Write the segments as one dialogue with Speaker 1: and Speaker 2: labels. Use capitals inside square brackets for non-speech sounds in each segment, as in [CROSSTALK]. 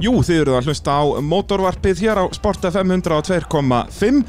Speaker 1: Jú, þið eruð að hlusta á mótorvarpið hér á Sport FM 102.5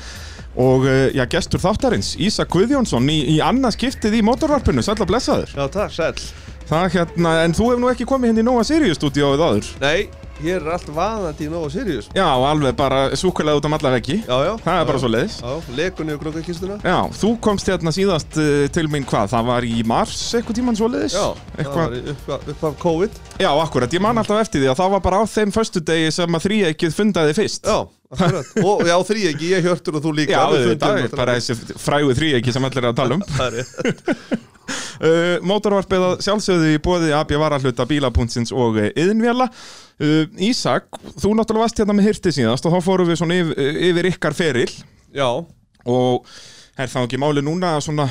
Speaker 1: og eh, já, gestur þáttarins, Ísak Guðjónsson í, í annað skiptið í mótorvarpinu, sæll að blessaður.
Speaker 2: Já, takk, sæl.
Speaker 1: Það hérna, en þú hef nú ekki komið hérna í Nóa Sirius stúdíóið áður.
Speaker 2: Nei, hér er allt vaðandi í Nova Sirius.
Speaker 1: Já, alveg bara súkulega út um alla veggi.
Speaker 2: Já, já.
Speaker 1: Það er bara
Speaker 2: já,
Speaker 1: svo leiðis.
Speaker 2: Já, lekunni og grókakistuna.
Speaker 1: Já, þú komst hérna síðast eh, til mín hvað, það var í mars eitthvað tíman svo leiðis?
Speaker 2: Já, það
Speaker 1: Eitthvað-
Speaker 2: var í uppa- upphaf upp COVID.
Speaker 1: Já, akkurat, ég man alltaf eftir því að það var bara á þeim föstudegi sem að þríeikið fundaði fyrst.
Speaker 2: Já,
Speaker 1: [LAUGHS]
Speaker 2: akkurat. og já, þrý ekki, ég hjörtur og þú líka.
Speaker 1: Já,
Speaker 2: Við
Speaker 1: auðvitað,
Speaker 2: fundum
Speaker 1: bara þessi frægu þríeiki sem allir er að tala um.
Speaker 2: Það er rétt.
Speaker 1: Uh, Mótorvarpið að sjálfsögðu í bóði AB varahluta bílapunktsins og uh, yðinvjala uh, Ísak, þú náttúrulega varst hérna með hirti síðast og þá fórum við svona yfir, yfir ykkar feril
Speaker 2: [LAUGHS] Já.
Speaker 1: og er það ekki máli núna að svona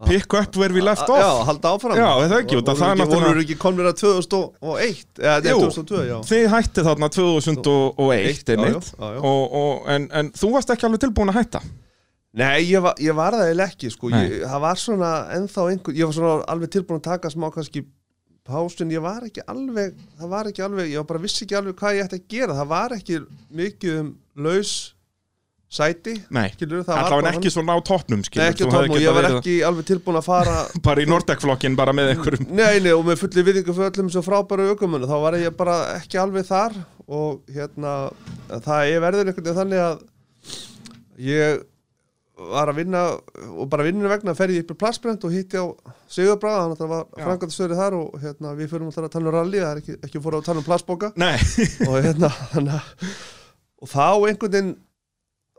Speaker 2: Ah.
Speaker 1: pick up where we left
Speaker 2: Já,
Speaker 1: off
Speaker 2: halda áfram.
Speaker 1: Já, er það ekki, út af það er náttúrulega-
Speaker 2: Voru ekki komnir að 2001? Eða, nei,
Speaker 1: Jú.
Speaker 2: 2002, já.
Speaker 1: Þið hætti þarna 2001
Speaker 2: Já, já,
Speaker 1: einmitt
Speaker 2: já, já.
Speaker 1: Og, og, en, en þú varst ekki alveg tilbúin að hætta
Speaker 2: Nei, ég var, ég var það eiginlega ekki, sko.
Speaker 1: Nei.
Speaker 2: Ég, það var svona ennþá einhver, ég var svona alveg tilbúin að taka smá kannski pásun, ég var ekki alveg, það var ekki alveg, ég var bara vissi ekki alveg hvað ég ætti að gera. Það var ekki mikið um laus sæti,
Speaker 1: Nei,
Speaker 2: skilur, það var
Speaker 1: allavega ekki svona á toppnum
Speaker 2: Nei,
Speaker 1: skilur
Speaker 2: ekki
Speaker 1: þú
Speaker 2: á
Speaker 1: hefði
Speaker 2: tómum, ég
Speaker 1: getað
Speaker 2: var
Speaker 1: verið
Speaker 2: ekki alveg tilbúin að fara
Speaker 1: Bara í Nordec-flokkin, bara með einhverjum [LAUGHS]
Speaker 2: Nei, nei, og með fulli viðingu fyrir öllum svo frábæru aukumunum, þá var ég bara ekki alveg þar og hérna, það er verður einhvern veginn þannig að ég var að vinna og bara vinninu vegna fer ég upp í plassbrend og hitti á Sigurbraga, hann alltaf var
Speaker 1: Já.
Speaker 2: frangat stöðri þar og hérna, við fyrir alltaf að tala um rally, það er ekki, ekki fór að tala um plassboka
Speaker 1: Nei,
Speaker 2: og hérna, þannig að og þá einhvern veginn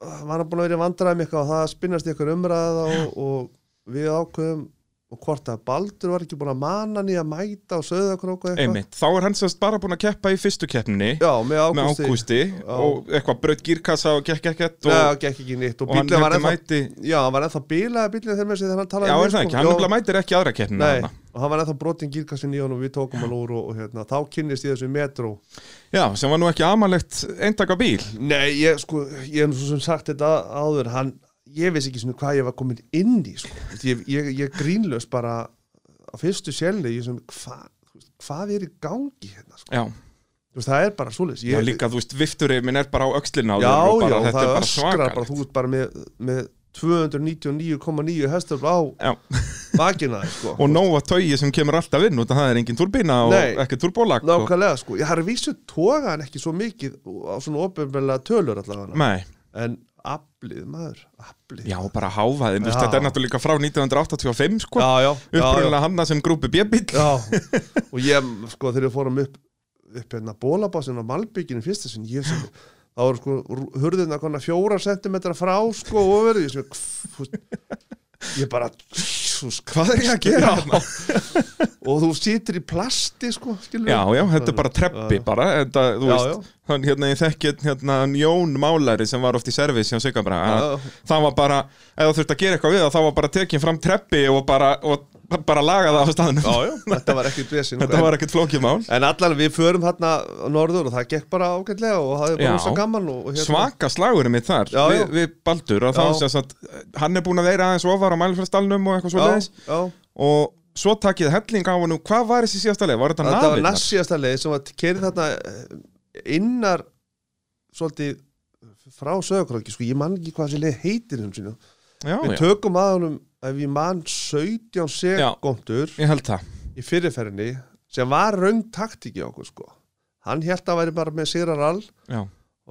Speaker 2: uh, var hann búin að vera í vandræðum eitthvað og það spinnast í eitthvað umræða og, og við ákveðum og hvort að Baldur var ekki búin að mana hann í að mæta og söða eitthvað
Speaker 1: einmitt Þá er hann sérst bara búin að keppa í fyrstu keppni
Speaker 2: já, með
Speaker 1: með
Speaker 2: ágústi
Speaker 1: ágústi og eitthvað braut gírkassa og gekk ekkert
Speaker 2: já,
Speaker 1: og,
Speaker 2: gekk ekki nýtt og,
Speaker 1: og hann
Speaker 2: bíllinn var
Speaker 1: hefði
Speaker 2: ennþá
Speaker 1: mæti
Speaker 2: já, hann var ennþá bílaði bílinn þegar með sig þegar hann talaði
Speaker 1: Já,
Speaker 2: við,
Speaker 1: er það
Speaker 2: sko.
Speaker 1: ekki, hann
Speaker 2: Já,
Speaker 1: nefnilega mætir ekki í aðra keppnina
Speaker 2: Nei,
Speaker 1: þarna.
Speaker 2: og hann var ennþá brotin gírkassin í hann og við tókum hann úr og, og hérna, þá kynnist ég þessu metro
Speaker 1: Já, sem var nú ekki amalegt eintaka bíl
Speaker 2: Nei, ég sko, ég hef svo sem sagt þetta áður, hann, ég veist ekki svona hvað ég var komin inn í, sko. Ég, ég, ég grínlaus bara á fyrstu sjálni, ég svona, hva, þú veist, hvað er í gangi hérna, sko.
Speaker 1: Já,
Speaker 2: Þú veist, það er bara svoleiðis.
Speaker 1: já
Speaker 2: Ég,
Speaker 1: líka, þú veist, vifturinn minn er bara á öxlina á
Speaker 2: já,
Speaker 1: þér og
Speaker 2: já,
Speaker 1: bara, þetta
Speaker 2: það
Speaker 1: er bara
Speaker 2: öskrar bara,
Speaker 1: svakalegt.
Speaker 2: þú ert bara með, með 299,9 hestur á
Speaker 1: Já,
Speaker 2: vakina, sko.
Speaker 1: og nóga tói sem kemur alltaf inn út að það er engin turbína og
Speaker 2: Nei.
Speaker 1: ekki turbólag og...
Speaker 2: Nákvæmlega, sko. Ég har vísu toga hann ekki svo mikið á svona opinvegulega tölur allavega.
Speaker 1: Nei,
Speaker 2: En aflið, maður, aflið.
Speaker 1: já, bara háfaðin, þú veist,
Speaker 2: Já.
Speaker 1: þetta er náttúrulega líka frá 1985 sko,
Speaker 2: já, já. já, já.
Speaker 1: upprunlega hanna sem grúpi bjöbíl
Speaker 2: Já, [LAUGHS] og ég, sko, þegar við fórum upp upp hérna bólabásin á Malbygginu fyrsta sinn, ég sem, þá voru sko rú- hurðina konar fjóra sentimetra frá sko, og verið, ég sem, kff, þú veist, ég bara, Jesus, hvað er ég að gera? hérna?" og þú situr í plasti, sko, skilur
Speaker 1: Já, já, þetta er bara treppi
Speaker 2: Já, já.
Speaker 1: bara, þetta, þú
Speaker 2: Já,
Speaker 1: veist, hann hérna ég þekki einn, hérna hann Jón Málari sem var oft í servis hjá Sigabra,
Speaker 2: Já, já.
Speaker 1: það var bara eða þurfti að gera eitthvað við það, það var bara tekin fram treppi og bara, og bara laga það á staðnum,
Speaker 2: Já, já, þetta var ekkert
Speaker 1: [LAUGHS]
Speaker 2: vesinn
Speaker 1: þetta var ekkert flókið mál
Speaker 2: En allan við förum hérna á norður og það gekk bara ágætlega og það er
Speaker 1: Já.
Speaker 2: bara rosa gaman og, og
Speaker 1: Svaka slagurinn mitt þar
Speaker 2: Hérna. Já, já.
Speaker 1: Við, við Baldur og þá
Speaker 2: Já.
Speaker 1: sést að hann er búin að vera aðeins ofar á mælfræstalnum og eitthvað svo leiðis
Speaker 2: Já, já
Speaker 1: og svo takið helling á hann hvað var þessi síðasta leið, var þetta
Speaker 2: Þetta var
Speaker 1: nafið? þar?
Speaker 2: næssíðasta leið sem var kerið þarna eh, innar svolítið frá sögurkróki, sko, ég man ekki hvað þessi leið heitir um sínu. Við
Speaker 1: Já, já,
Speaker 2: tökum að honum ef ég man 17 sekundur
Speaker 1: ég held það
Speaker 2: í fyrirferðinni sem var raung taktík í okkur, sko. Hann held að væri bara með sérarall
Speaker 1: Já,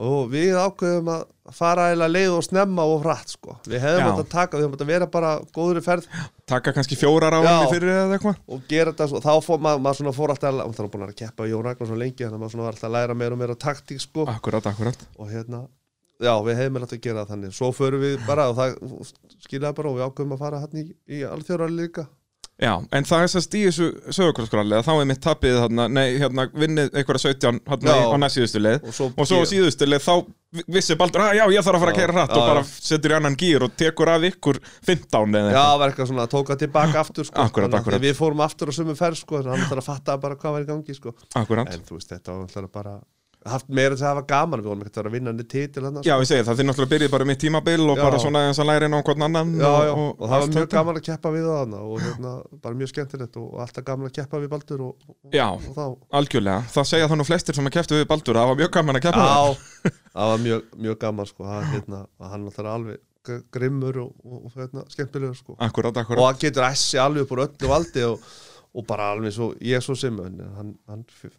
Speaker 2: og við ákveðum að fara eða leið og snemma og hratt, sko. Við hefðum
Speaker 1: Já.
Speaker 2: átt að taka, við hefðum átt að vera bara góður í ferð
Speaker 1: taka kannski fjórar á
Speaker 2: Já.
Speaker 1: hann fyrir eða eitthvað
Speaker 2: og gera þetta svo, þá fór maður, maður svona fór alltaf að, og það var búin að vera að keppa við Jón Ragnar svo lengi þannig að maður svona var alltaf að læra meira og meira taktík sko
Speaker 1: Akkurat, akkurat
Speaker 2: og hérna, já við hefum alltaf að gera það þannig, svo förum við bara og það skiljaði bara og við ákveðum að fara hann í, í alþjóra líka,
Speaker 1: Já, en það er sérst í þessu sögurkrosskralli að þá er mitt tapið þarna, nei, hérna, vinnið einhverja 17 hérna
Speaker 2: Já.
Speaker 1: á næst síðustu leið
Speaker 2: Og svo-
Speaker 1: og svo á síðustu leið þá vi- vissi Baldur, að já, ég þarf að fara að
Speaker 2: Já,
Speaker 1: kæra hratt
Speaker 2: já,
Speaker 1: og bara
Speaker 2: já.
Speaker 1: setur í annan gýr og tekur af ykkur 15 eða
Speaker 2: já
Speaker 1: eitthvað.
Speaker 2: það var eitthvað svona tóka tilbaka aftur sko,
Speaker 1: Akkúrat,
Speaker 2: Þannig að
Speaker 1: akkúrat.
Speaker 2: við fórum aftur á sömu ferð sko, þannig að hann þarf að fatta bara hvað var í gangi sko,
Speaker 1: Akkurat,
Speaker 2: en þú veist þetta var alltaf bara haft meira þess að hafa gaman við honum ekkert að vera að vinna niður titil hann
Speaker 1: Já, ég segi það, þið náttúrulega byrjið bara mitt tímabil og
Speaker 2: Já.
Speaker 1: bara svona eins að læra inn á hvern annan
Speaker 2: já, já, og, það var
Speaker 1: allt
Speaker 2: mjög
Speaker 1: þetta.
Speaker 2: gaman að keppa við það og hérna, bara mjög skemmtilegt og alltaf gaman að keppa við Baldur og, og,
Speaker 1: Já,
Speaker 2: og þá
Speaker 1: algjörlega, það segja þannig flestir sem að kæftu við Baldur, það var mjög gaman að kæftu það
Speaker 2: Já, það var mjög, mjög gaman sko, að, hérna, að hann alltaf er alveg gr- grimmur og, og, og hérna, skemmtilegur sko.
Speaker 1: Akkurat,
Speaker 2: og
Speaker 1: akkurat,
Speaker 2: hann getur essi alveg upp úr öllu valdi og, og bara alveg svo, ég er svo sem hann, hann, hann f-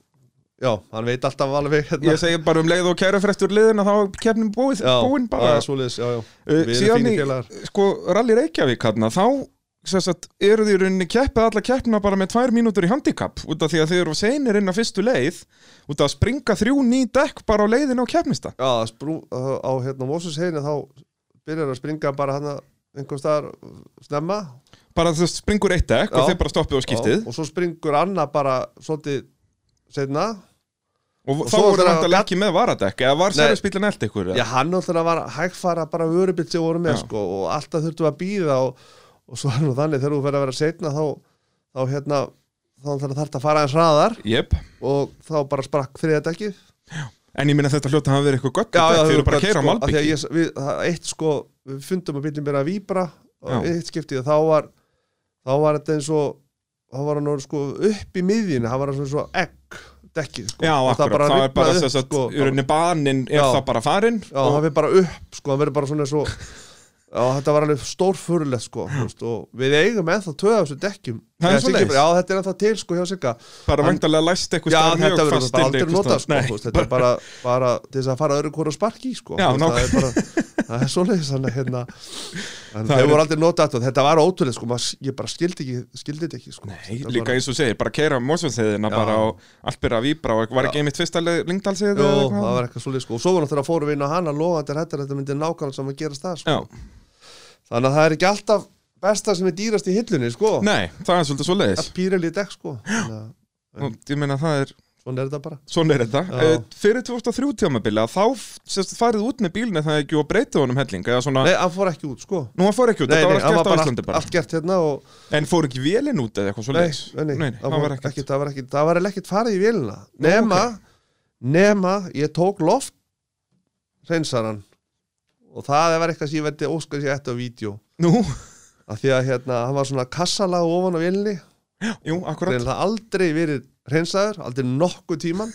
Speaker 2: já, hann veit alltaf alveg hérna,
Speaker 1: ég segi bara um leið og kæru frestur liðin að þá er keppnin búið,
Speaker 2: já,
Speaker 1: búin bara
Speaker 2: já, svoleiðis, já, já,
Speaker 1: Uh,
Speaker 2: við erum
Speaker 1: síðan
Speaker 2: fínir
Speaker 1: í-
Speaker 2: félagar
Speaker 1: Sko, Rally Reykjavík hérna, þá sem sagt, eru því rauninni keppið alla keppna bara með tvær mínútur í handicap út af því að þið eru seinir inn á fyrstu leið út af að springa þrjú ný dekk bara á leiðin á keppnista
Speaker 2: Já, að sprú, á á, hérna Mósus heginni þá byrjar að springa bara hann einhver staðar snemma
Speaker 1: bara þú veist, springur eitt dekk og
Speaker 2: Já.
Speaker 1: þið bara stoppið og skiptið
Speaker 2: Já, og svo springur Anna bara svolítið setna
Speaker 1: og,
Speaker 2: og
Speaker 1: þá
Speaker 2: svo
Speaker 1: voru
Speaker 2: þegar-
Speaker 1: þetta ekki með varadekk eða var
Speaker 2: Nei.
Speaker 1: servisbílinn eld ykkur eða?
Speaker 2: Já, hann náttúrulega var hægfara bara vörubilt sem voru með
Speaker 1: Já.
Speaker 2: sko, og alltaf þurftum að býða og, og svo er nú þannig þegar þú fer að vera setna þá, þá hérna þá þarf þetta að fara eins hraðar
Speaker 1: Jep,
Speaker 2: og þá bara sprakk þriða dekkið
Speaker 1: en ég minna þetta hljóta hafa verið eitthvað gött þið eru bara að keira á
Speaker 2: sko, af því að
Speaker 1: Malbyggi
Speaker 2: ég, við, það, eitt sko, við fundum að bílum byrja að víbra og
Speaker 1: Já.
Speaker 2: eitt skiptið og þá var þá var þetta eins og þá var hann orðinn, sko, upp í miðjunni það var hann svona eins og egg dekkið sko.
Speaker 1: Já,
Speaker 2: Og
Speaker 1: akkurat, það er bara
Speaker 2: rifnaði
Speaker 1: þess að
Speaker 2: upp,
Speaker 1: í rauninni baninn er
Speaker 2: Já.
Speaker 1: það bara farinn
Speaker 2: Já,
Speaker 1: og-
Speaker 2: það fyrir bara upp, sko, það verður bara svona svo Já, þetta var alveg stórfurulegt, sko þú veist, og við eigum ennþá tvö af þessu dekkjum
Speaker 1: Það er
Speaker 2: Eða,
Speaker 1: svoleiðis.
Speaker 2: Siggi- Já, þetta er ennþá til, sko, hjá Sigga
Speaker 1: bara
Speaker 2: Hann-
Speaker 1: vantarlega læst eitthvað
Speaker 2: Já,
Speaker 1: staðar um mjög
Speaker 2: þetta verður
Speaker 1: fast
Speaker 2: bara
Speaker 1: inn
Speaker 2: aldrei
Speaker 1: eitthvað
Speaker 2: nota,
Speaker 1: staðar.
Speaker 2: sko
Speaker 1: Nei.
Speaker 2: þú veist, sko, Þetta er bara, bara til þess að fara öðru hvora sparki, sko
Speaker 1: Já,
Speaker 2: þú veist, það er bara, það er svoleiðis hann
Speaker 1: [LAUGHS]
Speaker 2: hérna En
Speaker 1: Það
Speaker 2: þau
Speaker 1: er-
Speaker 2: voru aldrei notað þetta, þetta var ótrúlega, sko, maður, ég bara skildi ekki, skildi þetta ekki, sko
Speaker 1: Nei,
Speaker 2: Þetta
Speaker 1: líka
Speaker 2: bara,
Speaker 1: eins og segir, bara keira á Mósvöldsheðina
Speaker 2: Já.
Speaker 1: bara á Alpira Víbra og var ekki einmitt fyrsta Lingdalsheði
Speaker 2: Jó, það var eitthvað svoleiðis, sko Og svo var náttúrulega fórum við inn á hana, lofandi er þetta, þetta myndi nákvæmlega saman gerast það, sko
Speaker 1: Já,
Speaker 2: Þannig að það er ekki alltaf besta sem er dýrast í hillunni, sko
Speaker 1: nei, það er svolítið svo leiðis
Speaker 2: að pýra lítið dekk sko Þannig að
Speaker 1: og ég meina það er,
Speaker 2: svona er þetta bara
Speaker 1: svona er þetta
Speaker 2: Já.
Speaker 1: Eh, Fyrir 2003 tjámabili þá sérst, farið út með bílni það ekki og breytið honum helling eða svona,
Speaker 2: nei, hann fór ekki út sko
Speaker 1: nú hann fór ekki út,
Speaker 2: nei,
Speaker 1: þetta
Speaker 2: nei,
Speaker 1: var
Speaker 2: hann
Speaker 1: allt gert á
Speaker 2: var bara
Speaker 1: Íslandi
Speaker 2: allt,
Speaker 1: bara
Speaker 2: allt gert hérna og
Speaker 1: En fór ekki vélinn út eða eitthvað svo
Speaker 2: nei,
Speaker 1: leiðis
Speaker 2: nei, nei,
Speaker 1: nei, það var ekkert
Speaker 2: það var ekkert það var ekkert farið í vélina nema, nema ég tók loft reynsaran og það var eitthvað sem ég verði óskar sér eftir á vídeo
Speaker 1: Nú, [LAUGHS]
Speaker 2: af því að hérna, hann var svona kassalag ofan á vélni
Speaker 1: jú, akkurat,
Speaker 2: reynilega aldrei verið reynsaður aldrei nokkuð tíman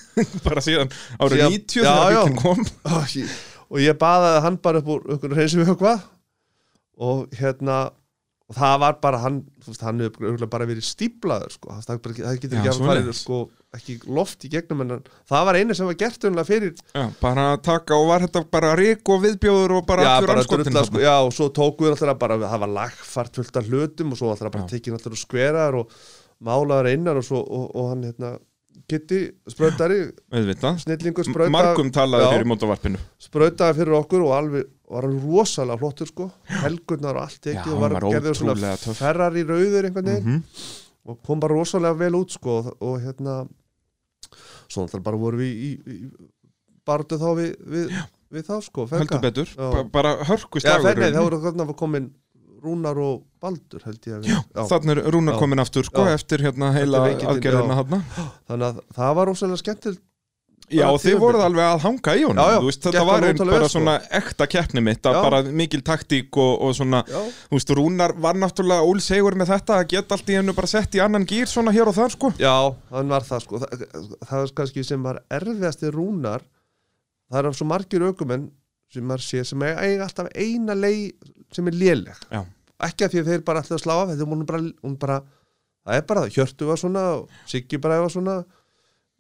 Speaker 1: bara síðan árið
Speaker 2: Síðan-
Speaker 1: 90
Speaker 2: Já,
Speaker 1: þegar
Speaker 2: já.
Speaker 1: bílinn kom
Speaker 2: og ég, Oh, og ég baðaði hann bara upp úr einhvern reynsum eitthvað og hérna og það var bara hann, þú veist, hann hefur örugglega bara verið stíplaður sko, það, það, bara- það getur
Speaker 1: Já,
Speaker 2: ekki að fara
Speaker 1: svoleiðis.
Speaker 2: sko, ekki loft í gegnum en hann- það var einu sem var gert unlega fyrir
Speaker 1: Já, bara taka og var þetta bara rík og viðbjóður og bara
Speaker 2: já,
Speaker 1: allur
Speaker 2: bara
Speaker 1: andskotinn
Speaker 2: drulla,
Speaker 1: þarna.
Speaker 2: sko, já, og svo tóku við alltaf bara, það var lagfart fullt af hlutum og svo alltaf bara
Speaker 1: Já.
Speaker 2: tekin alltaf skverar og málaðar innan og svo og, og hann hérna Kitty, sprautari,
Speaker 1: Auðvitað.
Speaker 2: snillingur
Speaker 1: M-
Speaker 2: sprauta
Speaker 1: Margum talaði
Speaker 2: Já.
Speaker 1: fyrir mótavarpinu
Speaker 2: sprautaði fyrir okkur og alveg, var alveg rosalega flottur sko, helgurnar og allt
Speaker 1: Já,
Speaker 2: ekki og
Speaker 1: hann
Speaker 2: var,
Speaker 1: var
Speaker 2: gerður svona
Speaker 1: ótrúlega töff.
Speaker 2: ferrar í rauður einhvern veginn
Speaker 1: Mhm.
Speaker 2: og kom bara rosalega vel út sko og, og hérna svona þar bara vorum við í, í, í barðu þá við, við, við þá sko,
Speaker 1: heldur
Speaker 2: felga
Speaker 1: betur,
Speaker 2: Já.
Speaker 1: ba bara hörku
Speaker 2: Já,
Speaker 1: slagur
Speaker 2: fennið, þá voru þarna komin Rúnar og Baldur held ég að við, já,
Speaker 1: þannig er Rúnar
Speaker 2: Já.
Speaker 1: komin aftur sko,
Speaker 2: Já.
Speaker 1: eftir hérna heila
Speaker 2: Eftir veikindin,
Speaker 1: aðgerðina
Speaker 2: já.
Speaker 1: hann
Speaker 2: þannig að það var rosalega skemmtilegt
Speaker 1: já
Speaker 2: Já,
Speaker 1: og þið
Speaker 2: tímabil.
Speaker 1: voruð alveg að hanga í honum
Speaker 2: Já, já,
Speaker 1: þú veist, þetta
Speaker 2: gekk
Speaker 1: var
Speaker 2: alveg
Speaker 1: einn
Speaker 2: ótrúlega
Speaker 1: bara
Speaker 2: vel, sko.
Speaker 1: svona ekta keppni mitt að
Speaker 2: Já.
Speaker 1: bara mikil taktík og, og svona
Speaker 2: já,
Speaker 1: þú veist, Rúnar var náttúrulega ólsegur með þetta að geta allt í hennu bara sett í annan gýr svona hér og þar sko
Speaker 2: já, þannig var það sko það, það var kannski sem var erfiðasti Rúnar það eru svo margir aukumenn sem maður sé sem eiga alltaf eina lei sem er léleg
Speaker 1: Já.
Speaker 2: ekki að því að þeir bara alltaf slá af þetta hún er bara, hún bara, það er bara það Hjörtu var svona, Siggi bara var svona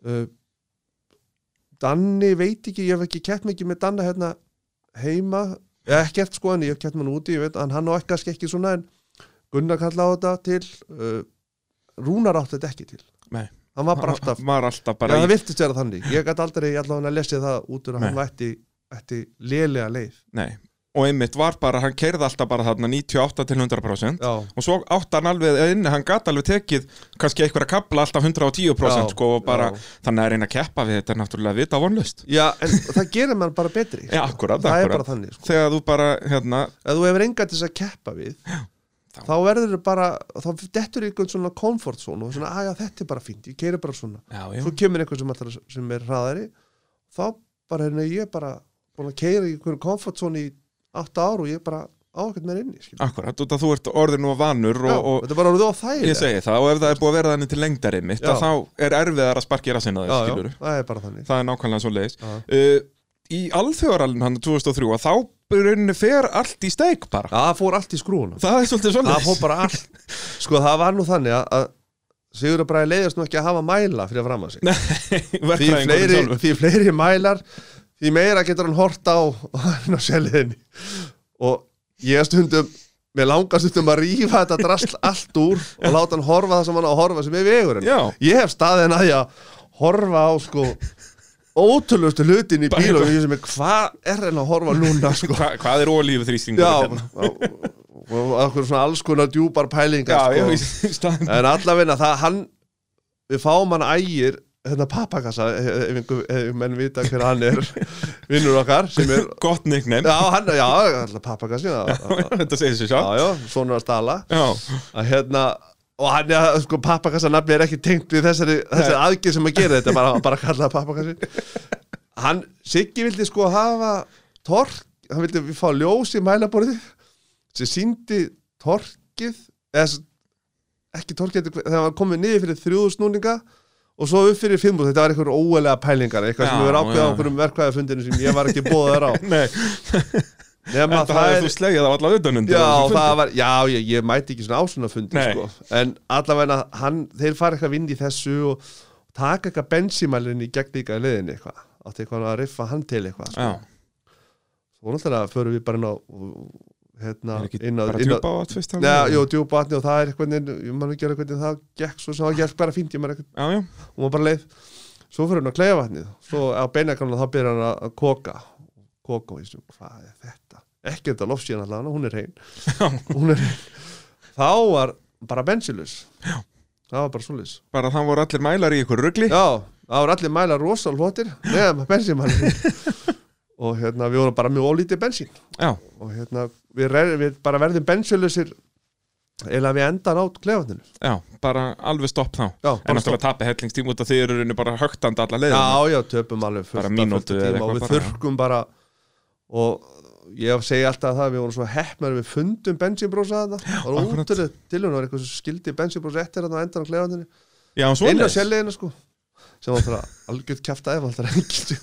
Speaker 2: uh, Danni veit ekki, ég hef ekki kett mikið með Danna hérna heima ég hef ekkert sko, en ég hef kett með hann úti ég veit, en hann á ekki kannski ekki svona en Gunnar kallaði á þetta til uh, Rúnar átti þetta ekki til
Speaker 1: Nei.
Speaker 2: hann var bara alltaf,
Speaker 1: var alltaf
Speaker 2: já,
Speaker 1: bara
Speaker 2: það
Speaker 1: í,
Speaker 2: virtist vera þannig ég gæti aldrei allavega að lesa það út úr að hann
Speaker 1: Nei.
Speaker 2: vætti, vætti lélega leið
Speaker 1: nei og einmitt var bara, hann keirði alltaf bara þarna 98 til 100%
Speaker 2: já,
Speaker 1: og svo átti hann alveg inni, hann gat alveg tekið kannski einhverja kapla alltaf 110%
Speaker 2: Já,
Speaker 1: sko og bara,
Speaker 2: já.
Speaker 1: þannig að reyna að keppa við þetta er náttúrulega vita vonlust
Speaker 2: já, en það gerir mann bara betri
Speaker 1: Já, akkurat,
Speaker 2: það er
Speaker 1: akkurat.
Speaker 2: bara þannig sko.
Speaker 1: þegar þú bara, hérna,
Speaker 2: ef þú hefur enga til þess að keppa við
Speaker 1: þá-
Speaker 2: þá, verður þú bara þá dettur einhvern svona comfort zone og svona, aðja, þetta er bara fínt, ég keiri bara svona
Speaker 1: já,
Speaker 2: svo kemur einhvern sem, ætlar, að- sem er hraðari þá bara hérna ég er bara búin að keira í einhverju komfortzón í 8 ár og ég er bara á ekkert með inni skilur.
Speaker 1: Akkurat, út að þú ert orðin og vanur
Speaker 2: Já,
Speaker 1: og,
Speaker 2: þetta er bara orðið á
Speaker 1: og
Speaker 2: þægilega
Speaker 1: ég segi það og ef það er búið að vera þannig til lengdarið mitt að
Speaker 2: Já.
Speaker 1: þá er erfiðar að sparki rassinn að þessu
Speaker 2: já,
Speaker 1: skilur
Speaker 2: já, það er bara þannig
Speaker 1: það er nákvæmlega svo leiðis
Speaker 2: Já.
Speaker 1: uh, Í alþjóðaralinn hann 2003 að þá í rauninni fer allt í steik bara
Speaker 2: það fór allt í skrúuna
Speaker 1: Það er svolítið svo
Speaker 2: það fór
Speaker 1: [LAUGHS] leiðis
Speaker 2: bara allt sko það var nú þannig að- að Sigur að bræði leiðast nú ekki að hafa mæla fyrir að fram að sig því fleiri, því fleiri mælar því meira getur hann hort á hann á sjæliðinni og ég stundum mér langar stundum að rífa þetta drasl allt úr og láta hann horfa það sem hann á að horfa sem er vegurinn
Speaker 1: Já.
Speaker 2: ég hef staðin að ég að horfa á sko ótrúlustu hlutin í
Speaker 1: Bara
Speaker 2: bíl og
Speaker 1: eitthvað.
Speaker 2: ég sem er hvað er hann að horfa núna sko
Speaker 1: Hva, Hvað er hérna? ólífið þrýstingur?
Speaker 2: já og og okkur svona alls konar djúpar
Speaker 1: já
Speaker 2: pælingar
Speaker 1: ég
Speaker 2: sko.
Speaker 1: veist í staðan
Speaker 2: En allavegna það, hann Við fáum hann ægir Hérna pappakassa, ef einhver- ef menn vita hver hann
Speaker 1: [LAUGHS]
Speaker 2: er Vinnur okkar sem er
Speaker 1: Gott nickname
Speaker 2: Já, hann, já, alltaf pappakassi
Speaker 1: [LAUGHS]
Speaker 2: Já,
Speaker 1: Þetta segir sér sjá
Speaker 2: já, já svona að stala
Speaker 1: Já,
Speaker 2: Að hérna Og hann, já, sko, pappakassa nafni er ekki tengt við þessari, þessari aðgið sem að gera þetta bara, bara kallaða pappakassi Hann, Siggi vildi sko hafa tork, hann vildi við fá ljós í mælaborðið sem síndi torkið eða s- ekki torkið heldur- þegar hann komið niður fyrir þrjúðusnúninga og svo upp fyrir fimmúð, þetta var einhver óælega pælingar eitthvað sem
Speaker 1: Já,
Speaker 2: við verðum ákveða á
Speaker 1: já.
Speaker 2: einhverjum verkvæðafundinu sem ég var ekki
Speaker 1: [LAUGHS]
Speaker 2: bóðað þér á
Speaker 1: nei,
Speaker 2: nema
Speaker 1: þetta hafði þú slegið á alla utanund
Speaker 2: Já, það var, já, ég, ég mæti ekki svona ásunafundi
Speaker 1: Nei.
Speaker 2: sko. En allavega hann, þeir fara eitthvað vinn í þessu og taka eitthvað bensímælinn í gegn líka í leiðinni eitthvað átti eitthvað að riffa hann til eitthvað sko.
Speaker 1: Já,
Speaker 2: og náttúrulega förum við bara inn á hérna,
Speaker 1: er ekki
Speaker 2: inn á,
Speaker 1: bara
Speaker 2: inn á
Speaker 1: djúpa á að tvist
Speaker 2: Nei, jú, djúbatni og það er eitthvað neinn, ég man ekki alveg hvernig það gekk svo sem það gekk bara fínt, ég man ekki,
Speaker 1: Já, já,
Speaker 2: hún var bara leið svo fyrir hann að kleiða vatnið svo á beinagrana þá byrjar hann að koka koka og ég sem, hvað er þetta ekki þetta lofsíðan allavega, hún er hrein hún er hrein þá var bara bensilus það var bara svolis
Speaker 1: bara það voru allir mælar í ykkur rugli
Speaker 2: já, það var allir mæla rosa hlotir nefn bensinmæli og hérna við vorum bara mjög ólítið bensín
Speaker 1: Já,
Speaker 2: og hérna við, re- við bara verðum bensilusir eða við endan át kleiðvatninu
Speaker 1: já, bara alveg stopp þá
Speaker 2: já,
Speaker 1: En
Speaker 2: bara stopp.
Speaker 1: náttúrulega tappi hellingstíma út af því eru bara högtandi alla leiðina
Speaker 2: Já, já, töpum alveg fullt
Speaker 1: Bara
Speaker 2: af-
Speaker 1: mínútu
Speaker 2: fullt af
Speaker 1: eða
Speaker 2: tíma
Speaker 1: eitthvað
Speaker 2: og við
Speaker 1: bara.
Speaker 2: þurrkum bara og ég segi alltaf það við vorum svo heppnar við fundum bensínbrósa þarna það var
Speaker 1: akkurat.
Speaker 2: útrúlega til hún var eitthvað sem skildi bensínbrósa eftir þarna á endan á klefandinu
Speaker 1: Já, svo
Speaker 2: inn á sérleginu sko sem var bara algjörð kjafta ef [LAUGHS] alltaf reyngildu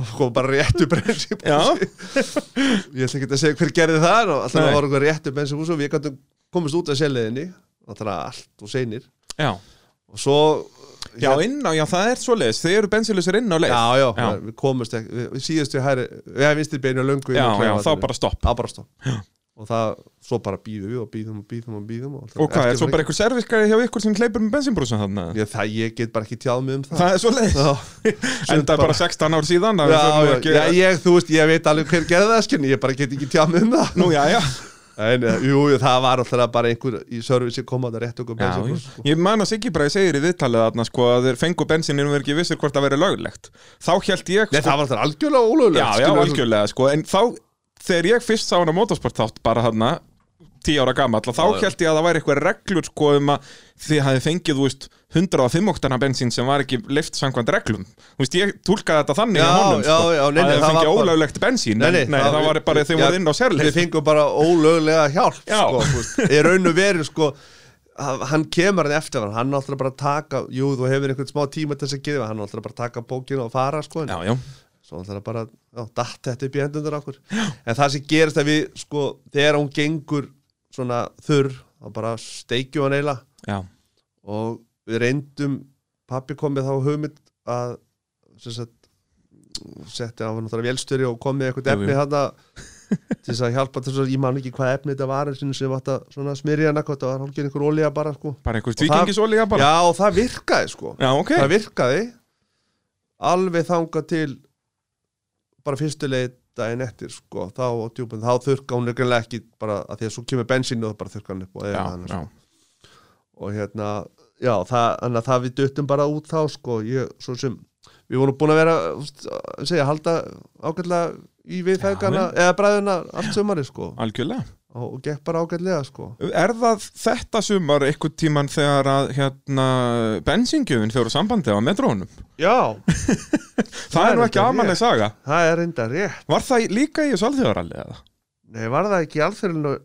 Speaker 2: og kom bara réttu bensínbrósi [LAUGHS] ég ætla ekki að segja hver gerði það og alltaf
Speaker 1: Nei.
Speaker 2: það var eitthvað réttu bensínbrósi og við gætum komist út af sérleginni alltaf allt og seinir
Speaker 1: Já,
Speaker 2: og svo
Speaker 1: já, inn á, já, það er svo leiðis Þið eru bensinlausir inn á leið
Speaker 2: já, já,
Speaker 1: Já.
Speaker 2: við komumst ekki við, við síðustu hæri, við hefum vinstir beinu löngu inn
Speaker 1: já,
Speaker 2: á
Speaker 1: já, þá
Speaker 2: klefavatninu.
Speaker 1: bara stopp
Speaker 2: Þá bara stopp og það, svo bara býðum við og býðum og býðum og býðum og,
Speaker 1: Og hvað, er svo bara einhver serviskari hjá ykkur sem hleypur með bensinbrúsan þarna?
Speaker 2: ég, það, ég get bara ekki tjáð mig um það,
Speaker 1: Það er svo leiðis
Speaker 2: [LAUGHS] Já,
Speaker 1: [LAUGHS] Enda bara 16 ár síðan að
Speaker 2: já,
Speaker 1: við förum
Speaker 2: já,
Speaker 1: nú ekki-
Speaker 2: já, ég, þú veist, ég veit alveg hver gerði það skynni, ég bara get ekki tjáð mig um það
Speaker 1: Nú, já, já,
Speaker 2: [LAUGHS] en, eh, jú, jú, það var alltaf bara einhver í servisi koma að rétt okkur sko.
Speaker 1: já,
Speaker 2: bensin,
Speaker 1: já. Ég man að Siggi Bræði segir í viðtalið þarna sko að þeir fengu bensininu og verið ekki vissir hvort það verið löglegt Þá held ég
Speaker 2: Nei,
Speaker 1: sko,
Speaker 2: það var alltaf algjörlega ólögulegt
Speaker 1: Já, já, algjörlega sko En þá, þegar ég fyrst sá hana motorsport þátt bara þarna tíu ára gamall og þá
Speaker 2: Já, já.
Speaker 1: held ég að það væri eitthvað reglur sko um að þið hafið fengið, þú veist, 105 oktana bensín sem var ekki leift samkvæmt reglum Þú veist, ég túlkaði þetta þannig
Speaker 2: Já,
Speaker 1: að honum sko,
Speaker 2: já, já, nei, nei,
Speaker 1: að þið
Speaker 2: það
Speaker 1: fengið
Speaker 2: var bara-
Speaker 1: ólöglegt bensín nei, nei, nei, það, var bara þegar þið
Speaker 2: já,
Speaker 1: voruð inn á sérleif
Speaker 2: Við fengum bara ólöglega hjálp
Speaker 1: Já.
Speaker 2: sko, þú veist. Í raun og veru sko hann hann kemur hann eftir hann, hann náttúrulega bara að taka jú, þú hefur einhvern smá tíma til þess að gefa hann náttúrulega bara að taka bókina og fara sko, en
Speaker 1: Já, já,
Speaker 2: svo náttúrulega bara, já, datt þetta upp í hendundur okkur, en það sem gerist að við sko, þegar hún gengur svona þurr, þá bara steikjum hann eiginlega
Speaker 1: já,
Speaker 2: og við reyndum pappi komið þá hugmynd að sem sagt setti á náttúrulega vélstöri og komið eitthvað
Speaker 1: Jú, jú.
Speaker 2: efni hann
Speaker 1: [LAUGHS]
Speaker 2: til þess að hjálpa til þess að ég man ekki hvað efni þetta var sem sem átt að svona smyrja hana hvað það var hálfgerð einhver olía bara sko
Speaker 1: bara einhver
Speaker 2: það-
Speaker 1: tvíkengisólíja bara
Speaker 2: já og það virkaði sko
Speaker 1: Já, ok,
Speaker 2: það virkaði alveg þangað til bara fyrstu leið daginn eftir sko þá á djúpun þá þurrka hún nörgulega ekki bara að því að svo kemur bensín og það bara þurrka hann upp og sko. eða
Speaker 1: já,
Speaker 2: hann
Speaker 1: já,
Speaker 2: og hérna, já, það, þannig að það við duttum bara út þá, sko, ég, svo sem við vorum búin að vera, þú veist, að segja, halda ágætlega í viðfæðgana, eða bræðuna allt sömari, sko,
Speaker 1: algjörlega
Speaker 2: og, og gekk bara ágætlega sko
Speaker 1: Er það þetta sumar einhvern tíman þegar að hérna, bensingjöfin fyrir sambandi á metrónum?
Speaker 2: Já,
Speaker 1: [LAUGHS] Það,
Speaker 2: Það
Speaker 1: er
Speaker 2: er
Speaker 1: nú ekki
Speaker 2: þetta
Speaker 1: amaleg
Speaker 2: rétt.
Speaker 1: saga.
Speaker 2: það er reynda rétt
Speaker 1: Var það í- líka í þessu alþjóðaralli eða?
Speaker 2: Nei, var það ekki alþjóðlega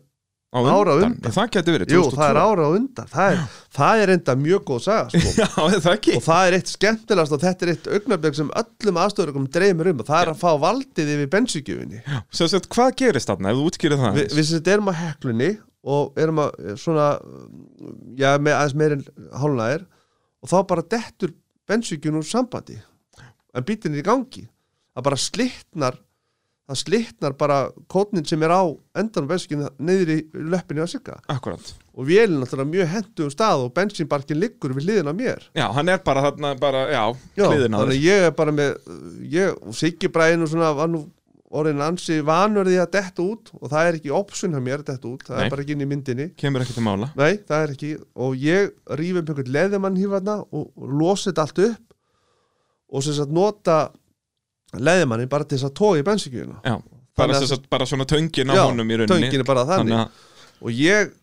Speaker 1: Á
Speaker 2: Ára undan.
Speaker 1: Það geti verið
Speaker 2: Jú, það er
Speaker 1: 2002.
Speaker 2: ára á undan Það er, það er reynda mjög góð saga sko.
Speaker 1: [LAUGHS] Já, er það ekki.
Speaker 2: og það er eitt skemmtilegast og þetta er eitt augnablik sem öllum aðstofurkum dreymir um og það er að fá valdið yfir bensíkjöfinni
Speaker 1: Sér sett, hvað gerist þarna ef þú útskýrir það?
Speaker 2: Vi,
Speaker 1: aðeins?
Speaker 2: við sem þetta erum á heklunni og erum að eh, svona já, með aðeins meirinn hálunæðir og þá bara dettur bensíkjun úr sambandi en bítin er í gangi það bara slitnar það slitnar bara kótnin sem er á endanum bensíkjun niður í löppinni á sigga
Speaker 1: Akkurat.
Speaker 2: og vélinn náttúrulega mjög hentum stað og bensínbarkin liggur við hliðin á mér
Speaker 1: Já, hann er bara þarna, bara, já,
Speaker 2: Já,
Speaker 1: hliðin á
Speaker 2: þannig
Speaker 1: þér.
Speaker 2: að ég er bara með ég, og Siggi Bræðin og svona var nú orðin ansi vanverði að detta út og það er ekki opsun hjá mér að detta út það
Speaker 1: Nei.
Speaker 2: er bara ekki inn í myndinni
Speaker 1: Kemur ekki til mála.
Speaker 2: Nei, það er ekki og ég rífum einhvern leðumann hífarna og, og losa þetta allt upp og sem sagt nota leðumannin bara til þess að toga í bensinkjöfina
Speaker 1: Já, bara,
Speaker 2: Þannig að-
Speaker 1: sem sagt, bara svona töngin á
Speaker 2: Já,
Speaker 1: honum í rauninni.
Speaker 2: töngin er bara þannig
Speaker 1: Þannig að,
Speaker 2: og ég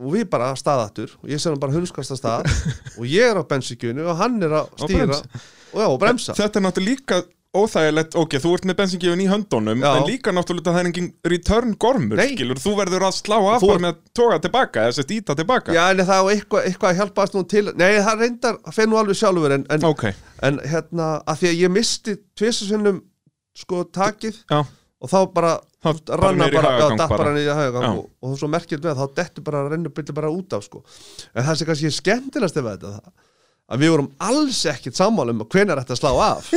Speaker 2: og við bara staðatur og ég sé hann bara hunskast að
Speaker 1: [LAUGHS]
Speaker 2: stað og ég er á bensinkjöfinu og hann er að
Speaker 1: Og
Speaker 2: stýra
Speaker 1: bremsa.
Speaker 2: og, já, og bremsa
Speaker 1: þetta er náttúrulega líka óþægilegt, ok, þú ert með bensingjöfin í höndunum,
Speaker 2: Já.
Speaker 1: en líka náttúrulega það er engin return gormur,
Speaker 2: Nei.
Speaker 1: skilur, þú verður að slá af
Speaker 2: Þú-
Speaker 1: bara með að toga tilbaka, þess að dýta tilbaka.
Speaker 2: Já, en það er eitthvað, eitthvað að hjálpa nú til Nei, það reyndar, það fer nú alveg sjálfur en, en,
Speaker 1: Ok,
Speaker 2: en hérna, að því að ég misti tvisasinnum sko takið
Speaker 1: já,
Speaker 2: og þá bara
Speaker 1: þá bara
Speaker 2: ranna
Speaker 1: niður í
Speaker 2: bara, já,
Speaker 1: hagagang
Speaker 2: datt bara
Speaker 1: bara.
Speaker 2: niður í
Speaker 1: Já.
Speaker 2: haugagang og, og svo merkjöld með að þá dettur bara að renna byrja bara út af sko en það sem kannski er skemmtilegast ef þetta það, að við vorum alls ekkit sammála um hvenær þetta slá af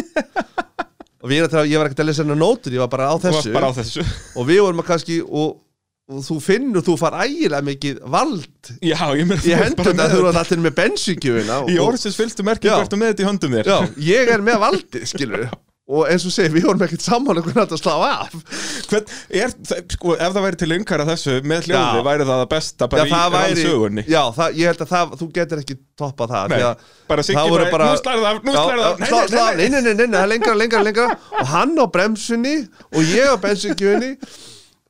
Speaker 1: [LAUGHS]
Speaker 2: og við erum til að, ég var ekkert að lesa hennar nótur ég var bara á
Speaker 1: þú
Speaker 2: þessu
Speaker 1: varst bara á þessu. [LAUGHS]
Speaker 2: og við vorum að kannski og, og þú finnur, þú far ægilega mikið vald
Speaker 1: Já, ég meira
Speaker 2: ég hendur þetta að þú eru allir með bensíkjöfina
Speaker 1: Í orðsins fylgstu merkið
Speaker 2: Já.
Speaker 1: verður með þetta í höndum þér
Speaker 2: Já, ég er með valdið, skilur og eins og segir, við vorum ekkert sammála um hvernig þetta slá af
Speaker 1: Hvern, er, það- sko, Ef það væri til yngara þessu með hljóði
Speaker 2: Já.
Speaker 1: væri það að besta bara
Speaker 2: það
Speaker 1: í rannsögunni
Speaker 2: Já, það, ég held að það, þú getur ekki toppa það
Speaker 1: Nei,
Speaker 2: því að
Speaker 1: bara Siggi
Speaker 2: það voru
Speaker 1: bara, "Nú slærðu af, nú
Speaker 2: Já,
Speaker 1: slærðu af."
Speaker 2: já,
Speaker 1: Nei,
Speaker 2: slá-
Speaker 1: nei, nei,
Speaker 2: slá- Nei, nei, nei, nei, nei, það er lengra, lengra, lengra og hann á bremsunni og ég á bensíkjöfni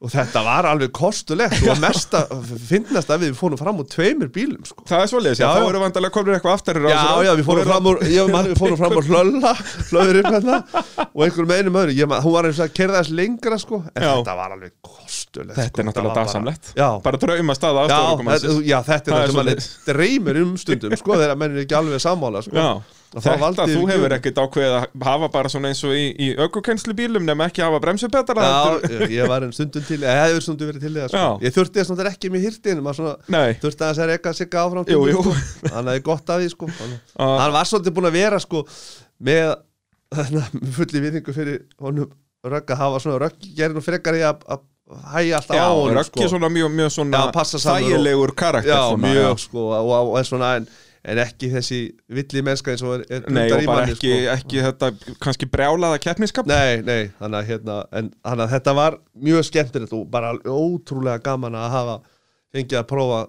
Speaker 2: og þetta var alveg kostulegt og mesta, finnast að við fórum fram úr tveimur bílum, sko
Speaker 1: Það er svoleiðis, já,
Speaker 2: Já,
Speaker 1: þá
Speaker 2: já.
Speaker 1: eru vandalega komnir eitthvað aftur í
Speaker 2: Já,
Speaker 1: rásina.
Speaker 2: já, við
Speaker 1: Og
Speaker 2: fórum
Speaker 1: eru-
Speaker 2: fram úr, ég man, við fórum fram úr hlölla, hlöður upp hérna og einhverjum með einum öðru, ég man, hún var eins og að kerða þess lengra sko, en
Speaker 1: Já.
Speaker 2: þetta var alveg kostulegt.
Speaker 1: Þetta er
Speaker 2: sko,
Speaker 1: náttúrulega
Speaker 2: var bara-
Speaker 1: dasamlegt
Speaker 2: Já,
Speaker 1: Bara drauma staða
Speaker 2: já,
Speaker 1: aðstofarkomannsins.
Speaker 2: þetta, já, þetta er
Speaker 1: Það er
Speaker 2: það sem mann
Speaker 1: svoleiðis.
Speaker 2: dreymir um stundum sko, þegar menn er ekki alveg sammála sko.
Speaker 1: Já,
Speaker 2: Og þá
Speaker 1: þetta
Speaker 2: valdi
Speaker 1: þú
Speaker 2: ég-
Speaker 1: hefur ekkert ákveðið að hafa bara svona eins og í, í ökkukennslubílum nema ekki hafa bremsupetara heldur-
Speaker 2: Já, ég var einn stundum til, eða hefur stundum verið til í það sko.
Speaker 1: Já.
Speaker 2: Ég þurfti þess að ekki með hirtin, maður svona
Speaker 1: Nei,
Speaker 2: þurfti aðeins að reyka sig áfram
Speaker 1: Jú, jú.
Speaker 2: hann hefði gott af því sko hann,
Speaker 1: Ah.
Speaker 2: hann var svolítið búin að vera sko með þarna, fulli viðingu fyrir honum rögg að hafa svona rögg gerin og frekar í að að hægja alltaf
Speaker 1: já,
Speaker 2: á honum
Speaker 1: Röggi
Speaker 2: sko.
Speaker 1: er svona mjög, mjög svona
Speaker 2: Já, passa saman og-
Speaker 1: þægilegur karakter
Speaker 2: já,
Speaker 1: svona,
Speaker 2: mjög
Speaker 1: já.
Speaker 2: sko og, og, og svona en, en ekki þessi villi mennska eins og er,
Speaker 1: Nei,
Speaker 2: er blundar
Speaker 1: og
Speaker 2: í
Speaker 1: bara
Speaker 2: manni, sko.
Speaker 1: ekki, ekki þetta kannski brjálaða keppniskap
Speaker 2: Nei, nei, þannig að, hérna, en, þannig að þetta var mjög skemmtilegt og bara ótrúlega gaman að hafa fengið að prófa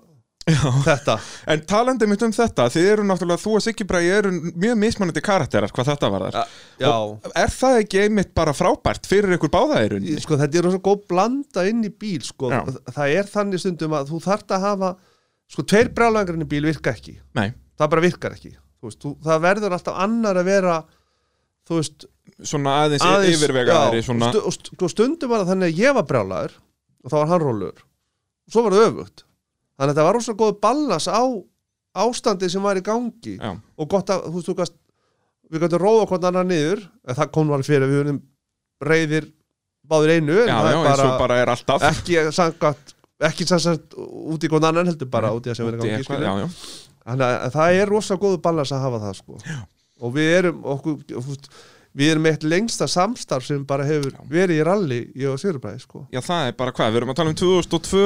Speaker 2: þetta
Speaker 1: En talandi mitt um þetta, þið eru náttúrulega þú og Siggi Bræði eru mjög mismunandi karakterar hvað þetta var þar
Speaker 2: Já,
Speaker 1: Er það ekki einmitt bara frábært fyrir ykkur báðaðirun?
Speaker 2: Í- sko, þetta er rosa góð blanda inn í bíl sko.
Speaker 1: Já.
Speaker 2: Þa- það er þannig stundum að þú þarft að hafa sko, tveir brjálangarinn í bíl virka ekki
Speaker 1: Nei,
Speaker 2: það bara virkar ekki þú veist, þú, það verður alltaf annar að vera þú veist,
Speaker 1: svona aðeins, aðeins yfirvegaðari
Speaker 2: já,
Speaker 1: svona,
Speaker 2: stu, og stu, sko, stundum var það þannig að ég var brjálagur og þá var hann rólur og svo var það öfugt þannig að þetta var rosa góð ballas á ástandi sem var í gangi
Speaker 1: já,
Speaker 2: og gott að, þú veist, þú gast við gættum róa hvort annar niður en það kom nú alveg fyrir að við höfum reyðir báður einu en
Speaker 1: já,
Speaker 2: það
Speaker 1: já,
Speaker 2: er
Speaker 1: eins og bara er alltaf
Speaker 2: ekki sangat ekki sannsagt út í hvort annan heldur bara út í að sem við
Speaker 1: Úti
Speaker 2: erum
Speaker 1: eitthvað, já,
Speaker 2: gangi
Speaker 1: já.
Speaker 2: þannig að það er rosa góðu ballans að hafa það sko. og við erum okkur, þú veist, við erum eitt lengsta samstarf sem bara hefur verið í ralli ég og Sigurbræði sko.
Speaker 1: Já, það er bara hvað, við erum að tala um 2002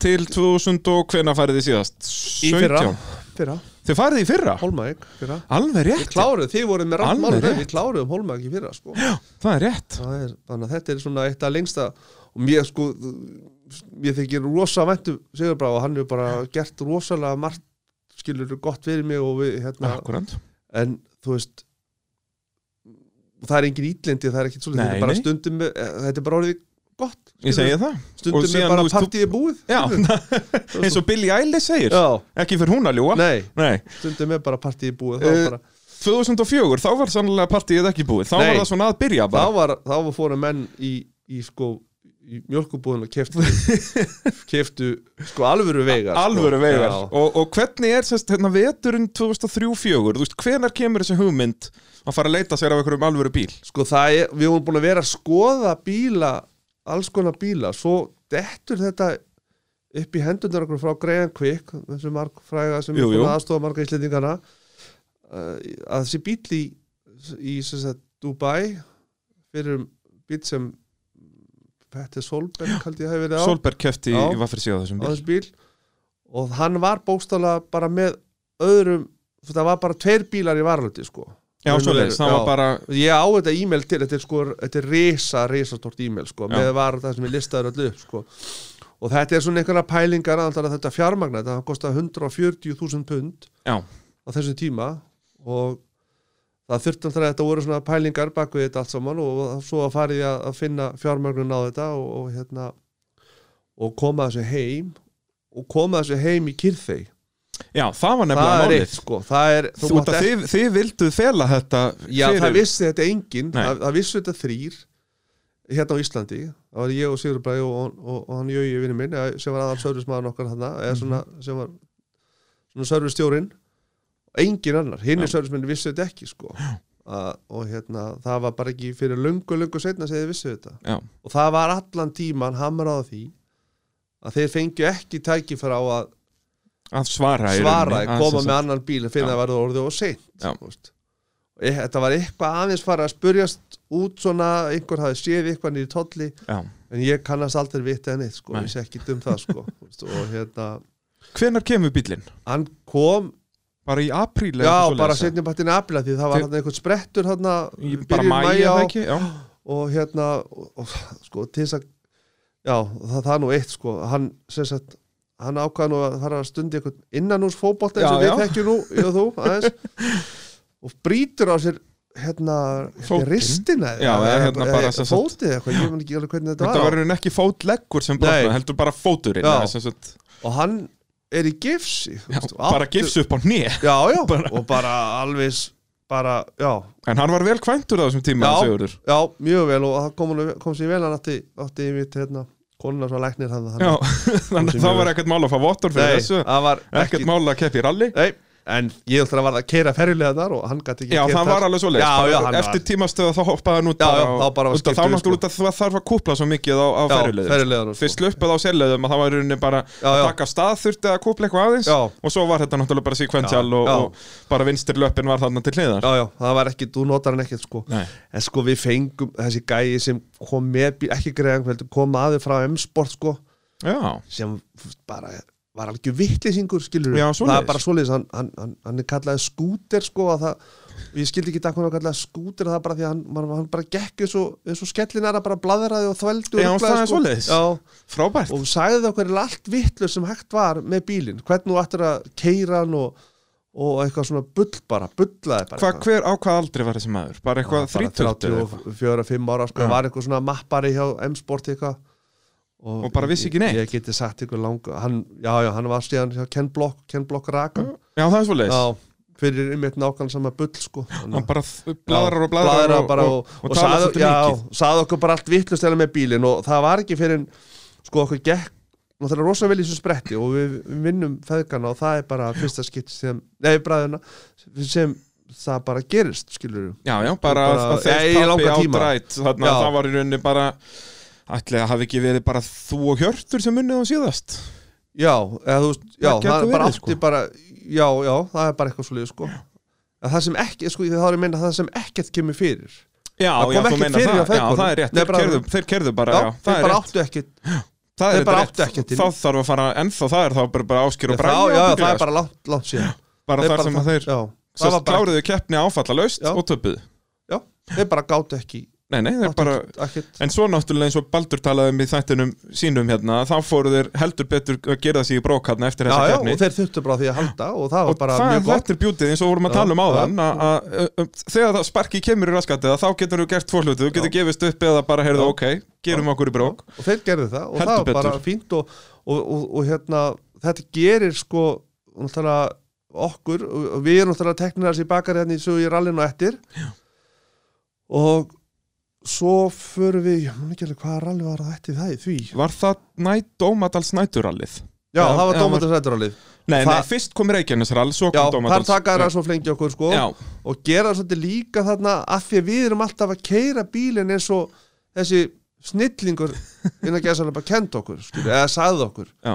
Speaker 1: til 2000 og hvena farið þið síðast?
Speaker 2: í
Speaker 1: 17.
Speaker 2: fyrra, fyrra
Speaker 1: Þið farið í fyrra?
Speaker 2: Holmæk fyrra
Speaker 1: Alveg
Speaker 2: Við
Speaker 1: rétt,
Speaker 2: kláruðum, þið voruð með
Speaker 1: Alveg
Speaker 2: rangt málum
Speaker 1: rétt.
Speaker 2: við kláruðum Holmæk í fyrra sko.
Speaker 1: það er rétt.
Speaker 2: Það er, þannig að þetta er svona eitt af lengsta og mér sko mér þykir rosa væntu Sigurbra og hann hefur bara gert rosalega margt skilur gott fyrir mig og við hérna,
Speaker 1: Akkurant.
Speaker 2: en þú veist og það er engin ítlindi, það er ekkit svolítið
Speaker 1: Nei,
Speaker 2: þetta er bara
Speaker 1: nei.
Speaker 2: stundum, eh, þetta er bara orðið gott
Speaker 1: Ég segi það
Speaker 2: stundum
Speaker 1: og
Speaker 2: er
Speaker 1: síðan, þú
Speaker 2: bara
Speaker 1: veist, þú-
Speaker 2: partíið búið
Speaker 1: Já, [LAUGHS] eins og Billie Eilish segir
Speaker 2: já,
Speaker 1: Ekki fyrir hún að ljúa
Speaker 2: nei,
Speaker 1: Nei.
Speaker 2: stundum er bara partíið búið þá,
Speaker 1: Eh,
Speaker 2: bara,
Speaker 1: 2004, þá var sannlega partíið ekki búið Þá
Speaker 2: Nei.
Speaker 1: var það svona að byrja
Speaker 2: þá
Speaker 1: bara
Speaker 2: var þá fóru menn í, í sko í mjölkubúðun og
Speaker 1: [LAUGHS]
Speaker 2: keftu keftu sko alvöru veigar
Speaker 1: Alvöru
Speaker 2: sko.
Speaker 1: vegar
Speaker 2: Já.
Speaker 1: og, og hvernig er sérst, hérna, veturinn 2003-04 Þú veist, hvenær kemur þessi hugmynd að fara að leita sér af einhverjum alvöru bíl
Speaker 2: Sko það er, við vorum búin að vera að skoða bíla, alls konar bíla, svo dettur þetta upp í hendunar okkur frá Graham Quick, þessu markfræga sem
Speaker 1: Jú,
Speaker 2: er búin
Speaker 1: jú.
Speaker 2: að aðstofa marga íslendingana, uh, að þessi bíl í, í sem sagt, Dubai, fyrir um bíl sem Petter Solberg kaldi ég hafi verið á,
Speaker 1: Solberg kefti
Speaker 2: Já.
Speaker 1: í vaffri síða þessum
Speaker 2: á
Speaker 1: bíl
Speaker 2: þessu bíl, og hann var bókstala bara með öðrum, það var bara tveir bílar í varaldi sko.
Speaker 1: Já,
Speaker 2: Raun og
Speaker 1: svo leiðis,
Speaker 2: veru,
Speaker 1: það
Speaker 2: já.
Speaker 1: var bara
Speaker 2: Ég á þetta e-mail til, þetta er sko, þetta er risa, risastort e-mail sko,
Speaker 1: Já.
Speaker 2: með var það sem ég listaður allu upp sko. Og þetta er svona einhverja pælingar að þetta fjármagna, þetta kostar 140.000 pund
Speaker 1: Já.
Speaker 2: á þessum tíma og það þurfti alltaf að þetta voru svona pælingar bak við þetta allt saman og svo að farið ég að finna fjármagnun á þetta og, og hérna og koma þessu heim og koma þessu heim í kyrþei.
Speaker 1: Já, það var
Speaker 2: Það
Speaker 1: nefnilega
Speaker 2: er
Speaker 1: málið
Speaker 2: eitt sko, það er,
Speaker 1: Þú út að þið, þið vilduð fela þetta
Speaker 2: Já,
Speaker 1: fyrir-
Speaker 2: það vissi þetta enginn,
Speaker 1: Nei.
Speaker 2: það, það vissi þetta þrýr hérna á Íslandi, það var ég og Sigur Bræði og, og, og, og hann Jögi vinnu minn eh, sem var aðal servicemaður okkar þarna
Speaker 1: Mhm.
Speaker 2: eða svona, sem var svona servicestjórinn enginn annar, hinn er servicemenn vissi þetta ekki sko að, og hérna, það var bara ekki fyrir lungu, lungu setna sem þið vissi þetta
Speaker 1: Já,
Speaker 2: og það var allan tíman hamrað á því að þeir fengju ekki tækifæra á að
Speaker 1: að svara í
Speaker 2: svara,
Speaker 1: rauninni, að
Speaker 2: koma
Speaker 1: sem
Speaker 2: með
Speaker 1: sagt-
Speaker 2: annan bíl en
Speaker 1: Já.
Speaker 2: finna að verða orðið og seint
Speaker 1: Já.
Speaker 2: þú veist. Og e- þetta var eitthvað aðeins fara að spurjast út svona, einhver hafði séð eitthvað nýri tolli,
Speaker 1: Já.
Speaker 2: en ég kannast aldrei vita en eitt, sko,
Speaker 1: Nei.
Speaker 2: ég sé ekki um það sko. þú veist, og hérna,
Speaker 1: Hvenær kemur bílinn?
Speaker 2: hann kom
Speaker 1: Bara í apríl eða
Speaker 2: já,
Speaker 1: eitthvað
Speaker 2: bara
Speaker 1: svoleiðis,
Speaker 2: setjum bættin afla því það var
Speaker 1: Þi-
Speaker 2: hann einhvern sprettur hann
Speaker 1: eða? Í bara mæja, eða ekki? Já,
Speaker 2: og hérna og, og, sko, til þess að já, það, það er nú eitt sko, hann sem sagt hann ákvaða nú að fara að stundi einhvern innan hús fótbolta eins og
Speaker 1: Já,
Speaker 2: við
Speaker 1: já.
Speaker 2: þekkjum nú ég og þú, aðeins
Speaker 1: [LAUGHS]
Speaker 2: og brýtur á sér hérna,
Speaker 1: Fótinn.
Speaker 2: hérna ristina
Speaker 1: Já, eða hérna bara sem sagt-
Speaker 2: fótið eða eitthvað, ég man ekki alveg hvernig þetta
Speaker 1: þetta
Speaker 2: var
Speaker 1: var ekki fótleggur sem brotnaði,
Speaker 2: Nei.
Speaker 1: heldur bara fóturinn
Speaker 2: Já.
Speaker 1: eða sem sagt,
Speaker 2: og hann er í gifsi
Speaker 1: já, bara gifs upp á ný
Speaker 2: já, já,
Speaker 1: [LAUGHS] Bara-
Speaker 2: og bara alveg s- bara, já,
Speaker 1: En hann var vel kvæntur á þessum tíma,
Speaker 2: Já.
Speaker 1: Sigurður
Speaker 2: já, mjög vel og það kom, honum- kom sér vel hann átti, átti mitt, hérna, konuna svo læknir hann, hann
Speaker 1: Já, [LAUGHS] þannig að það var ekkert mál að fá vottor fyrir
Speaker 2: Nei,
Speaker 1: þessu
Speaker 2: það var ekki,
Speaker 1: Ekkert mál að keppa í rally
Speaker 2: Nei, en ég ætla að varða að keira ferjulega þar og hann gæti ekki
Speaker 1: Já, það var alveg svo
Speaker 2: Já, já, hann
Speaker 1: Eftir
Speaker 2: var
Speaker 1: tímastöða þá hoppaði hann út
Speaker 2: Já,
Speaker 1: bara
Speaker 2: já,
Speaker 1: á-
Speaker 2: þá bara var
Speaker 1: út af- Þá
Speaker 2: skiptum,
Speaker 1: náttúrulega
Speaker 2: sko.
Speaker 1: út af það þarf að kúpla svo mikið á, á
Speaker 2: Já,
Speaker 1: ferjuleiðum
Speaker 2: ferjulegar og
Speaker 1: Fyrst
Speaker 2: sko.
Speaker 1: sluppuð á selleiðum að það var í rauninni bara
Speaker 2: Já,
Speaker 1: að
Speaker 2: já.
Speaker 1: taka af stað þurfti að kúpla eitthvað aðeins
Speaker 2: Já.
Speaker 1: og svo var þetta náttúrulega bara
Speaker 2: Já,
Speaker 1: sekvensjál og,
Speaker 2: já.
Speaker 1: og bara vinstir löppin var þarna til hliðar
Speaker 2: Já, já, það var ekki, þú notar hann ekkert sko
Speaker 1: Nei.
Speaker 2: En sko við fengum þessi gæi sem kom með, bíl- ekki greiðan heldur, kom aðeins frá M-Sport sko
Speaker 1: Já,
Speaker 2: sem bara var algjör vittlýsingur skilur
Speaker 1: Já,
Speaker 2: það
Speaker 1: svoleiðis.
Speaker 2: er bara svoleiðis, hann, hann, hann, hann er kallaði skúter sko að það, og ég skildi ekki takk hann var kallaði skúter, það er bara því að hann, man, hann bara gekk eins og, eins og skellinara bara bladraði og þvældu
Speaker 1: Já, það er svoleiðis.
Speaker 2: Já,
Speaker 1: frábært
Speaker 2: og sagði okkur allt vittlur sem hægt var með bílinn hvernig þú ættir að keira hann og, og eitthvað svona bull bara bullaði bara
Speaker 1: Hva, Hver á hvað aldri var þessi maður? Bara eitthvað þrítöld
Speaker 2: 34-5 ára sko,
Speaker 1: Já.
Speaker 2: var eitthvað svona mappari hjá M-Sport eitthvað
Speaker 1: Og bara vissi ekki neitt.
Speaker 2: ég, ég geti sagt ykkur langa hann, já, já, hann var stíðan hjá Ken Block Ken Block Rakan
Speaker 1: Já, það er svo leiðis
Speaker 2: já, fyrir einmitt nákvæmlega sama bull sko
Speaker 1: Hann
Speaker 2: Þannig að-
Speaker 1: bara þ- bladrar og bladrar,
Speaker 2: bladrar bara
Speaker 1: og, og, og, talar
Speaker 2: sagði-
Speaker 1: svolítið
Speaker 2: já,
Speaker 1: mikið
Speaker 2: sagði okkur bara allt vittlust eða með bílinn og það var ekki fyrir en sko okkur gekk náttúrulega rosa vel í þessu spretti og við, við vinnum feðgana og það er bara fyrsta skipt sem, nei bræðina sem það bara gerist skilur við
Speaker 1: Já, já, bara
Speaker 2: Og
Speaker 1: að
Speaker 2: bara-
Speaker 1: að þeir
Speaker 2: Já, í
Speaker 1: tappi
Speaker 2: langan
Speaker 1: á
Speaker 2: tíma.
Speaker 1: drætt þannig að
Speaker 2: Já.
Speaker 1: það var í rauninni bara ætli að hafi ekki verið bara þú og Hjörtur sem unnið á síðast
Speaker 2: já, eða þú veist, já,
Speaker 1: Það
Speaker 2: það,
Speaker 1: gæti
Speaker 2: er bara
Speaker 1: verið,
Speaker 2: átti
Speaker 1: sko.
Speaker 2: bara já, já, það er bara eitthvað svolítið sko að það sem ekki, sko, þá er ég að meina það sem ekkert kemur fyrir
Speaker 1: Já,
Speaker 2: Það
Speaker 1: já,
Speaker 2: kom
Speaker 1: þú
Speaker 2: ekki
Speaker 1: meinar
Speaker 2: fyrir
Speaker 1: það Já,
Speaker 2: hjá feðgunum.
Speaker 1: það er rétt,
Speaker 2: Nei,
Speaker 1: þeir
Speaker 2: bara-
Speaker 1: kerðu, þeir kerðu bara Já, það
Speaker 2: þeir
Speaker 1: er
Speaker 2: bara
Speaker 1: rétt
Speaker 2: áttu ekkert
Speaker 1: Það
Speaker 2: þeir
Speaker 1: er
Speaker 2: bara
Speaker 1: rétt,
Speaker 2: áttu ekkert inn.
Speaker 1: þá þarf að fara ennþá það er þá bara, bara áskýr og
Speaker 2: já,
Speaker 1: bræði
Speaker 2: já, það er bara langt, langt síðan
Speaker 1: bara
Speaker 2: Þeir
Speaker 1: þar sem að þeir
Speaker 2: já, það
Speaker 1: svo
Speaker 2: var bara
Speaker 1: kláruðu keppni áfallalaust
Speaker 2: Já.
Speaker 1: og töpuðu
Speaker 2: já, þeir bara gátu ekki
Speaker 1: Nei, nei, það er bara
Speaker 2: ekkert
Speaker 1: En svo náttúrulega eins og Baldur talaði um í þættinum sínum hérna, þá fóru þeir heldur betur að gera sig í brók hérna eftir
Speaker 2: Já,
Speaker 1: þessa
Speaker 2: já,
Speaker 1: keppni.
Speaker 2: og þeir þurftu bara á því að halda og það var
Speaker 1: og
Speaker 2: bara
Speaker 1: það er
Speaker 2: mjög gott
Speaker 1: þetta er bjútið eins og vorum að
Speaker 2: Já,
Speaker 1: tala um áðan
Speaker 2: já.
Speaker 1: að, að, að, þegar það sparki kemur í raskatið þá getur þú gert tvo hluti, þú getur gefist upp eða bara heyrðu
Speaker 2: Já.
Speaker 1: ok, gerum okkur í brók
Speaker 2: og þeir gerðu það og
Speaker 1: Heldur
Speaker 2: það var bara
Speaker 1: betur.
Speaker 2: fínt og, og, og, og hérna, þetta gerir sko náttúrulega okkur og og við erum náttúrulega teknir þessi bakar hérna í sögu í rallinu á eftir Já. og svo förum við, ég man ekki alveg hvaða ralli var það eftir það í því
Speaker 1: Var það næt, Dómadals næturallið?
Speaker 2: Já,
Speaker 1: Já,
Speaker 2: það var
Speaker 1: já,
Speaker 2: Dómatur Sæturallið
Speaker 1: Nei,
Speaker 2: Það-
Speaker 1: nei, fyrst kom Reykjanesrall, svo
Speaker 2: Já,
Speaker 1: kom
Speaker 2: þar
Speaker 1: Dómadals
Speaker 2: taka þeirra svo flengi okkur sko
Speaker 1: Já,
Speaker 2: og gera svolítið líka þarna af því að við erum alltaf að keira bílinn eins og þessi snillingur innan gæðsarlega bara kent okkur skilur, eða sagði okkur
Speaker 1: já,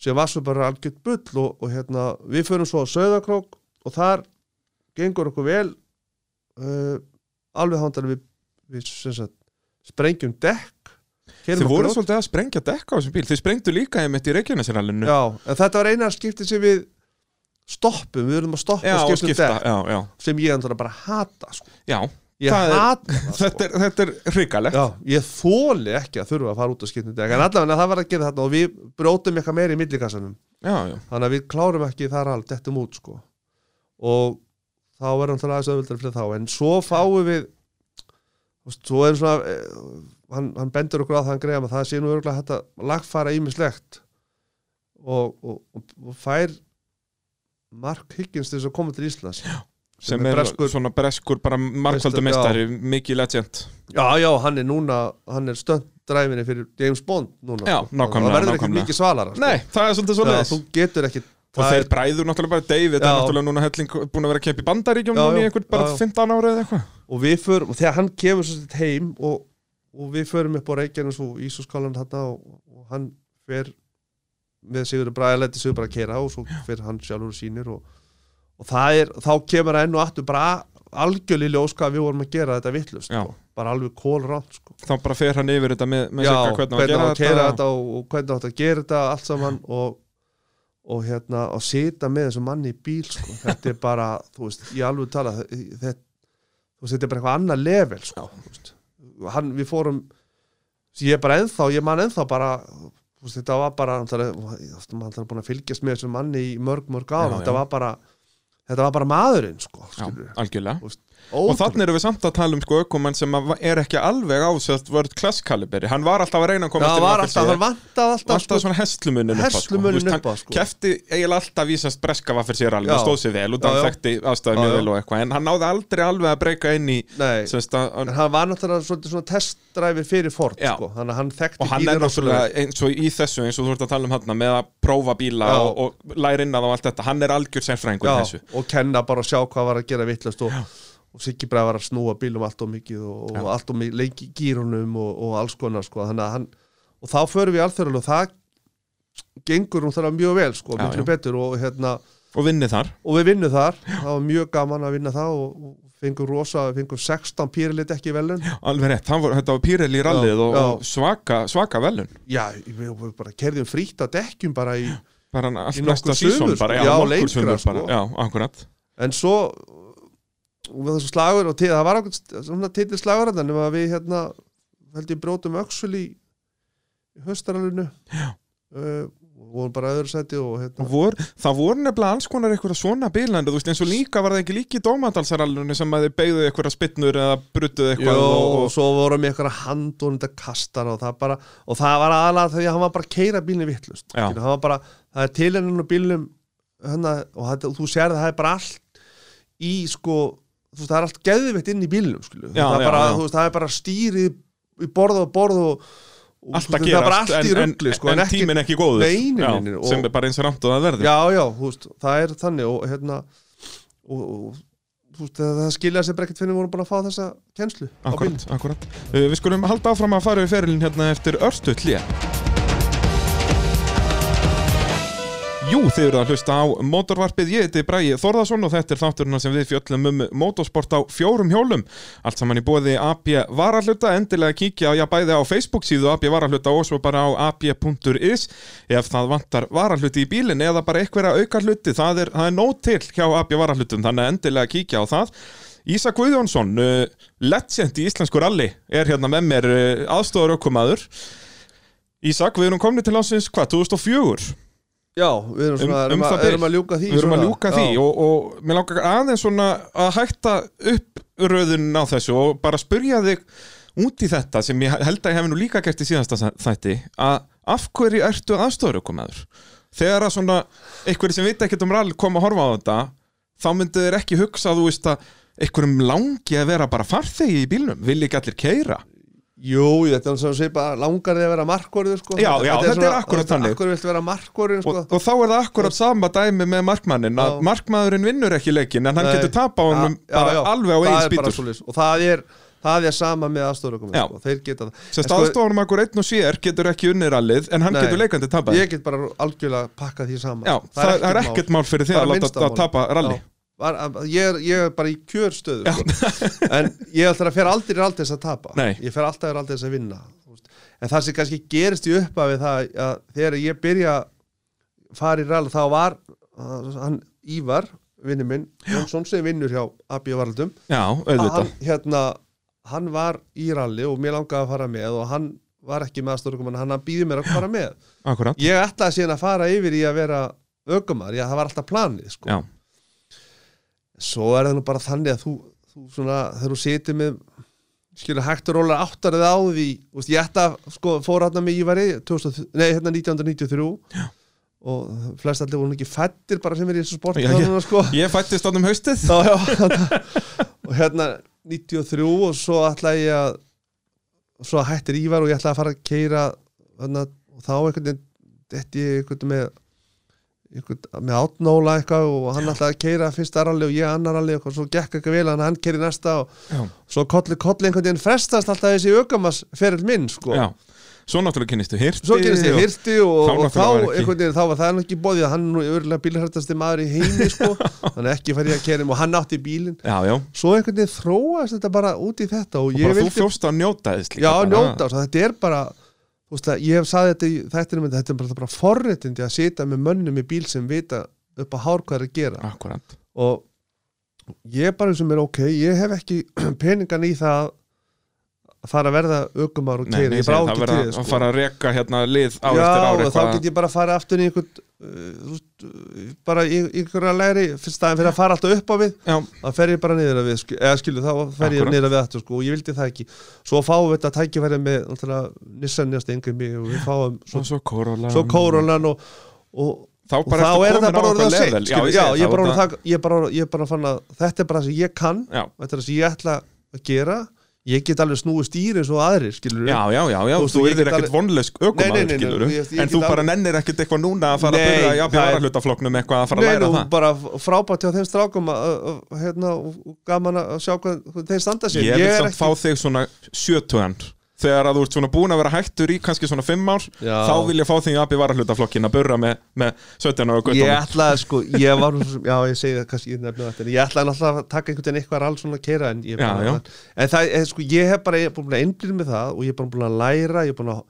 Speaker 2: sem var svo bara algjört bull og, og hérna, við förum svo á Söðakrók og þar gengur okkur vel uh, alveg hándan við, við sem sagt, sprengjum dekk keyrum
Speaker 1: þið
Speaker 2: okkur
Speaker 1: voru
Speaker 2: út.
Speaker 1: svolítið að sprengja dekka á þessum bíl, þið sprengdu líka einmitt í Reykjanesrallinu
Speaker 2: Já, en þetta var eina skipti sem við stoppum, við verðum að stoppa
Speaker 1: já
Speaker 2: og
Speaker 1: og
Speaker 2: skiptum
Speaker 1: skipta,
Speaker 2: dekk
Speaker 1: já, já,
Speaker 2: sem ég endur að bara hata sko.
Speaker 1: já
Speaker 2: ég
Speaker 1: Það er- [LAUGHS]
Speaker 2: hata það, sko.
Speaker 1: Þetta er, þetta er hrikalegt
Speaker 2: Já, ég þóli ekki að þurfa að fara út og skiptum dekk en allavega það var að gera þarna og við brótum eitthvað meira í millikassanum
Speaker 1: já, já,
Speaker 2: þannig að við klárum ekki þar allt dettum út sko og þá er hann aðeins öðvöldar fyrir þá en svo fáum við þú veist, svo er svona eh, hann, hann bendur okkur að það hann greiða með það sé nú örgulega hægt að lagfara ímislegt og, og, og, og fær Mark Higgins til þess að koma til Íslands já,
Speaker 1: sem
Speaker 2: er
Speaker 1: er
Speaker 2: breskur-
Speaker 1: svona breskur bara markvöldu
Speaker 2: Meistari,
Speaker 1: meistari, mikið legend
Speaker 2: já, hann er núna hann er stöndræfinni fyrir James Bond núna
Speaker 1: Já,
Speaker 2: sko.
Speaker 1: nákvæmlega,
Speaker 2: það verður ekkert
Speaker 1: nákvæmlega.
Speaker 2: mikið svalara sko.
Speaker 1: Nei, það er svolítið svo
Speaker 2: já, þú getur ekki
Speaker 1: Og
Speaker 2: það
Speaker 1: þeir
Speaker 2: er-
Speaker 1: bræður náttúrulega bara David er
Speaker 2: Já.
Speaker 1: náttúrulega núna helling búin að vera að kempa í bandaríkjum
Speaker 2: Já,
Speaker 1: núna í
Speaker 2: já,
Speaker 1: einhvern bara
Speaker 2: já, já.
Speaker 1: 15 ára eða eitthvað
Speaker 2: og við förum, og þegar hann kemur svo sett heim og, og við förum upp á Reykjanes og Ísúskálan þarna og, og hann fer með Sigurður Braga læti Sigurður bara kera og svo fer hann sjálfur og sínir og, og það er, þá kemur enn og aftur bara algjörlega í ljós hvað við vorum að gera þetta vittlust
Speaker 1: Já.
Speaker 2: sko. bara alveg kólránt sko.
Speaker 1: Þá bara fer hann yfir þetta með, með
Speaker 2: Já,
Speaker 1: Sigga hvernig á að gera
Speaker 2: á að keyra
Speaker 1: þetta
Speaker 2: þetta og, og hvernig átt að gera þetta allt saman og, og hérna og sita með þessum manni í bíl sko. þetta er bara, þú veist, ég alveg tala þetta, þú veist, þetta er bara eitthvað annað level sko. þú veist. hann, við fórum ég er bara ennþá, ég man ennþá bara þú veist, þetta var bara hann þarf að búin að fylgjast með þessum manni í mörg, mörg ára,
Speaker 1: Já, já.
Speaker 2: þetta var bara þetta var bara maðurinn sko,
Speaker 1: Já, algjörlega
Speaker 2: og
Speaker 1: Og þannig erum við samt að tala um sko ökumann sem að va- er ekki alveg ásett vörð klasskaliberi Hann var alltaf að reyna að
Speaker 2: Já,
Speaker 1: komast
Speaker 2: það
Speaker 1: inn í
Speaker 2: var
Speaker 1: nokkra
Speaker 2: alltaf,
Speaker 1: síðar.
Speaker 2: hann vantaði alltaf sko-
Speaker 1: alltaf svona hestlumunin upp á, sko.
Speaker 2: Herslumuninn
Speaker 1: Þú veist,
Speaker 2: upp á, sko.
Speaker 1: hann kefti eiginlega alltaf vísast breska vaffir sér alveg
Speaker 2: Já.
Speaker 1: og stóð sér vel og
Speaker 2: Já,
Speaker 1: hann
Speaker 2: já.
Speaker 1: þekkti aðstæðum
Speaker 2: Já,
Speaker 1: mjög
Speaker 2: já.
Speaker 1: vel og eitthvað en hann náði aldrei alveg að breyka inn í
Speaker 2: Nei.
Speaker 1: sem sagt, að-
Speaker 2: en hann var náttúrulega svolítið svona testdræfir fyrir Ford
Speaker 1: Já.
Speaker 2: sko. þannig að hann þekkti
Speaker 1: og hann er náttúrulega eins og í þessu eins og þú ert að tala um hann með að prófa bíla
Speaker 2: Já.
Speaker 1: og, og læra inn að á allt þetta hann er algjör sérfræðingur í
Speaker 2: já,
Speaker 1: þessu
Speaker 2: og kenna bara að sjá hvað var að gera vittlast og, og Siggi Bræð var að snúa bílum allt og mikið og, og
Speaker 1: Já.
Speaker 2: allt og mikið leiki gírunum og, og alls konar sko. þannig að hann, og þá förum við alþjóðlega og það gengur hún þar mjög vel sko,
Speaker 1: Já,
Speaker 2: miklu
Speaker 1: já.
Speaker 2: betur og, hérna,
Speaker 1: og vinnið þar
Speaker 2: og við vinnum þar það var mjög gaman að vinna það og, og fengum rosa, fengum 16 pýrlit ekki velun
Speaker 1: alveg rétt, hann var, þetta var Pírel í rallið og,
Speaker 2: já.
Speaker 1: og svaka, svaka velun
Speaker 2: já, við, við bara kerðum frítt á dekkjum bara í
Speaker 1: bara hann
Speaker 2: Í
Speaker 1: allt
Speaker 2: nokkur
Speaker 1: næsta sísón
Speaker 2: sumur,
Speaker 1: bara,
Speaker 2: sko.
Speaker 1: já,
Speaker 2: Já,
Speaker 1: nokkur
Speaker 2: lengra,
Speaker 1: sumur bara,
Speaker 2: sko.
Speaker 1: já, akkurat
Speaker 2: en svo og við þessu slagur og til, það var okkur svona titið slagur þarna nema að við hérna held ég brótum öxul í, í höstaralunu uh, og vorum bara öðru sæti og
Speaker 1: Og
Speaker 2: hérna
Speaker 1: vor, það voru nefnilega alls konar einhverja svona bílændir, þú veist eins og líka var það ekki líki í dómadalsarallunni sem að þið beigðuð einhverja spinnur eða bruttuð
Speaker 2: Jó,
Speaker 1: eitthvað og,
Speaker 2: og
Speaker 1: og,
Speaker 2: svo vorum við eitthvað handónið að kasta og það bara, og það var aðalega því að hann var bara að keira bílni vittlust
Speaker 1: Já.
Speaker 2: hann var bara, það er tilhennan og bílnum hana, og, þetta, og þú sér það það er bara allt í sko þú veist, það er allt geðvitt inn í bílnum skilu.
Speaker 1: Já,
Speaker 2: það, er
Speaker 1: já,
Speaker 2: bara,
Speaker 1: já.
Speaker 2: Þú veist, það er bara stýrið í borð og borð og, og
Speaker 1: allt að
Speaker 2: þú veist, það er bara
Speaker 1: gerast
Speaker 2: allt í
Speaker 1: en, en,
Speaker 2: rugli sko,
Speaker 1: en,
Speaker 2: ekki-
Speaker 1: tíminn ekki góður
Speaker 2: Nei, nei,
Speaker 1: Já,
Speaker 2: nei, nei, og-
Speaker 1: sem er bara eins rámt og það verður
Speaker 2: já, já, þú veist, það er þannig og hérna og, og, þú veist, það, það skiljaði sér bara ekkert fyrir við vorum búin að fá þessa kennslu á bílnum
Speaker 1: Akkurat, akkurat. Uh, Við skulum halda áfram að fara við ferilin hérna eftir örstuð hlýja. Jú, þið eru að hlusta á motorvarpið, ég heiti Bræði Þorðarsson og þetta er þátturinn sem við fjöllum um motorsport á fjórum hjólum. Allt saman í bóði AB Varahluta, endilega kíkja á, já, bæði á Facebook síðu AB Varahluta og svo bara á ab.is ef það vantar varahluti í bílinn eða bara einhverja auka hluti, það er, það er nóg til hjá AB Varahlutum, þannig að endilega kíkja á það. Ísa Guðjónsson, uh, legend í íslensku rally, er hérna með mér uh, aðstofar ökkumaður. Ísak, við erum komni til ásins, hvað, 2004?
Speaker 2: Já, við erum, svona,
Speaker 1: Um-
Speaker 2: erum,
Speaker 1: um það
Speaker 2: að,
Speaker 1: bil.
Speaker 2: erum að ljúka því
Speaker 1: Við erum að
Speaker 2: svona.
Speaker 1: ljúka
Speaker 2: Já.
Speaker 1: því og, og mér langar aðeins svona að hætta upp röðun á þessu og bara spyrja þig út í þetta sem ég held að ég hef nú líka gert í síðasta sa- þætti að af hverju ertu aðstofurökumæður? Þegar að svona einhverjir sem veit ekkert um rall kom að horfa á þetta þá myndu þeir ekki hugsa þú veist að einhverjum langi að vera bara farþegi í bílnum, vil ekki allir keira
Speaker 2: Jú, þetta er svona svipa langar þið að vera markvörður sko.
Speaker 1: Já, já, þetta er akkúrat þannig.
Speaker 2: Akkur vilt vera markvörður
Speaker 1: og,
Speaker 2: sko.
Speaker 1: og þá er það akkurat sama dæmi með markmannin að
Speaker 2: Já.
Speaker 1: markmaðurinn vinnur ekki leikin en hann
Speaker 2: Nei.
Speaker 1: getur tapa á honum
Speaker 2: Já, já,
Speaker 1: bara
Speaker 2: já.
Speaker 1: alveg á
Speaker 2: Það
Speaker 1: eigin
Speaker 2: er bara
Speaker 1: spýtur
Speaker 2: svoleiðis. Og það er, það er sama með aðstofurukum
Speaker 1: Já.
Speaker 2: sko. Þeir geta það
Speaker 1: Sérst
Speaker 2: En sko,
Speaker 1: aðstofanum akkur einn og sér getur ekki unnið rallið en hann
Speaker 2: Nei.
Speaker 1: getur leikandi tapað
Speaker 2: Ég get bara algjörlega pakkað því saman
Speaker 1: Já, það, það er ekkert mál fyrir þig
Speaker 2: Það er
Speaker 1: að
Speaker 2: minnsta
Speaker 1: láta að
Speaker 2: mál.
Speaker 1: tapa ralli
Speaker 2: Já. Var, að- ég, er, ég er bara í kjörstöðu sko.
Speaker 1: [LAUGHS]
Speaker 2: en ég ætlar að fer aldrei aldrei að tapa
Speaker 1: Nei.
Speaker 2: ég fer alltaf aldrei að vinna þú veist. en það sem kannski gerist í upphafi það að þegar ég byrja að fara í rall þá var uh, hann Ívar, vinnu minn Jónsson sem vinnur hjá Abbi Varaldum
Speaker 1: Já, auðvitað
Speaker 2: hann, hérna, hann var í ralli og mér langaði að fara með og hann var ekki með aðstórkumann hann býði mér að fara með
Speaker 1: Akkurat,
Speaker 2: ég ætlaði síðan að fara yfir í að vera ökumar, já það var alltaf planið sko
Speaker 1: já,
Speaker 2: svo er það nú bara þannig að þú, þú svona, þegar þú situr með skilur hægt og rólar áttarið á því úst, ég ætta, sko, fór hérna með Ívari 2000, nei, hérna 1993 Já. og flest allir voru nú ekki fættir bara sem er í þessu sport
Speaker 1: Já,
Speaker 2: þarna, sko.
Speaker 1: Ég fættist ánum haustið
Speaker 2: Já, já, þarna. og hérna 93 og svo ætla ég að svo hættir Ívar og ég ætla að fara að keira hérna, og þá einhvern veginn þetta ég einhvern með einhvern, með átnóla eitthvað og hann ætla að keira fyrst aralli og ég annar aralli og svo gekk eitthvað vel hann hann keiri næsta og
Speaker 1: Já,
Speaker 2: svo kolli kolli einhvern veginn frestast alltaf þessi aukamas ferill minn sko
Speaker 1: já Svo náttúrulega kynnistu hirti
Speaker 2: svo gerist
Speaker 1: og-
Speaker 2: þið hirti og,
Speaker 1: Þá
Speaker 2: og þá,
Speaker 1: náttúrulega var ekki-
Speaker 2: einhvern veginn, þá var það nú ekki bóðið hann er nú örulega bílhærtasti maður í heimi
Speaker 1: [LAUGHS]
Speaker 2: sko þannig ekki fær ég að keira um og hann átti bílinn
Speaker 1: Já, já,
Speaker 2: svo einhvern veginn þróast þetta bara út í þetta og,
Speaker 1: og
Speaker 2: ég
Speaker 1: bara þú
Speaker 2: vildi
Speaker 1: fjóst að njóta þess líka
Speaker 2: já,
Speaker 1: bara.
Speaker 2: njóta, svo þetta er bara þú veist að ég hef saði þetta í þættinum en þetta er bara, bara forréttindi að sita með mönnum í bíl sem vita upp á hár hvað er að gera
Speaker 1: Akkurat,
Speaker 2: og ég bara sem er ok ég hef ekki [CLEARS THROAT] peningan í það að fara að verða aukumar og
Speaker 1: nei, nei,
Speaker 2: keira, ég
Speaker 1: ég segi, það
Speaker 2: brá ekki til
Speaker 1: verða
Speaker 2: þið
Speaker 1: að
Speaker 2: sko.
Speaker 1: fara að reka hérna lið á
Speaker 2: já,
Speaker 1: eftir ári
Speaker 2: og þá get ég bara að fara aftur í einhvern uh, þú veist, uh, bara í, í einhverja læri fyrst aðeins fyrir að fara alltaf upp á við
Speaker 1: Já,
Speaker 2: þá fer ég bara niður að við sk- eða skilu, þá fer ég
Speaker 1: Akkúrat.
Speaker 2: niður að við aftur sko, og ég vildi það ekki svo fáum við þetta tækifæri með náttúrulega, Nissan nýjast yngum og við fáum svo,
Speaker 1: svo, svo Corolla
Speaker 2: svo Kórólan og, og,
Speaker 1: Þá
Speaker 2: og
Speaker 1: bara
Speaker 2: þá
Speaker 1: ertu
Speaker 2: er
Speaker 1: komin á eitthvað
Speaker 2: það bara orðið að
Speaker 1: level.
Speaker 2: seint
Speaker 1: Já,
Speaker 2: skilur.
Speaker 1: ég
Speaker 2: já,
Speaker 1: segi
Speaker 2: ég er
Speaker 1: það,
Speaker 2: bara orðið
Speaker 1: þetta-
Speaker 2: það- ég er bara orðið- ég er bara fann að þetta er bara það sem ég kann
Speaker 1: Já,
Speaker 2: þetta er það sem ég ætla að gera ég get alveg snúið stýri eins og aðrir skilur
Speaker 1: Já, já, já, já,
Speaker 2: Þú
Speaker 1: þú,
Speaker 2: veist, og ég
Speaker 1: yrðir
Speaker 2: get
Speaker 1: ekkert
Speaker 2: alveg-
Speaker 1: vonlausk
Speaker 2: Nei, nei,
Speaker 1: ökumaður,
Speaker 2: nei, nei,
Speaker 1: skilur
Speaker 2: ég- ég
Speaker 1: en
Speaker 2: get
Speaker 1: þú bara
Speaker 2: alveg-
Speaker 1: nennir ekkert eitthvað núna að fara
Speaker 2: Nei,
Speaker 1: að byrja í
Speaker 2: það er-
Speaker 1: aðbjörðarhlutaflokknum eitthvað að fara
Speaker 2: Nei,
Speaker 1: að læra
Speaker 2: nú,
Speaker 1: það
Speaker 2: bara frábært hjá þeim strákum að, að, að, hérna, og og gaman að sjá hvað, hvað þeir standa sér
Speaker 1: Ég vil
Speaker 2: er
Speaker 1: samt
Speaker 2: ekki-
Speaker 1: fá þig svona sjötugan þegar að þú ert svona búin að vera hættur í kannski svona fimm ár,
Speaker 2: Já.
Speaker 1: þá vil ég fá þig í aðbjörðarhlutaflokkin að byrja með, með 17 ára
Speaker 2: ég
Speaker 1: guttum
Speaker 2: ætlaði sko, ég var nú svo sem- já ég segi það kannski ég nefnum þetta en ég ætlaði alltaf að taka einhvern veginn eitthvað rall svona að keira en ég,
Speaker 1: Já,
Speaker 2: bara,
Speaker 1: já.
Speaker 2: En það, en sko, ég hef bara ég er búin að einblýna með það og ég er bara búin að læra ég er búin að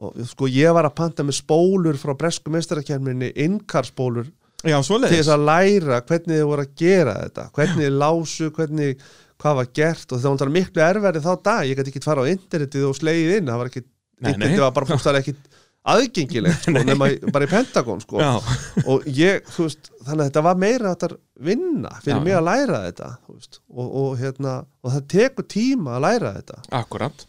Speaker 2: og, sko ég var að panta með spólur frá bresku mestarakjarminni innkarspólur
Speaker 1: Já,
Speaker 2: til
Speaker 1: svoleiðis
Speaker 2: þess að læra hvernig þið voru að gera þetta hvernig þið lásu, hvernig hvað var gert og það var náttúrulega miklu erfæri þá dag ég gæti ekki fara á internetið og slegið inn það var ekki,
Speaker 1: Nei, nei.
Speaker 2: internetið var bara bústæðlega ekki aðgengilegt sko, nema í- bara í Pentagon sko
Speaker 1: Já,
Speaker 2: og ég, þú veist, þannig að þetta var meira þetta vinna fyrir
Speaker 1: Já,
Speaker 2: mig
Speaker 1: já.
Speaker 2: að læra þetta þú veist, og, og, hérna, og það tekur tíma að læra þetta
Speaker 1: akkurat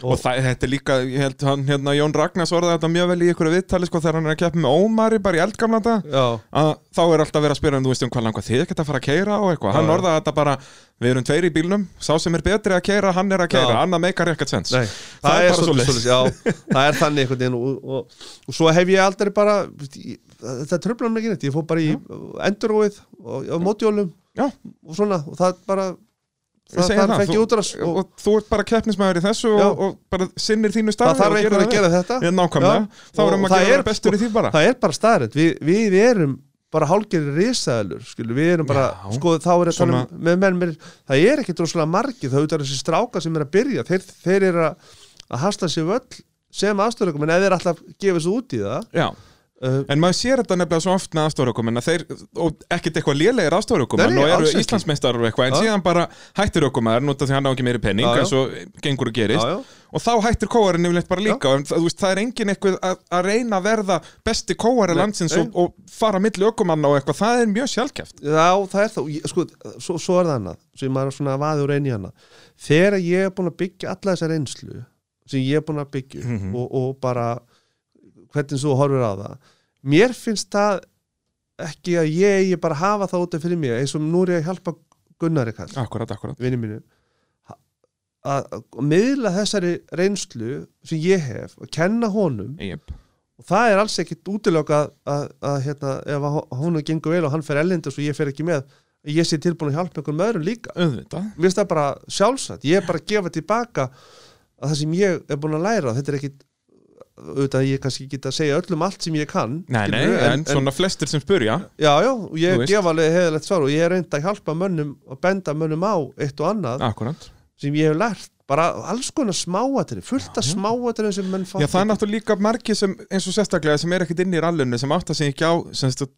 Speaker 1: Og,
Speaker 2: Og-
Speaker 1: það, þetta er líka, ég held hann, hérna, Jón Ragnars orðaði þetta mjög vel í ykkur viðtali sko, þegar hann er að keppa með Ómari bara í eldgamla þetta
Speaker 2: já,
Speaker 1: að þá er alltaf verið að spyrja um þú veist um hvað langar þið ekkert að fara að keira og eitthvað hann
Speaker 2: Já, já.
Speaker 1: orðaði þetta bara, við erum tveir í bílnum sá sem er betri að keira, hann er að keira
Speaker 2: Já.
Speaker 1: annað meikar ekkert sens
Speaker 2: nei, það,
Speaker 1: Það er
Speaker 2: er
Speaker 1: bara
Speaker 2: svolítið
Speaker 1: svoleiðis.
Speaker 2: svolítið,
Speaker 1: [LAUGHS]
Speaker 2: já, það er þannig einhvern veginn og, og, og svo hef ég aldrei bara ég- þetta tröflar mig ekki neitt, ég fór bara í enduróið og á mótjólum
Speaker 1: Já.
Speaker 2: og svona, og það bara
Speaker 1: Ég
Speaker 2: það,
Speaker 1: segi
Speaker 2: það fekk ég
Speaker 1: þú-
Speaker 2: útrás
Speaker 1: og,
Speaker 2: og,
Speaker 1: þú ert bara keppnismæður í þessu
Speaker 2: Já.
Speaker 1: og, og bara sinnir þínu starfi
Speaker 2: það þarf
Speaker 1: og gerir
Speaker 2: einhvern að
Speaker 1: vel.
Speaker 2: gera þetta
Speaker 1: Ég, nákvæmlega,
Speaker 2: Já.
Speaker 1: þá
Speaker 2: Og
Speaker 1: erum að
Speaker 2: það
Speaker 1: gera
Speaker 2: er- sko,
Speaker 1: vera bestur í því bara
Speaker 2: það er bara staðrætt við, við erum bara hálgerið risaðalur skilu, við erum bara,
Speaker 1: Já.
Speaker 2: sko þá er þetta
Speaker 1: Svona-
Speaker 2: með menn, með, það er ekki droslega margi það auðvitað þessi stráka sem er að byrja þeir, þeir eru að, að hasla sér völl sem aðstöðleikum, en ef þeir alltaf gefa svo út í það
Speaker 1: Já,
Speaker 2: uh,
Speaker 1: En maður sér þetta nefnilega svo oft með aðstofarökumenn að þeir, og ekkert eitthvað lélegir aðstofarökumenn
Speaker 2: Nei, nei,
Speaker 1: og eru
Speaker 2: alls ekki.
Speaker 1: Íslandsmeistar og eitthvað, en
Speaker 2: Já.
Speaker 1: síðan bara hættir ökumæður nút af því hann á ekki meiri penning,
Speaker 2: Já, já.
Speaker 1: eins og gengur og gerist,
Speaker 2: Já, já.
Speaker 1: og þá hættir kóarinn yfirleitt bara líka, en það, þú veist, það er engin eitthvað að, að reyna að verða besti kóari
Speaker 2: Nei,
Speaker 1: landsins
Speaker 2: nei.
Speaker 1: og, og fara milli ökumanna og eitthvað, það er mjög sjálfkæft.
Speaker 2: Já, það er þá, ég, sko, svo, svo er það annað sem maður er svona að vaði úr einu í annað þegar ég er búin að byggja alla þessa reynslu sem ég er búin að byggja upp
Speaker 1: Mhm.
Speaker 2: og, og bara hvernig þú horfir á það mér finnst það ekki að ég, ég bara að hafa það út af fyrir mig eins og nú er ég að hjálpa Gunnari kannski,
Speaker 1: Akkurat, akkurat.
Speaker 2: vinni mínu að- að að miðla þessari reynslu sem ég hef og kenna honum
Speaker 1: Yep.
Speaker 2: og það er alls ekkit útilöka að, að, að hérna, ef að hó- honum gengur vel og hann fer ellendis og ég fer ekki með að ég sé tilbúin að hjálpa einhverjum öðrum líka
Speaker 1: Auðvitað.
Speaker 2: mér finnst það bara sjálfsagt, ég er bara að gefa tilbaka að það sem ég er búin að læra þetta er ekkit auðvitað að ég kannski get að segja öllum allt sem ég kann
Speaker 1: Nei, nei,
Speaker 2: skilurðu,
Speaker 1: en, svona flestir sem spurja,
Speaker 2: já, já, og
Speaker 1: Þú
Speaker 2: ég
Speaker 1: veist.
Speaker 2: gef alveg heðalegt svar og ég er reynd að hjálpa mönnum og benda mönnum á eitt og annað
Speaker 1: akkurat.
Speaker 2: sem ég hef lært, bara alls konar smáatri fullt af smáatri sem menn
Speaker 1: Já,
Speaker 2: fátt
Speaker 1: það er náttúrulega líka margir sem, eins og sérstaklega sem er ekkert inn í rallinu sem átt að segja ekki á sem stund,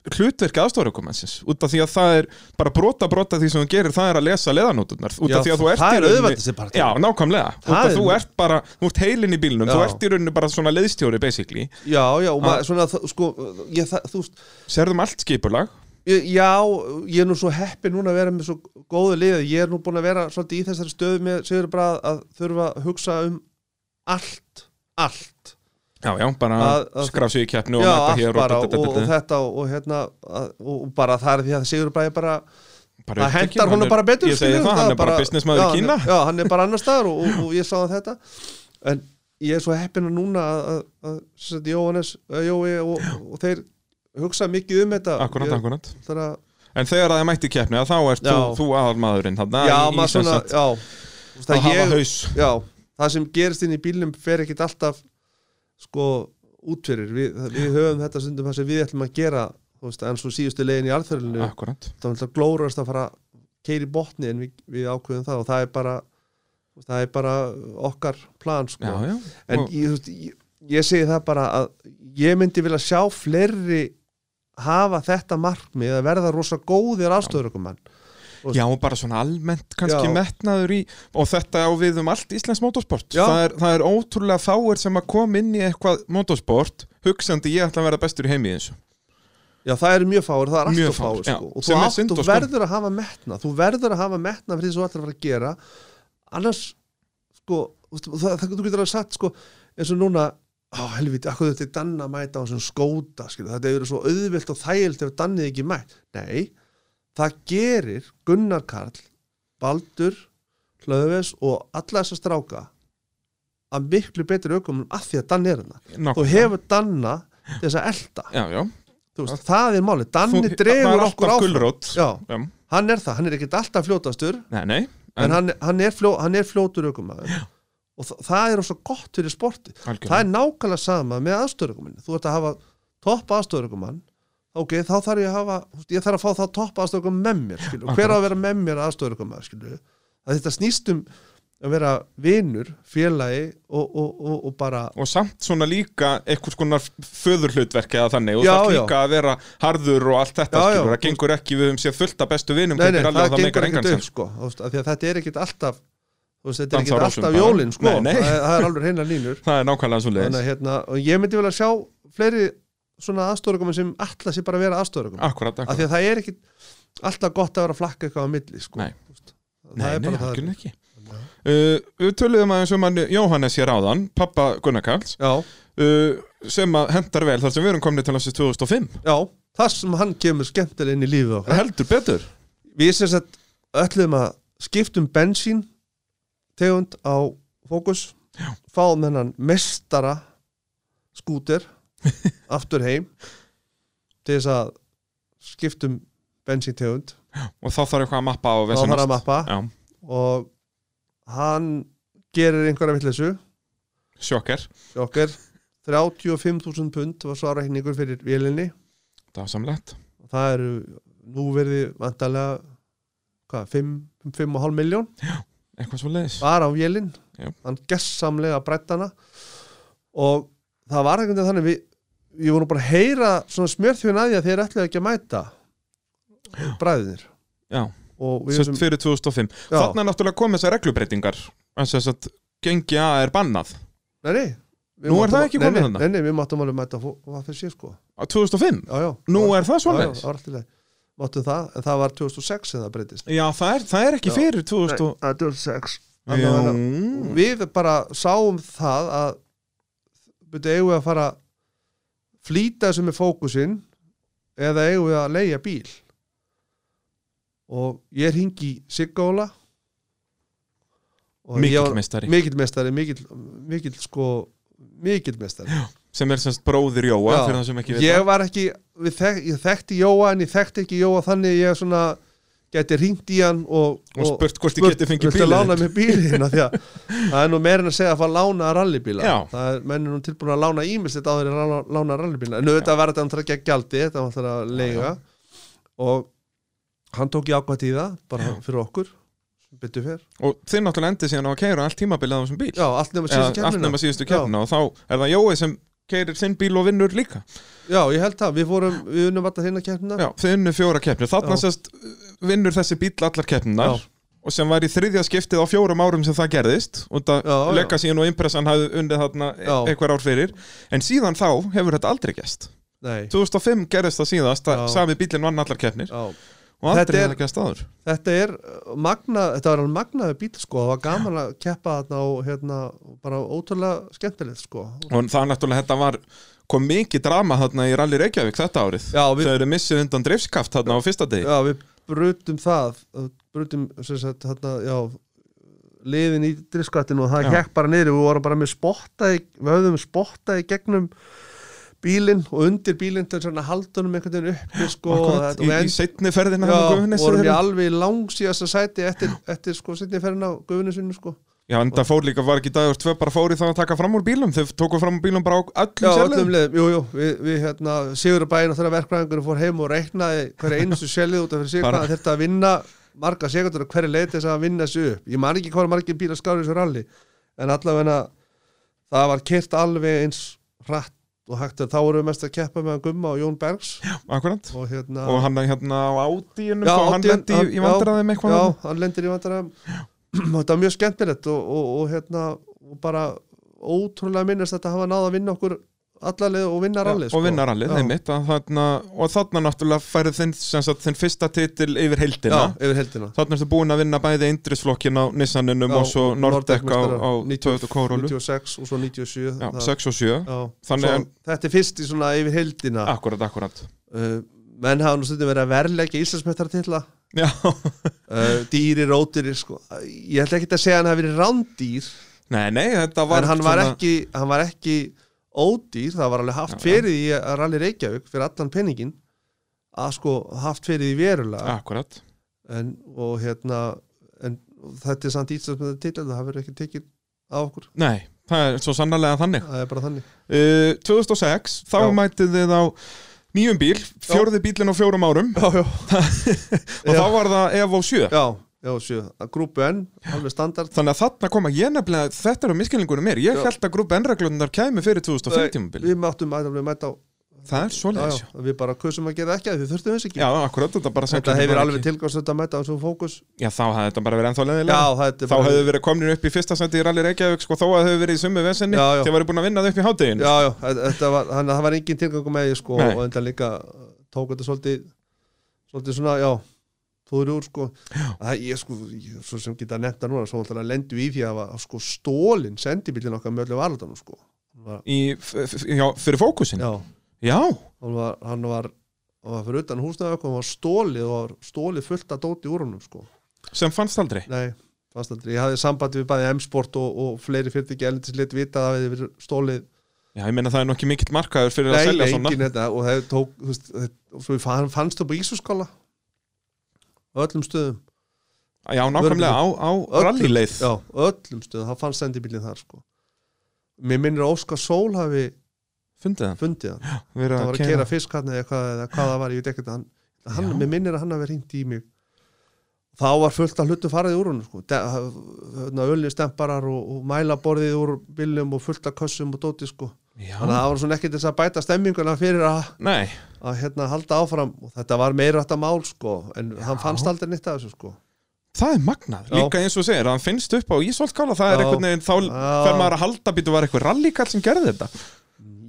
Speaker 1: hlutverki aðstofarökumannsins út af því að það er bara brota brota því sem þú gerir það er að lesa leðanóturnar út af því að þú ert í
Speaker 2: það er
Speaker 1: rauninni-
Speaker 2: auðvelt þessi bara
Speaker 1: Já, nákvæmlega, út af
Speaker 2: Það er-
Speaker 1: þú ert bara þú ert heilin í bílnum,
Speaker 2: Já.
Speaker 1: þú ert í rauninu bara svona leiðstjóri basically,
Speaker 2: Já, já, og
Speaker 1: Ah.
Speaker 2: maður, svona, þ- sko, ég, það, þú veist,
Speaker 1: serðum um allt skipulag
Speaker 2: ég, já, ég er nú svo heppi núna að vera með svo góðu liði, ég er nú búin að vera svolítið í þessari stöðu með Sigur Brað að þurfa að hugsa um allt, allt,
Speaker 1: Já, já, bara
Speaker 2: Að- að-
Speaker 1: skraf sig í keppnu og
Speaker 2: já,
Speaker 1: mæta
Speaker 2: allt
Speaker 1: hér
Speaker 2: bara
Speaker 1: og,
Speaker 2: og, og, þetta og, og hérna, að, og, og bara það er því að Sigur Brað er bara,
Speaker 1: bara
Speaker 2: það
Speaker 1: upptekinn,
Speaker 2: hendar
Speaker 1: hann
Speaker 2: honum
Speaker 1: er-
Speaker 2: bara betur.
Speaker 1: Ég segi
Speaker 2: skilurðu,
Speaker 1: það, hann er bara
Speaker 2: já,
Speaker 1: businessmaður í
Speaker 2: hann
Speaker 1: Kína
Speaker 2: er- Já, hann er bara annar staðar og, og, og ég sá það þetta, en ég er svo heppin að núna að, að, að, sem sagt, Jóhannes, að Jói og, og þeir hugsa mikið um þetta.
Speaker 1: Akkurat,
Speaker 2: Ég-
Speaker 1: akkurat
Speaker 2: Það er að
Speaker 1: En þegar það er mætt í keppni að þá ert þú,
Speaker 2: Já.
Speaker 1: þú aðalmaðurinn þarna
Speaker 2: já,
Speaker 1: í, í
Speaker 2: maður
Speaker 1: sem
Speaker 2: svona,
Speaker 1: sagt
Speaker 2: já Þú veist,
Speaker 1: að
Speaker 2: það,
Speaker 1: hafa
Speaker 2: ég,
Speaker 1: haus
Speaker 2: já, það sem gerist inn í bílnum fer ekkit alltaf sko útfyrir við, það- við höfum þetta stundum það sem við ætlum að gera þú veist, en svo síðustu leiðin í alþörlinu
Speaker 1: Akkurat
Speaker 2: þá er alltaf glórast að fara keiri botni en við, við ákveðum það og það er bara þú veist, það er bara okkar plan sko.
Speaker 1: Já, já
Speaker 2: en
Speaker 1: Og-
Speaker 2: ég, þú veist, ég, ég segi það bara að ég myndi vilja sjá fleiri hafa þetta markmið að verða rosa góðir afstöður okkur mann
Speaker 1: Já, og bara svona almennt kannski
Speaker 2: Já.
Speaker 1: metnaður í og þetta á við um allt Íslands motorsport
Speaker 2: Já.
Speaker 1: það er, það er ótrúlega fáir sem að koma inn í eitthvað motorsport hugsandi ég ætla að vera bestur í heimi í þessu
Speaker 2: Já, það eru mjög fáir, það er
Speaker 1: Mjög
Speaker 2: alltaf
Speaker 1: fáir,
Speaker 2: fáir
Speaker 1: já.
Speaker 2: sko. og þú,
Speaker 1: Sem er
Speaker 2: átt,
Speaker 1: synd og
Speaker 2: þú
Speaker 1: skömm.
Speaker 2: verður að hafa metna þú verður að hafa metna fyrir því þú ætlar að fara að gera annars sko, þú veist, það, það, þú getur að sagt sko, eins og núna, á helviti akkur þetta er Danna að mæta á þessum skóta skilur, þetta hefur verið svo auðvilt og þægilt ef Dannið ekki mætt, nei það gerir Gunnar Karl Baldur, Hlöfes og alla þessa stráka að miklu betri aukumum af því að Danni er hana þú
Speaker 1: Nákvæmlega.
Speaker 2: hefur Danna til þess að elta
Speaker 1: Já, já
Speaker 2: Þú veist, það er málið, Danni
Speaker 1: Þú- það
Speaker 2: dregur
Speaker 1: er
Speaker 2: okkur
Speaker 1: alltaf
Speaker 2: áfram
Speaker 1: gulrót
Speaker 2: Já,
Speaker 1: Já.
Speaker 2: hann er það, hann er ekkert alltaf fljótastur en,
Speaker 1: Nei, nei En,
Speaker 2: hann, hann, er fljó, hann er fljótur aukumæður og þa það er svo gott fyrir sporti það
Speaker 1: algjörlega.
Speaker 2: er nákvæmlega sama með aðstöðurökumann þú ert að hafa topp aðstöðurökumann ok, þá þarf ég að hafa þú veist, ég þarf að fá þá topp aðstöðurökumann með mér skilur. hver á að vera með mér aðstöðurökumann skilur. að þetta snýst um að vera vinur, félagi og, og, og, og bara
Speaker 1: og samt svona líka einhvers konar föðurhlutverk eða þannig og
Speaker 2: Já,
Speaker 1: það er
Speaker 2: já.
Speaker 1: líka að vera harður og allt þetta
Speaker 2: Já, já.
Speaker 1: skilur, það gengur ekki við um sér fullt af bestu vinum
Speaker 2: nei, nei,
Speaker 1: gengur alveg og
Speaker 2: það
Speaker 1: meikar
Speaker 2: gengur
Speaker 1: engan
Speaker 2: ekkert
Speaker 1: sens.
Speaker 2: upp sko, þú veist, af því að þetta er ekkert alltaf þú veist, þetta er
Speaker 1: Dansa á
Speaker 2: ekkert
Speaker 1: rósum
Speaker 2: alltaf
Speaker 1: bara.
Speaker 2: jólin sko,
Speaker 1: Nei, nei.
Speaker 2: Það, er- það er alveg reyna línur
Speaker 1: Það er nákvæmlega svo
Speaker 2: þannig að hérna, og ég myndi vilja sjá fleiri svona aðstórugum sem alltaf sé bara að vera aðstórugum
Speaker 1: Akkurat,
Speaker 2: af
Speaker 1: akkurat
Speaker 2: því að það er ekkert alltaf gott að vera að flakka eitthvað á milli sko,
Speaker 1: Nei.
Speaker 2: þú veist. það
Speaker 1: Nei,
Speaker 2: er
Speaker 1: nei,
Speaker 2: bara það
Speaker 1: algjörlega ekki uh, Við töluðum aðeins um hann Jóhannes hér áðan pappa Gunnar Karls
Speaker 2: já,
Speaker 1: uh, sem að hendar vel þar sem við erum komni til ásins 2005
Speaker 2: já, það sem hann kemur skemmtilega inn í lífið okkar
Speaker 1: Heldur betur
Speaker 2: við sem sagt öllum að skiptum bensín tegund á fókus fáum hennan mestara skúter aftur heim til þess að skiptum bensín tegund
Speaker 1: Og þá þarf eitthvað að mappa á
Speaker 2: þá þarf að
Speaker 1: vesenast.
Speaker 2: mappa
Speaker 1: Já,
Speaker 2: og hann gerir einhverja vitleysu
Speaker 1: sjokker,
Speaker 2: hjá okkar 35.000 pund var svo áreikningur fyrir vélinni
Speaker 1: dásamlegt
Speaker 2: og það eru nú verði vantarlega hvað, 5,5 miljón
Speaker 1: Eitthvað svo leiðis
Speaker 2: var á vélinn
Speaker 1: Já.
Speaker 2: hann gessamlega brættana og það var ekkert þannig við ég voru bara að heyra svona smjörþjóðin að því að þeir ætlaði ekki að mæta bræðinir
Speaker 1: Já,
Speaker 2: og við
Speaker 1: sérst
Speaker 2: sem,
Speaker 1: fyrir 2005
Speaker 2: já,
Speaker 1: Þannig er náttúrulega komið þessar reglubreitingar en sérst að gengi A er bannað
Speaker 2: nei, nei, við
Speaker 1: Nú er
Speaker 2: máttum
Speaker 1: það
Speaker 2: að-
Speaker 1: ekki
Speaker 2: nei,
Speaker 1: komið
Speaker 2: nei,
Speaker 1: þarna?
Speaker 2: Nei, nei, við máttum alveg mæta hvað fyrir sér sko
Speaker 1: Á 2005?
Speaker 2: já, já,
Speaker 1: Nú er það
Speaker 2: Já, já,
Speaker 1: svoleiðis?
Speaker 2: það var alltaf leið Máttu það, en það var 2006 sem það breytist
Speaker 1: Já, það er, það er ekki
Speaker 2: Já.
Speaker 1: fyrir 2000 og...
Speaker 2: það er 2006
Speaker 1: Já,
Speaker 2: Annað-
Speaker 1: Mm.
Speaker 2: Við bara sáum það að byrju eigum við að fara flýta þessu með fókusinn eða eigum við að leigja bíl og ég hringi Siggóla
Speaker 1: mikill mistari
Speaker 2: mikill mestari mikill, mikill sko mikill mestari
Speaker 1: sem er semst bróðir Jóa
Speaker 2: Já.
Speaker 1: fyrir það sem ekki vita
Speaker 2: ég var ekki við þek, ég þekkti Jóa en ég þekkti ekki Jóa þannig ég svona gæti hringt í hann og,
Speaker 1: og spurt hvort ég geti fengið
Speaker 2: viltu lána
Speaker 1: bílið
Speaker 2: mér bílinn af því
Speaker 1: [LAUGHS]
Speaker 2: að það er nú meira en að segja að fara að lána rallybíla
Speaker 1: Já.
Speaker 2: það er menn er nú tilbúin að lána ímislegt á þeirri að lána- lána rallybíla en auðvitað var þetta hann ekki að gjaldi þetta var alltaf að leiga og hann tók jákvæmt í það bara fyrir okkur byttu fyrr
Speaker 1: og þið náttúrulega endið síðan á að keira allt tímabilið á þessum bíl
Speaker 2: já, allt nema
Speaker 1: Eða,
Speaker 2: síðan
Speaker 1: allt nema
Speaker 2: kemina
Speaker 1: síðustu
Speaker 2: Já.
Speaker 1: keppna og þá er það Jói sem keirir sinn bíl og vinnur líka
Speaker 2: já, ég held það við fórum við unum alltaf hérna kemina
Speaker 1: já, þið unnu fjóra keppnir þarna
Speaker 2: Já.
Speaker 1: sérst vinnur þessi bíl allar keppnar
Speaker 2: Já.
Speaker 1: og sem var í þriðja skiptið á fjórum árum sem það gerðist og
Speaker 2: Já,
Speaker 1: það
Speaker 2: já.
Speaker 1: legga síðan og impressan hafði undið þarna e-
Speaker 2: Já.
Speaker 1: einhver ár fyrir en síðan þá hefur þetta aldrei gerst
Speaker 2: nei
Speaker 1: 2005 gerðist það síðast að
Speaker 2: Já.
Speaker 1: sami bílinn vann allar keppnir
Speaker 2: já
Speaker 1: og
Speaker 2: Þetta
Speaker 1: aldrei
Speaker 2: er-
Speaker 1: hefur það gerst áður
Speaker 2: þetta er uh, magna, þetta var alveg magnaði bíl sko, það var gaman að keppa þarna og hérna, bara ótrúlega skemmtilegt sko.
Speaker 1: og það er náttúrulega þetta var kom mikið drama þarna í Rally Reykjavík þetta árið
Speaker 2: Já, við-
Speaker 1: þau eru missið undan driftskaft þarna á fyrsta degi
Speaker 2: Já, við brutum það uh, brutum, sem sagt, hérna, já liðin í driftskattinu og það
Speaker 1: Já.
Speaker 2: hekk bara niður, við vorum bara með spottaði við höfðum spottaði gegnum bílinn og undir bílinn til svona haldunum einhvern veginn uppi sko, og
Speaker 1: Akkurat,
Speaker 2: þetta-
Speaker 1: í,
Speaker 2: og við
Speaker 1: í setni ferðina
Speaker 2: Já,
Speaker 1: þarna á Gufunesi hérna.
Speaker 2: vorum við
Speaker 1: þeirra.
Speaker 2: alveg langsíðast að sæti eftir, eftir sko, setni ferðin á guðunisvinni sko.
Speaker 1: Já, en það fór líka, var ekki dagur tvö bara fóri það að taka fram úr bílum, þau tóku fram úr bílum bara á öllum
Speaker 2: Já,
Speaker 1: sérlegum.
Speaker 2: öllum leiðum, jú, jú, við, við hérna, Sigurbæin og þeirra verkfræðingur fór heim og reiknaði
Speaker 1: [LAUGHS]
Speaker 2: hverja einustu selið út af fyrir sig
Speaker 1: Bara-
Speaker 2: hvað hann þurfti að vinna marga sekundur og hverja leið til þess að vinna þessu upp ég man ekki hvað margir bílar skári þessu ralli en allavega það var kert alveg eins hratt og hægt er þá vorum við mest að keppa með Gumma og Jón Bergs
Speaker 1: Akkurat.
Speaker 2: og hérna
Speaker 1: Og hann hérna á átíunum,
Speaker 2: Já,
Speaker 1: já, sko, hann
Speaker 2: Audien-
Speaker 1: lendi í,
Speaker 2: já,
Speaker 1: í vandræðum eitthvað.
Speaker 2: já,
Speaker 1: þarna.
Speaker 2: hann lendir í vandaræðum [CLEARS THROAT] þetta var mjög skemmtilegt og, og, og hérna og bara ótrúlega minnast þetta hafa náð að vinna okkur allalegi og vinna rallið sko.
Speaker 1: og vinnar allir,
Speaker 2: Já.
Speaker 1: einmitt. að Þarna, og þarna náttúrulega færið þinn, sem sagt, þinn fyrsta titil yfir heildina.
Speaker 2: Já, yfir heldina
Speaker 1: Þarna ertu búin að vinna bæði eindrisflokkin á Nissaninum og svo Nordec á, á Toyota Corolla.
Speaker 2: 96 og svo 97
Speaker 1: Já,
Speaker 2: það-
Speaker 1: 6 og 7.
Speaker 2: já.
Speaker 1: Þannig
Speaker 2: Svo
Speaker 1: en-
Speaker 2: Þetta er fyrst í svona yfir heldina
Speaker 1: Akkurat, akkurat.
Speaker 2: uh, Menn hafa nú stundum verið að verleggja Íslandsmettaratitla
Speaker 1: Já,
Speaker 2: uh, Dýrir, ódýrir sko. Ég ætla ekki að segja að hann hafi verið rándýr
Speaker 1: [LAUGHS] nei, nei, þetta var...
Speaker 2: En hann var,
Speaker 1: svona-
Speaker 2: ekki, hann var ekki ódýr Það var alveg haft fyrir því að rally Reykjavík Fyrir allan penningin Að sko haft fyrir því verulega
Speaker 1: Akkurat.
Speaker 2: en, Og hérna en, Þetta er samt Íslandsmettaratitla Það hafi verið ekki tekið á okkur
Speaker 1: Nei, það er svo sannarlega þannig.
Speaker 2: Það er bara þannig
Speaker 1: Uh, 2006, þá
Speaker 2: Já.
Speaker 1: mætið þið á nýjum bíl, fjórði bílinn á fjórum árum
Speaker 2: já, já.
Speaker 1: [LAUGHS] og þá var það Evo 7
Speaker 2: já, já, sjö, að grúpu N alveg standard
Speaker 1: þannig að þarna koma ég nefnilega, þetta er á miskilningunum mér ég
Speaker 2: Já.
Speaker 1: held að grúpa N-reglunar kæmi fyrir 2015
Speaker 2: Nei,
Speaker 1: bíl,
Speaker 2: við máttum að alveg mæta á
Speaker 1: það er
Speaker 2: já,
Speaker 1: svoleiðis
Speaker 2: já, við bara kusum að gera ekki að við þurftum þess ekki
Speaker 1: já, akkurat, þetta bara
Speaker 2: þetta
Speaker 1: samkvæmt
Speaker 2: hefur
Speaker 1: bara
Speaker 2: alveg
Speaker 1: ekki.
Speaker 2: tilgangslönd að mæta á þessu fókus já,
Speaker 1: já, þá hafði þetta bara verið ennþá leðilega
Speaker 2: það er
Speaker 1: þá hefðu verið komnir upp í fyrsta seti í Rally Reykjavík sko, þó að þau hefðu verið í sumu vesenni
Speaker 2: Já, já.
Speaker 1: þau væri búin að vinna þau upp í hátegin
Speaker 2: já, já, þetta- þetta var, hann, það var engin tilgangu með því sko,
Speaker 1: Nei.
Speaker 2: og þetta líka uh, tók þetta svolítið svolítið svona, já fóður úr sko, það ég sko ég, svo sem geta nefnt að núna, svo alltaf lendu í því að það var sko stólin sendibillin okkar með öllu varaldunum sko Hún var,
Speaker 1: í, f- f- já, fyrir fókusin já,
Speaker 2: já, hann var, hann var, hann var fyrir utan húsnaðu og hann var stólið og var stólið fullt að dóti úr honum sko.
Speaker 1: sem fannst aldrei
Speaker 2: Nei, fannst aldrei, ég hafði sambandi við bæði M-Sport og, og fleiri fyrirtæki elendis lit vita að það hefði verið stólið
Speaker 1: já, ég meina það er nú ekki mikill markaður fyrir að
Speaker 2: Nei,
Speaker 1: selja svona
Speaker 2: engin þetta og það tók, þú veist, það, og svo ég fann, fannst það bara ísusskóla á öllum stöðum
Speaker 1: Já, nákvæmlega á, á
Speaker 2: Öllum-
Speaker 1: rallyleið
Speaker 2: Já, öllum stöðum, það fannst sendibílinn þar sko Mér minnir að Óskar Sól hafi
Speaker 1: Fundið hann
Speaker 2: fundið hann
Speaker 1: Verið
Speaker 2: það var að kera fisk hann eða hvað, eða hvað það var, ég veit ekkert að hann, hann
Speaker 1: Já.
Speaker 2: mér minnir að hann hafi hringt í mig þá var fullt af hlutu farið úr hún sko. hérna, öllu stemparar og, og mælaborðið úr bílum og fullt af kössum og dóti sko.
Speaker 1: Já,
Speaker 2: þannig að það var svona ekkert þess að bæta stemminguna fyrir að,
Speaker 1: nei
Speaker 2: að hérna halda áfram og þetta var meira þetta mál sko en hann fannst aldrei nýtt af þessu sko
Speaker 1: Það er magnað,
Speaker 2: Já.
Speaker 1: líka eins og þú segir að hann finnst upp á Ísvoldskála, það er
Speaker 2: Já.
Speaker 1: einhvern veginn þá
Speaker 2: Já.
Speaker 1: fer maður að halda býtu var eitthvað rallykall sem gerði þetta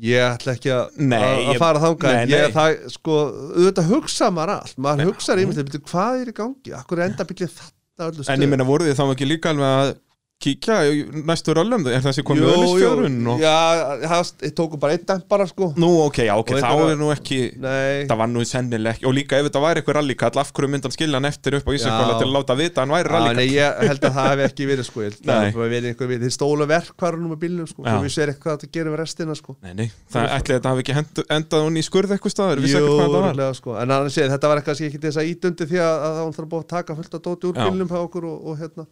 Speaker 2: Ég ætla ekki að
Speaker 1: Nei,
Speaker 2: að- að
Speaker 1: ég-
Speaker 2: fara þangað
Speaker 1: nei,
Speaker 2: nei, ég,
Speaker 1: nei.
Speaker 2: það, sko, auðvitað hugsa maður allt maður hugsa rýmið, hvað er í gangi akkur enda bygglið þetta öllu
Speaker 1: En ég meina voru þið þá ekki líka alveg að kíkja í næstu röllum, er þessi komið öðlisfjörun og...
Speaker 2: Já, það ég tóku bara einn dæmt bara sko
Speaker 1: Nú, ok, já, ok,
Speaker 2: Og
Speaker 1: þá
Speaker 2: þetta-
Speaker 1: er nú ekki
Speaker 2: Nei,
Speaker 1: það var nú sennileg ekki, og líka ef þetta væri eitthvað rallykall, af hverju myndi hann skilja hann eftir upp á Ísvoldskála
Speaker 2: Já.
Speaker 1: til að láta vita að hann væri
Speaker 2: á,
Speaker 1: rallykall
Speaker 2: nei ég held að það hef ekki verið sko [LAUGHS] ég held að það
Speaker 1: Nei.
Speaker 2: hafi bara verið einhver við þeir stólu verkvarunum á bílnum sko
Speaker 1: Já.
Speaker 2: og við sér eitthvað að það gerum við restina sko
Speaker 1: Nei, nei, það ætli þetta hafi ekki hend- endað hún í skurð eitthvað staðar, vissi ekki hvað það var
Speaker 2: örugglega, sko. en annars séð þetta var eitthvað sem ég ekki þess að ítundi því að, að það var alltaf búið að taka fullt að dóti úr
Speaker 1: Já.
Speaker 2: bílnum hjá okkur og, og hérna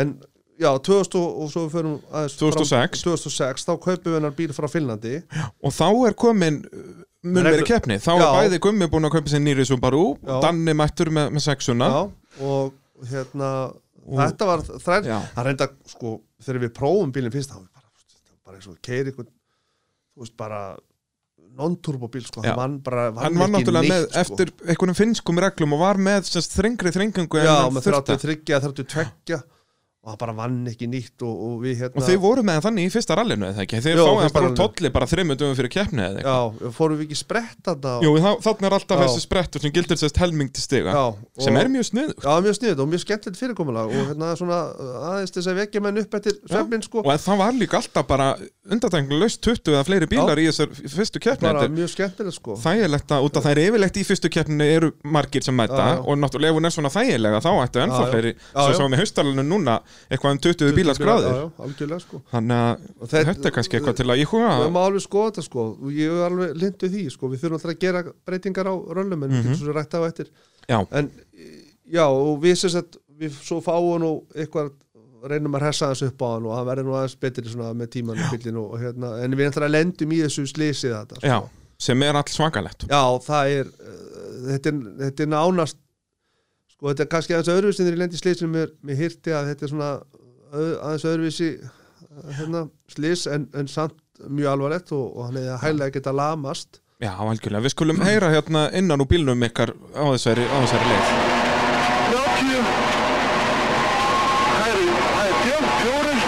Speaker 2: en já, 2000 og, og svo við förum aðeins fram-
Speaker 1: 2006.
Speaker 2: 2006, þá kaupum við hennar bíl frá Finnlandi
Speaker 1: Og þá er komin mun
Speaker 2: Reglu-
Speaker 1: verið keppni, þá er
Speaker 2: Já.
Speaker 1: bæði gummi búin að kaupa sér nýri Subaru,
Speaker 2: Já.
Speaker 1: Danni mættur með, með sexuna
Speaker 2: já, og hérna þetta var þræl,
Speaker 1: Já.
Speaker 2: það reynda sko, þegar við prófum bílinn fyrst þá var bara, þetta var bara eins og keiri eitthvað, þú veist bara non-turbo bíl sko,
Speaker 1: Já.
Speaker 2: hann vann bara
Speaker 1: hann var
Speaker 2: ekki
Speaker 1: náttúrulega með,
Speaker 2: neitt, sko.
Speaker 1: eftir einhvernum finnskum reglum og var með semst, þrengri þrengingu en
Speaker 2: já,
Speaker 1: hann
Speaker 2: með
Speaker 1: þurfti.
Speaker 2: 33, 32 og það bara vann ekki nýtt og, og við hérna
Speaker 1: og þau voru með hann þannig í fyrsta rallinu eða ekki, þeir
Speaker 2: Jó,
Speaker 1: fáið hann
Speaker 2: fyrsta
Speaker 1: bara úr
Speaker 2: rallinu.
Speaker 1: tolli bara þreymur dögum fyrir keppni eða eitthvað.
Speaker 2: já, fórum við ekki sprett þarna og-
Speaker 1: Jú, þá, þannig er alltaf
Speaker 2: Já.
Speaker 1: þessi sprettur sem gildir sérst helming til stiga,
Speaker 2: já, og,
Speaker 1: sem er mjög sniðugt
Speaker 2: já, mjög sniðið og mjög skemmtilegt fyrirkomulag og hérna svona aðeins til þess að vekja menn upp eftir svefnin sko,
Speaker 1: og en það var líka alltaf bara undartæknilegst 20 eða fleiri bílar í þessar fyrstu keppni
Speaker 2: bara
Speaker 1: Þetta er-
Speaker 2: mjög skemmtilegt sko
Speaker 1: þægilegt að, út af það er yfirlegt í fyrstu keppninu eru margir sem mæta
Speaker 2: Já, já.
Speaker 1: og náttúrulega ef hún er svona þægilega þá ættu ennþá
Speaker 2: Já, já.
Speaker 1: fleiri,
Speaker 2: Já,
Speaker 1: svo
Speaker 2: já.
Speaker 1: svo með haustalunum núna eitthvað um 20 bílar skráðir
Speaker 2: Já, já, algjörlega sko
Speaker 1: þannig að
Speaker 2: Og þetta-
Speaker 1: þetta er kannski eitthvað til að íhuga
Speaker 2: Við maður alveg skoða þetta sko og ég er alveg lindið því sko, við þurfum alltaf að gera breytingar á röllum en við getum svo rætt á eftir
Speaker 1: já,
Speaker 2: en já og við sem sagt við svo fáum nú eitthvað reynum að hressa aðeins upp á hann og hann verður nú aðeins betri svona með tímanum bílinn og, og hérna en við náttúrulega lendum í þessu slysið þetta sko.
Speaker 1: já, sem er alls svakalegt
Speaker 2: já það er uh, þetta, er þetta er nánast sko þetta er kannski aðeins öðruvísi þegar ég lendi í slysinu mér, mér hirti að þetta er svona öð, aðeins öðruvísi uh, hérna, slis en, en samt mjög alvarlegt og, og hann hefði að hæglega geta lamast
Speaker 1: já, algjörlega, við skulum heyra hérna innan úr bílnum ykkar á þessari, á þessari leið
Speaker 3: Þrjátíu Það eru- það er fjöld, fjórir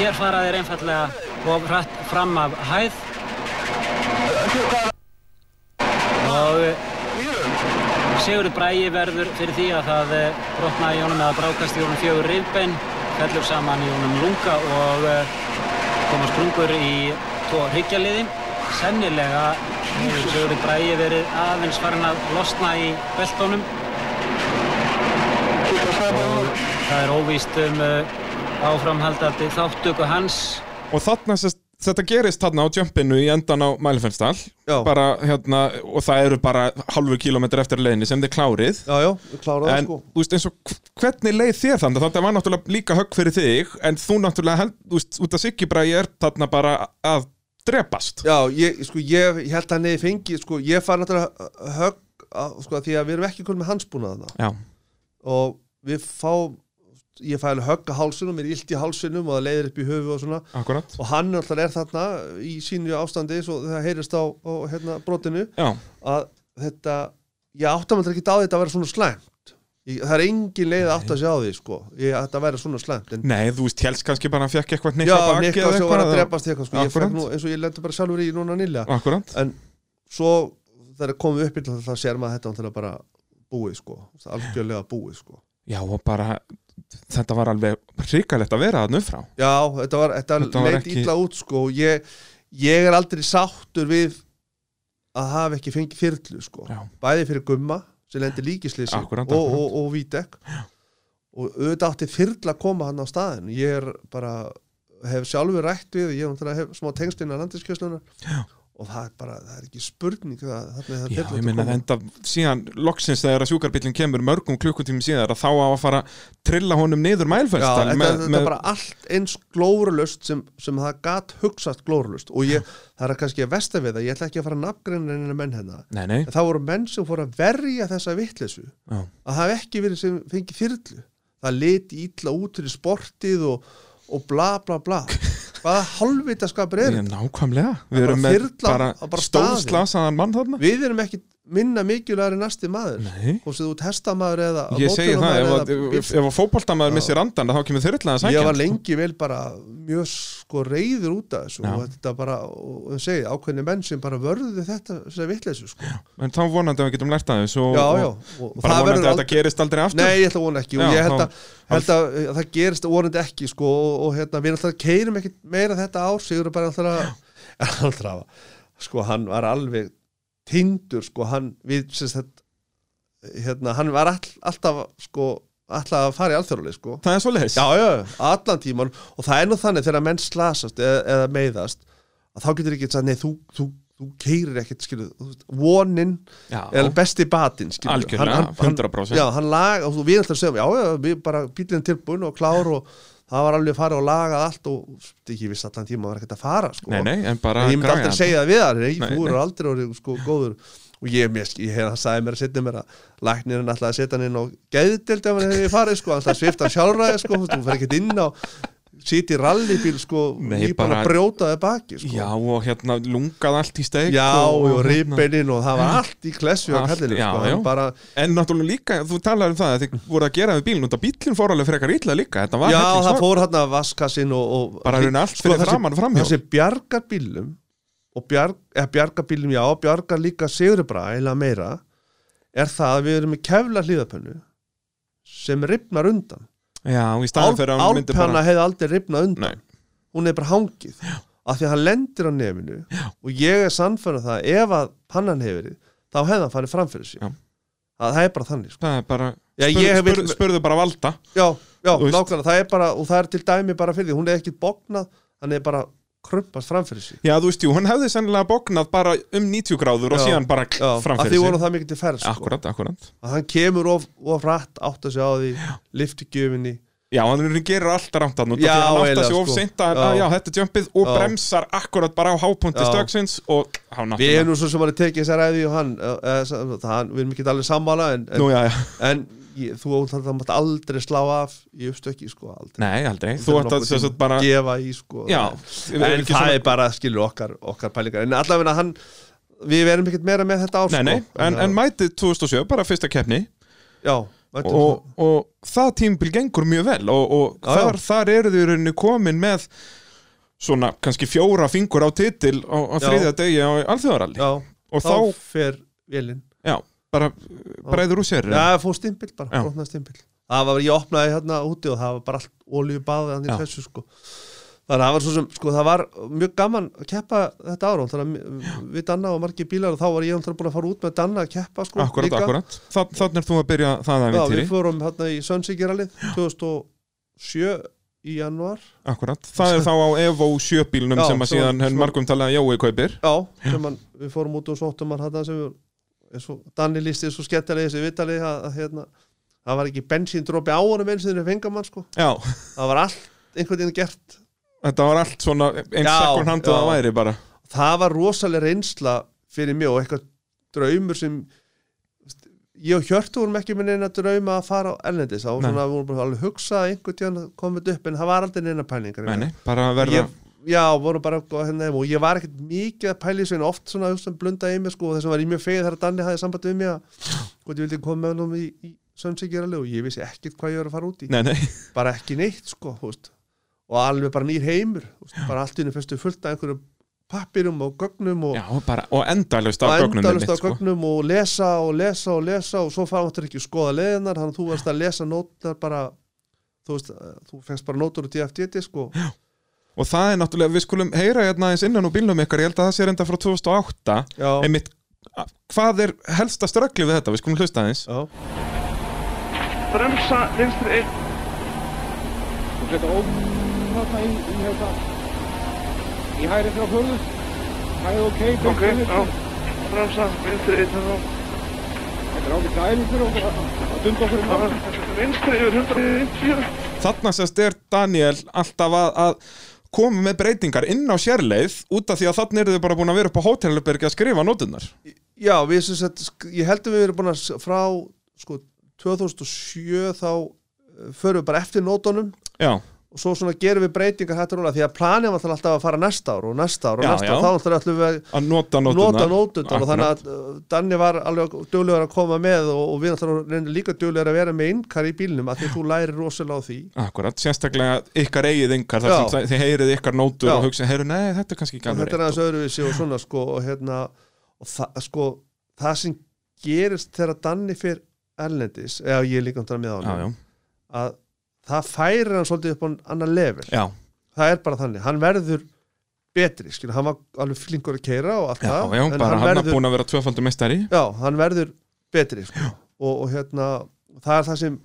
Speaker 4: Hér fara þeir einfallega of hratt fram af hæð og eh, Sigurður Bræi verður fyrir því að það eh, brotnaði í honum eða brákast í honum fjögur rifbein, fellur saman í honum lunga og eh, koma sprungur í tvo hryggjaliði. Sennilega hefur Sigurður Bræi verið aðeins farin að losna í beltónum og það er óvíst um eh, áframhaldandi þáttöku hans
Speaker 1: og þarna sérst Þetta gerist þarna á jumpinu í endan á Mælifennstall
Speaker 2: Já.
Speaker 1: bara hérna og það eru bara halvu kilometr eftir leiðinni sem þið klárið
Speaker 2: já já, við kláraði
Speaker 1: en
Speaker 2: sko
Speaker 1: þú veist eins og hv- hvernig leið þér þannig þetta var náttúrulega líka högg fyrir þig en þú náttúrulega held, þú veist, út af Siggi Bræði er þarna bara að drepast
Speaker 2: Já, ég, sko, ég, ég held að hann hefði fengið, sko, ég fær náttúrulega högg, að, sko, að því að við erum ekki konum með hansbúnaðana
Speaker 1: já,
Speaker 2: og við fá, ég fær alveg högg að hálsunum, mér er illt í hálsunum og það leiðir upp í höfu og svona
Speaker 1: akkurat
Speaker 2: og hann náttúrulega er þarna í sínu ástandi svo það heyrist á, á hérna, brotinu
Speaker 1: já,
Speaker 2: að þetta, ég átti að maður ekki á því að þetta að vera svona slæmt, ég, það er engin leið að átt að sjá því, sko, ég, að þetta vera svona slæmt, en
Speaker 1: nei, þú veist, helst kannski bara hann fekk eitthvað neitt
Speaker 2: já,
Speaker 1: á bakið
Speaker 2: Niklas
Speaker 1: eða
Speaker 2: og var að
Speaker 1: eða-
Speaker 2: drepast í eitthvað, sko, ég
Speaker 1: Akkúrat.
Speaker 2: fekk nú, eins og ég lendi bara sjálfur í núna nýlega
Speaker 1: akkurat,
Speaker 2: en svo þegar komum við upp í það sér maður þetta náttúrulega bara búið sko, algjörlega búið sko
Speaker 1: já og bara þetta var alveg hrikalegt að vera þarna upp frá
Speaker 2: já, þetta var, þetta
Speaker 1: Þetta var
Speaker 2: leit
Speaker 1: ekki-
Speaker 2: illa út sko og ég, ég er aldrei sáttur við að hafa ekki fengið þyrlu sko,
Speaker 1: Já.
Speaker 2: bæði fyrir gumma sem lendir líkislýsi og,
Speaker 1: Akkúrat,
Speaker 2: og,
Speaker 1: akkúrat.
Speaker 2: og, og vítek og auðvitað átti þyrla að koma hann á staðin ég er bara, hef sjálfur rætt við ég náttúrulega hef smá tengslina landiskjöslunar og það er bara, það er ekki spurning það, þarna er það um-
Speaker 1: Já,
Speaker 2: þyrla
Speaker 1: ég
Speaker 2: átti að
Speaker 1: meina
Speaker 2: koma.
Speaker 1: þetta síðan loksins þegar að sjúkarbílinn kemur mörgum klukkutími síðar að þá á að fara að trilla honum niður
Speaker 2: Já,
Speaker 1: mælfælstal
Speaker 2: þetta, þetta er bara allt eins glórulust sem, sem það gat hugsast glórulust og ég, það er kannski að vesta við það ég ætla ekki að fara að nafngreina neina menn hérna
Speaker 1: Nei, nei,
Speaker 2: en það voru menn sem fóru að verja þessa vitleysu
Speaker 1: já,
Speaker 2: að það hef ekki verið sem fengið þyrlu það liti illa út fyrir sportið og, og bla bla bla hvaða hálfvita skapur er
Speaker 1: Ég,
Speaker 2: þetta?
Speaker 1: nákvæmlega,
Speaker 2: Það
Speaker 1: við
Speaker 2: er
Speaker 1: erum
Speaker 2: bara
Speaker 1: með
Speaker 2: þyrla
Speaker 1: bara,
Speaker 2: á bara staðinn.
Speaker 1: stórslasaðan mann þarna
Speaker 2: við erum ekki minna mikilværi næsti maður
Speaker 1: Nei.
Speaker 2: hvort sem þú ert hestamaður eða
Speaker 1: Ég segi það,
Speaker 2: mótorhjólamaður
Speaker 1: ef,
Speaker 2: eða
Speaker 1: að- ef,
Speaker 2: bíll.
Speaker 1: ef að fótboltamaður missir andan þá kemur þyrla að
Speaker 2: ég
Speaker 1: sækja
Speaker 2: var lengi vel bara mjög sko reyður út af þessu
Speaker 1: Já.
Speaker 2: og þetta bara, og það segi, ákveðni menn sem bara vörðu þetta, þessa vitleysu sko.
Speaker 1: En þá vonandi að við getum lært að þessu og,
Speaker 2: já, já,
Speaker 1: og
Speaker 2: og, og
Speaker 1: bara vonandi að
Speaker 2: það verður
Speaker 1: þetta gerist aldrei aftur
Speaker 2: Nei, ég ætla að vona ekki og
Speaker 1: Já,
Speaker 2: ég held
Speaker 1: þá-
Speaker 2: að, held að, að það gerist vonandi ekki sko og, og hérna, við alltaf keirum ekki meira þetta ár, sigur bara alltaf [LAUGHS] að, en alltaf að, sko hann var alveg tindur sko, hann við, sérst þetta hérna, hann var all, alltaf sko, alltaf að fara í alþjórulega sko
Speaker 1: Það er svo leis
Speaker 2: Já, já, allan tíman og það er nú þannig þegar menn slasast eða, eða meiðast að þá getur ekki sagt, nei, þú, þú, þú keirir ekkert, skilur, þú veist, vonin er besti batinn, skilur
Speaker 1: Algjörlega, 100%.
Speaker 2: Já, hann laga, og við alltaf segjum, já, já, við bara bílinn tilbúin og klár og það var alveg farið og lagað allt og stu, ekki viss allan tíma var ekkert að fara, sko
Speaker 1: Nei, nei, en bara
Speaker 2: En ég myndi
Speaker 1: græja
Speaker 2: aldrei segja það við það, nei,
Speaker 1: Nei,
Speaker 2: þú eru
Speaker 1: nei.
Speaker 2: aldrei orðið, sko, góður og ég, mér, ég, ég hann sagði mér að setja mér að læknirinn alltaf að setja hann inn á geðdelt ef hann hefði farið, sko, alltaf svifta sjálfræði sko, þú fer ekkert inn á sitja í rallybíl, sko,
Speaker 1: Nei,
Speaker 2: í
Speaker 1: bara-
Speaker 2: bara að brjóta þið baki, sko
Speaker 1: Já, og hérna lungað allt í steik
Speaker 2: Já, og
Speaker 1: hérna-
Speaker 2: ribbeinin og það var allt í klessu á
Speaker 1: Allt,
Speaker 2: kallinu,
Speaker 1: já,
Speaker 2: sko,
Speaker 1: já.
Speaker 2: hann bara
Speaker 1: En náttúrulega líka, þú talaði um það að þið voru að gera við bílinn út af bílinn fór alveg frekar illa líka Þetta var
Speaker 2: Já,
Speaker 1: helling
Speaker 2: það
Speaker 1: svag.
Speaker 2: fór hann að vaskasinn og, og Sko,
Speaker 1: Bara í rauninni allt fyrir
Speaker 2: þessi-
Speaker 1: framan framhjá.
Speaker 2: Þessi bjargar bílum og bjarg, eða, bjargar bílum, já, bjargar líka sigurbra, eiginlega meira er það að við erum með kefla hlýðapönnu sem ripnar undan
Speaker 1: Já, í staðan fyrir að hún myndi
Speaker 2: Álpanna
Speaker 1: bara
Speaker 2: hefði aldrei ripnað undan
Speaker 1: Nei.
Speaker 2: hún er bara hangið já. af því að hann lendir á nefinu já. og ég er sannfæðan það ef að pannan hefur verið, þá hefði hann farið fram fyrir sig
Speaker 1: Já.
Speaker 2: það, það er bara þannig sko.
Speaker 1: Það er bara,
Speaker 2: Já,
Speaker 1: spurðu,
Speaker 2: ég hef-
Speaker 1: spurðu, spurðu bara valda
Speaker 2: Já, já,
Speaker 1: Þú veist.
Speaker 2: nákvæmlega, það er bara og það er til dæmi bara fyrir því, hún er ekki bóknað hann er bara krumpast framfyrir sig
Speaker 1: Já, þú veist, jú, hann hefði sennilega bóknað bara um 90 gráður og
Speaker 2: Já,
Speaker 1: síðan bara
Speaker 2: Já, að
Speaker 1: framfyrir
Speaker 2: því
Speaker 1: sig
Speaker 2: voru það mikið til ferð sko.
Speaker 1: Akkurat, akkurat
Speaker 2: að hann kemur of, of rætt átt að sig á því liftigjöfinni
Speaker 1: Já, hann rauninni gerir allt rangt þarna út af
Speaker 2: Já,
Speaker 1: því að hann átta
Speaker 2: eiginlega,
Speaker 1: sig of
Speaker 2: sko.
Speaker 1: seint að,
Speaker 2: Já.
Speaker 1: að já, þetta er jumpið og
Speaker 2: Já.
Speaker 1: bremsar akkurat bara á hápunkti
Speaker 2: Já.
Speaker 1: stöksins og há náttúrulega
Speaker 2: við erum nú svo sem hann tekið þessar ræði og hann, e, hann við erum ekki allir sammála en, en,
Speaker 1: Nú, já, já
Speaker 2: en ég, þú átt að það mátt aldrei slá af í uppstökki sko aldrei
Speaker 1: Nei, aldrei, þú ert að sem sagt bara
Speaker 2: gefa í sko
Speaker 1: Já,
Speaker 2: en það er bara skilur okkar, okkar pælingar en allavega hann við verum ekkert meira með þetta á
Speaker 1: Nei,
Speaker 2: sko.
Speaker 1: nei, en, en mætið 2007, bara fyrsta keppni
Speaker 2: já, mættum svo-
Speaker 1: og, og það tímbil gengur mjög vel og, og
Speaker 2: Já, já.
Speaker 1: þar, þar eru þau í rauninni komin með svona kannski fjóra fingur á titil á, á
Speaker 2: Já.
Speaker 1: þriðja degi á alþjóðaralli
Speaker 2: já,
Speaker 1: og
Speaker 2: þá,
Speaker 1: þá,
Speaker 2: fer vélinn
Speaker 1: já, bara breiður úr sér
Speaker 2: Já, það fór stimpill bara,
Speaker 1: Já.
Speaker 2: brotnaði stimpill Það var, ég opnaði hérna úti og það var bara allt olíubaðið hann í
Speaker 1: Já.
Speaker 2: þessu sko Þannig að það var svo sem, sko, það var mjög gaman að keppa þetta ára Þannig að m- við Danna og margir bílar og þá var ég náttúrulega búin að fara út með Danna að keppa sko
Speaker 1: akkurat, akkurat, Þa, þannig er þú að byrja það að
Speaker 2: Já,
Speaker 1: við
Speaker 2: við fórum hérna í Sönsigeralið 2007 í januar
Speaker 1: akkurat, það er þá á Evo 7 bílnum
Speaker 2: Já,
Speaker 1: sem að
Speaker 2: svo-
Speaker 1: síðan henn
Speaker 2: svo-
Speaker 1: margum talaði að Jói kaupir
Speaker 2: Já, sem hann, við fórum út og sóttum hann hérna sem við, eins og Danni lístið svo skettalegi þessi vitalið að, að hérna Það var ekki bensíndropi á honum eins og þeirnir fengamann sko
Speaker 1: já,
Speaker 2: það var allt einhvern veginn gert
Speaker 1: þetta var allt svona eins
Speaker 2: Já,
Speaker 1: sekund handið að
Speaker 2: já.
Speaker 1: væri bara
Speaker 2: það var rosalega reynsla fyrir mig og eitthvað draumur sem ég og Hjörtu vorum ekki með neina drauma að fara á erlendis þá var
Speaker 1: Nei.
Speaker 2: svona að við vorum bara alveg hugsað að einhvern tíðan komið upp en það var aldrei neina pælingar
Speaker 1: Nei, nei, bara að verða
Speaker 2: ég, já, vorum bara að- hérna, heim og ég var ekkert mikið að pæli svona oft svona hugsa, blunda í mig sko og þess að var ég mjög feið þegar að Danni hafði samband við mig að hvort ég vildi koma með honum í, í sönnsíkjaraleg og ég vissi ekkert hvað ég var að fara út í
Speaker 1: Nei, nei,
Speaker 2: bara ekki neitt sko þú veist. og alveg bara nýr heimur þú veist. bara allt í henni fyrstu fullt af einhverjum pappirum og gögnum og,
Speaker 1: já, bara, og endalust af
Speaker 2: sko. og
Speaker 1: gögnum sko.
Speaker 2: endalust
Speaker 1: mitt,
Speaker 2: á gögnum og lesa og lesa og lesa og svo fámáttur ekki skoða leðinar þannig að þú varst að lesa nótnar bara þú veist, eh, þú fengst bara nótur úr DFDT sko
Speaker 1: Og það er náttúrulega, við skulum heyra hérna aðeins innan úr bílnum ykkar, ég held að það sé reynda frá 2008
Speaker 2: Já.
Speaker 1: Einmitt, a- hvað er helsta ströggli við þetta, við skulum hlusta aðeins
Speaker 2: já,
Speaker 3: Bremsa vinstri einn.
Speaker 5: og setja óm þarna í, í hérna í hægri þrjá fjörðu hægri ok, beint
Speaker 3: Ok,
Speaker 5: fyrir.
Speaker 3: já. Bremsa vinstri einn hérna.
Speaker 5: þetta er ákveð dæmi fyrir okkur að að dunda okkur um það
Speaker 3: Vinstri yfir 190.
Speaker 1: Þarna sérst er Daniel alltaf að, að koma með breytingar inn á sérleið út af því að þannig eru þau bara búin að vera upp á hótelherbergi að skrifa nótunar
Speaker 2: já við sem sagt sk- ég heldum við erum búin að s- frá sko 2007 þá eh, förum við bara eftir nótunum
Speaker 1: Já,
Speaker 2: og svo svona gerum við breytingar hættur róla því að planið var náttúrulega alltaf að fara næsta ár og næsta ár og
Speaker 1: Já,
Speaker 2: næsta ár,
Speaker 1: já.
Speaker 2: þá náttúrulega ætlum við að
Speaker 1: að nota nótuna
Speaker 2: nota nótundar og þannig að uh, Danni var alveg duglegur að koma með og, og við náttúrulega reynir líka duglegur að vera með innkar í bílnum að því þú lærir rosalega á því
Speaker 1: Akkurat, sérstaklega ykkar eigið yngar þar
Speaker 2: Já.
Speaker 1: sem þið heyrið ykkar nótur
Speaker 2: Já.
Speaker 1: og hugsa, heyrðu, nei, þetta er kannski ekki
Speaker 2: og
Speaker 1: alveg
Speaker 2: þetta er aðeins öðruvísi og svona sko og hérna og það, sko, það sem gerist þegar Danni fyrir Erlendis eða ég er líka um þetta með á
Speaker 1: Já, já,
Speaker 2: hann að það færir hann svolítið upp á annan level
Speaker 1: já,
Speaker 2: það er bara þannig, hann verður betri, skil, hann var alveg flinkur að keira og allt
Speaker 1: já,
Speaker 2: það,
Speaker 1: já
Speaker 2: en
Speaker 1: bara hann er
Speaker 2: verður,
Speaker 1: búin að vera tvöfaldur mestari
Speaker 2: já, hann verður betri, sko, og, og hérna það er það sem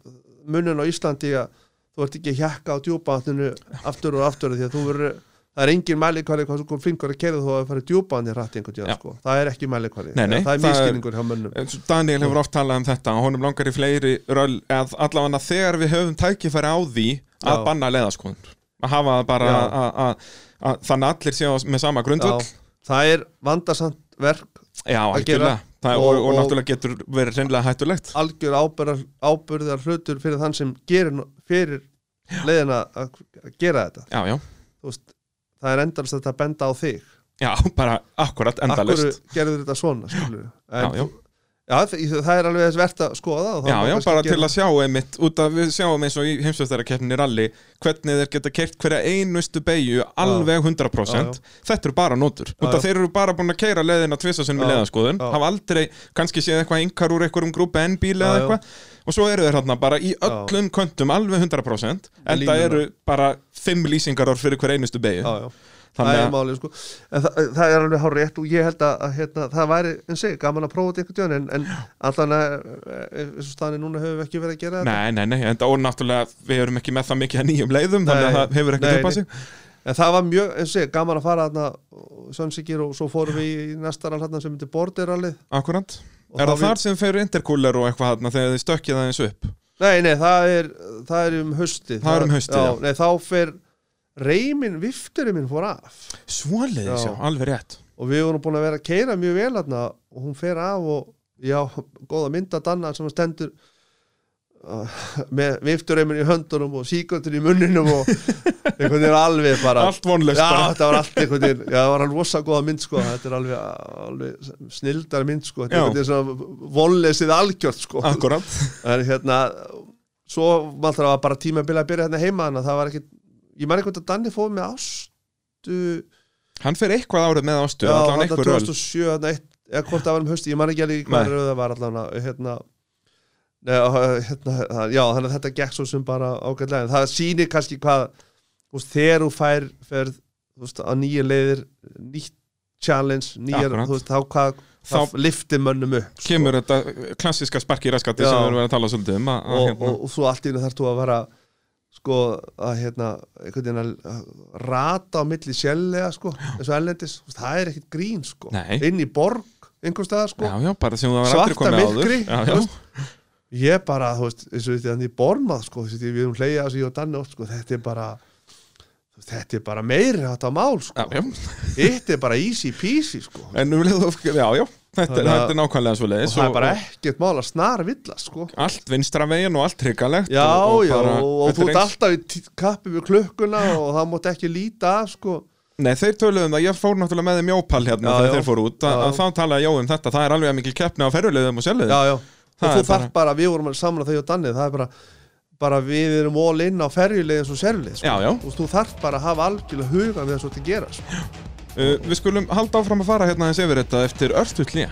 Speaker 2: munin á Íslandi að þú ert ekki að hjakka á djúpaðaninu aftur og aftur því að þú verður það er engin mælikværi hvað þú flinkur að keira þú að fara djúpaðan í rætti einhvern
Speaker 1: Já.
Speaker 2: tíðan, sko, það er ekki mælikværi
Speaker 1: Nei, nei,
Speaker 2: það er
Speaker 1: það er-
Speaker 2: miskilingur hjá munnum
Speaker 1: En Eh, svo Daniel hefur oft talað um þetta og honum langar í fleiri röll að allavega þegar við höfum tækifæri á því að
Speaker 2: Já.
Speaker 1: banna leiðaskoðun að hafa það bara
Speaker 2: Já.
Speaker 1: að- að- að- að- þannig að allir séu á- með sama grundvöld
Speaker 2: já, það er vandasamt verk
Speaker 1: Já,
Speaker 2: að
Speaker 1: algjörlega
Speaker 2: gera.
Speaker 1: Það er-
Speaker 2: Og-
Speaker 1: og, og,
Speaker 2: og-
Speaker 1: náttúrulega getur verið reynlega hættulegt
Speaker 2: algjör ábyrðar, ábyrðar hlutur fyrir þann sem gerir nú- fyrir leiðina að að gera þetta
Speaker 1: Já, já,
Speaker 2: Þú veist, það er endalist að þetta benda á þig
Speaker 1: já, bara akkurat endalist
Speaker 2: Akkur gerður þetta svona skilur
Speaker 1: Já, já.
Speaker 2: Já, þa- í- það er alveg þess verðt að skoða og það
Speaker 1: Já,
Speaker 2: má
Speaker 1: já,
Speaker 2: kannski
Speaker 1: bara
Speaker 2: gera-
Speaker 1: til að sjá einmitt út að við sjáum eins og í heimsveistarakeppninni rally hvernig þeir geta keirt hverja einustu beigju alveg 100%
Speaker 2: Já,
Speaker 1: þetta eru bara nótur, út
Speaker 2: Já,
Speaker 1: að
Speaker 2: já.
Speaker 1: þeir eru bara búin að keira leðina tvisasinn með
Speaker 2: Já,
Speaker 1: leðaskoðun
Speaker 2: já.
Speaker 1: hafa aldrei kannski séð eitthvað yngar úr einhverjum grúpi N-bíl eða
Speaker 2: Já, já.
Speaker 1: eitthvað og svo eru þeir hérna bara í öllum köntum alveg 100% en
Speaker 2: Línuna.
Speaker 1: það eru bara 5 lýsingaror fyrir hverja einustu beigju
Speaker 2: Já, já, það
Speaker 1: þannig
Speaker 2: er
Speaker 1: að,
Speaker 2: málið sko En það, það er alveg hár rétt og ég held að, að hérna, það væri eins og gaman að prófa þetta eitthvað djón en, en allan að e, eins og staðan er núna höfum við ekki verið að gera þetta
Speaker 1: nei, nei, nei, en það náttúrulega við erum ekki með það mikið að nýjum leiðum þannig að
Speaker 2: Nei,
Speaker 1: það hefur
Speaker 2: nei,
Speaker 1: ekkert upp að
Speaker 2: nei.
Speaker 1: sig
Speaker 2: En það var mjög, eins og ég, gaman að fara þarna Sönsikir og svo fórum við í næsta rann þarna sem myndi borderallið
Speaker 1: Akkurat
Speaker 2: Og
Speaker 1: Er
Speaker 2: þá
Speaker 1: það
Speaker 2: við-
Speaker 1: þar sem fer intercooler og eitthvað þarna þegar þið stökkið aðeins upp?
Speaker 2: Nei, nei, það er, það er um haustið
Speaker 1: Það er um haustið, já.
Speaker 2: Nei, þá fer reymin, vifturinn minn fór af
Speaker 1: Svoleiðis, já,
Speaker 2: Já.
Speaker 1: alveg rétt
Speaker 2: og við vorum búin að vera að keira mjög vel þarna og hún fer af og já, góða mynda danna sem stendur uh, með vifturreimin í höndunum og síkvöndin í munninum
Speaker 1: [LAUGHS]
Speaker 2: og einhvern veginn alveg bara
Speaker 1: Allt vonlaust
Speaker 2: Já,
Speaker 1: bara.
Speaker 2: þetta var allt einhvern veginn, já, það var alveg rosa góða mynd sko, þetta er alveg, alveg snildar mynd sko, þetta
Speaker 1: Já.
Speaker 2: er einhvern veginn svona vonleysið algjört sko
Speaker 1: Akkurat
Speaker 2: en hérna svo maður var bara tímabili að byrja hérna heima þannig að það var ekki, ég man eitthvað að Danni fóð með ástu
Speaker 1: Hann fer eitthvað árið með ástu
Speaker 2: já,
Speaker 1: allavega
Speaker 2: hann
Speaker 1: eitthvað röl
Speaker 2: 2007 þarna eitt- eða hvort það var um hausti, ég man ekki alveg
Speaker 1: Nei.
Speaker 2: hvað röð það var allavega hérna, neða, hérna, það- já, þannig að þetta gekk svo sem bara ágætlega en það sýnir kannski hvað þú veist, þegar þú fær ferð þú veist, á nýja leiðir, nýtt challenge, nýjar,
Speaker 1: Akkurat.
Speaker 2: þú veist, þá hvað
Speaker 1: Þá-
Speaker 2: þá liftir mönnum upp sko.
Speaker 1: Kemur þetta klassiska sparki í raskati
Speaker 2: Já.
Speaker 1: sem við erum að tala svolítið um að, að,
Speaker 2: og,
Speaker 1: hérna,
Speaker 2: og, og svo allt í hennu þarf þú að vera sko að hérna einhvern veginn að- að rata á milli sjálflega sko, eins og ellendis Þú veist, það er ekkit grín sko,
Speaker 1: Nei.
Speaker 2: inn í borg einhvers staðar sko,
Speaker 1: Já, já, bara sem það var aldrei
Speaker 2: Svarta
Speaker 1: komið áður
Speaker 2: myrkri,
Speaker 1: Já,
Speaker 2: þú
Speaker 1: já,
Speaker 2: veist. ég bara, þú veist, eins og þetta hann í bormað sko, þessi, við erum hleyja þessi og danni oft sko, þetta er bara þú veist, þetta er bara meiri þetta mál
Speaker 1: já,
Speaker 2: sko,
Speaker 1: já
Speaker 2: þetta er bara easy peasy sko,
Speaker 1: En nú leiðu já, já Þetta,
Speaker 2: Þannig að-
Speaker 1: þetta er nákvæmlega svo
Speaker 2: og
Speaker 1: leiðis
Speaker 2: það er bara ekkert mál að snar villa sko
Speaker 1: Allt vinstra veginn og allt hryggalegt
Speaker 2: Já,
Speaker 1: og,
Speaker 2: já,
Speaker 1: bara-
Speaker 2: og,
Speaker 1: þetta
Speaker 2: og þú
Speaker 1: er
Speaker 2: ert
Speaker 1: eins-
Speaker 2: alltaf í tí- kappi við klukkuna og það mátt ekki líta af, sko.
Speaker 1: Nei, þeir töluðum það, ég fór náttúrulega með þeim Jópal hérna
Speaker 2: Já,
Speaker 1: þegar
Speaker 2: já.
Speaker 1: þeir fóru út, að,
Speaker 2: Já, já.
Speaker 1: að þá talaði Jó um þetta, það er alveg að mikil keppni á ferjulegðum og sjálflegðum
Speaker 2: já, já.
Speaker 1: Það
Speaker 2: og þú
Speaker 1: er bara-
Speaker 2: þarft bara, við vorum að samla þau og Danni það er bara, bara við erum all in á ferjulegin svo servilið sko.
Speaker 1: Já, já.
Speaker 2: og þú þarft bara að hafa algjörlega huga við það svo til að gera sko.
Speaker 1: Uh, við skulum halda áfram að fara hérna aðeins yfir þetta eftir örstuð hlýja.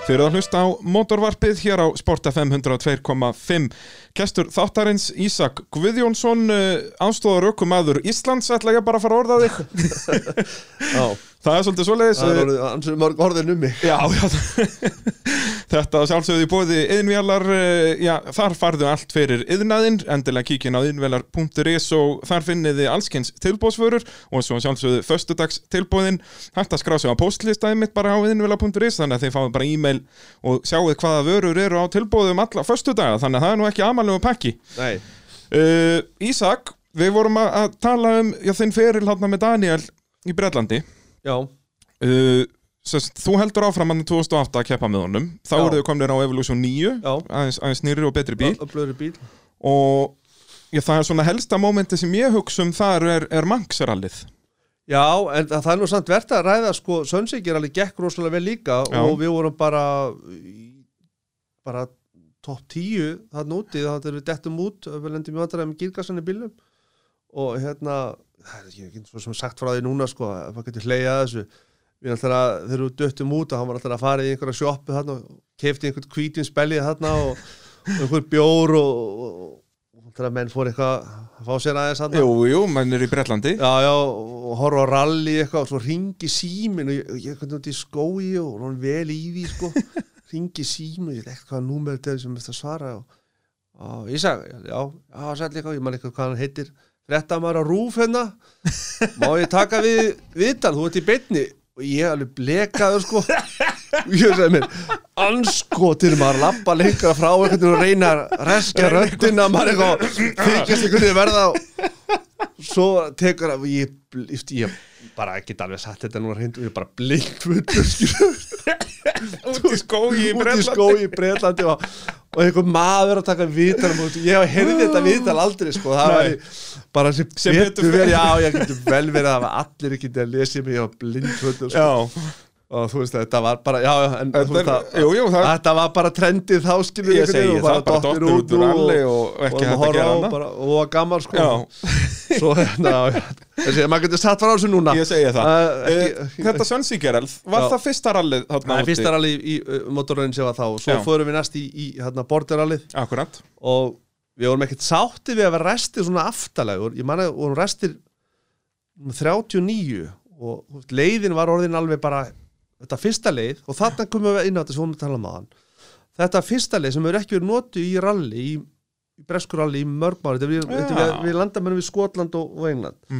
Speaker 1: Þið eruð að hlusta á motorvarpið hér á Sport FM 102.5. Kestur þáttarins Ísak Guðjónsson, uh, ástóðar ökumadur Íslands, ætla ég bara að fara að orða
Speaker 2: [LAUGHS]
Speaker 1: þig.
Speaker 2: já,
Speaker 1: Það er svolítið svoleiðis.
Speaker 2: það
Speaker 1: uh,
Speaker 2: er orðið, ansið mörg orðin um mig
Speaker 1: Já, já Þetta að sjálfsögðu í bóði yðnvélar, eh, já, þar farðu allt fyrir yðnaðinn, endilega kíkin á yðnvélar.is og þar finniði allskins tilbóðsförur og svo að sjálfsögðu föstudags tilbóðin, hægt að skrá sig á postlistaði mitt bara á yðnvélar.is þannig að þið fáið bara e-mail og sjáuð hvaða vörur eru á tilbóðum alla föstudaga þannig að það er nú ekki amalegu pakki
Speaker 2: Nei.
Speaker 1: uh, Ísak, við vorum að, að tala um já, þinn feril hátna með Daniel í Bretlandi
Speaker 2: já,
Speaker 1: Uh, sest, þú heldur áfram hann 2008 að keppa með honum þá
Speaker 2: Já.
Speaker 1: eru þau komnir á Evolution 9
Speaker 2: Já.
Speaker 1: aðeins, aðeins nýri og betri bíl
Speaker 2: Öflöðri bíl
Speaker 1: og ég, það er svona helsta momenti sem ég hugsa um þar er, er Manx-rallið
Speaker 2: Já, en það það er nú samt verðt að ræða sko, Sönsingir alveg gekk rosalega vel líka
Speaker 1: Já.
Speaker 2: og við vorum bara í- bara topp 10 þarna úti, þannig að við dettum út við lendum í vandræðum gírkassan í bílum og hérna það er ekki, ekki svo sem sagt frá því núna sko, að maður getur hleyjað að þessu við alltaf að þegar við döttum út að hann var alltaf að fara í einhverja sjoppu þarna og kefti einhvern hvítin spellið þarna og, og einhver bjór og, og, og, og þegar menn fór eitthvað að fá sér aðeins þarna
Speaker 1: Jú, jú, menn er í Bretlandi
Speaker 2: já, já, og horfa á rally eitthvað og svo ringi símin og ég, ég hvernig út í skói og hann vel í því sko, ringi símin og ég veit ekkert hvaða númer þetta er sem þetta svara og, og ég sagði, já, já, sæll eitthvað, ég man eitthvað hvað hann heitir þetta maður á rúf hérna má ég taka við viðtal, þú ert í beinni og ég alveg blekaður sko og ég sagði mér anskotir maður lappa lengra frá einhvern veginn og reyna að reskja röddina maður eitthvað þykjast einhvern veginn verða svo tekur að ég, ég, ég bara get alveg satt þetta nú reynd og ég er bara blink
Speaker 1: út í skói í
Speaker 2: út í skói í Breitlandi og, og einhver maður að taka viðtal um, ég hef heyrði þetta viðtal aldrei sko, það
Speaker 1: Ah. Nei.
Speaker 2: var bara sem,
Speaker 1: Sem
Speaker 2: betur
Speaker 1: betur fer.
Speaker 2: verið, já ég getur vel verið að allir ekki að lesa mig, ég var blind sko.
Speaker 1: Já,
Speaker 2: og þú veist að þetta var bara já, já, en, þú
Speaker 1: þetta
Speaker 2: veist
Speaker 1: er,
Speaker 2: að,
Speaker 1: jú, jú, það
Speaker 2: þetta var bara trendið þá skilur
Speaker 1: ég segi það bara dottir út úr alli og
Speaker 2: og,
Speaker 1: ekki
Speaker 2: og,
Speaker 1: hægt að gera
Speaker 2: og,
Speaker 1: hana
Speaker 2: bara, og var gammal sko
Speaker 1: Já,
Speaker 2: svo hérna já, þessi, maður getur satt frá þessu núna
Speaker 1: ég segi það
Speaker 2: Uh, ekki-
Speaker 1: Eh, Þetta Sönsíkerall, var
Speaker 2: Já.
Speaker 1: það fyrsta rallið þarna
Speaker 2: Það er
Speaker 1: úti?
Speaker 2: fyrsta rallið í uh, motorraunin sem var þá og svo
Speaker 1: Já.
Speaker 2: fórum við næst í, í hérna, borderrallið
Speaker 1: Akkurat,
Speaker 2: og við vorum ekkert sátti við að vera restir svona aftalegur ég man að við vorum restir um 39 og þú veist, leiðin var orðin alveg bara þetta fyrsta leið og þarna komum við inn á þetta sem við vorum að tala um aðan þetta fyrsta leið sem hefur ekki verið notu í ralli í, í breskuralli í mörg máli þetta er við,
Speaker 1: Já. Mhm.
Speaker 2: þetta er við, við landamennum við Skotland og, og England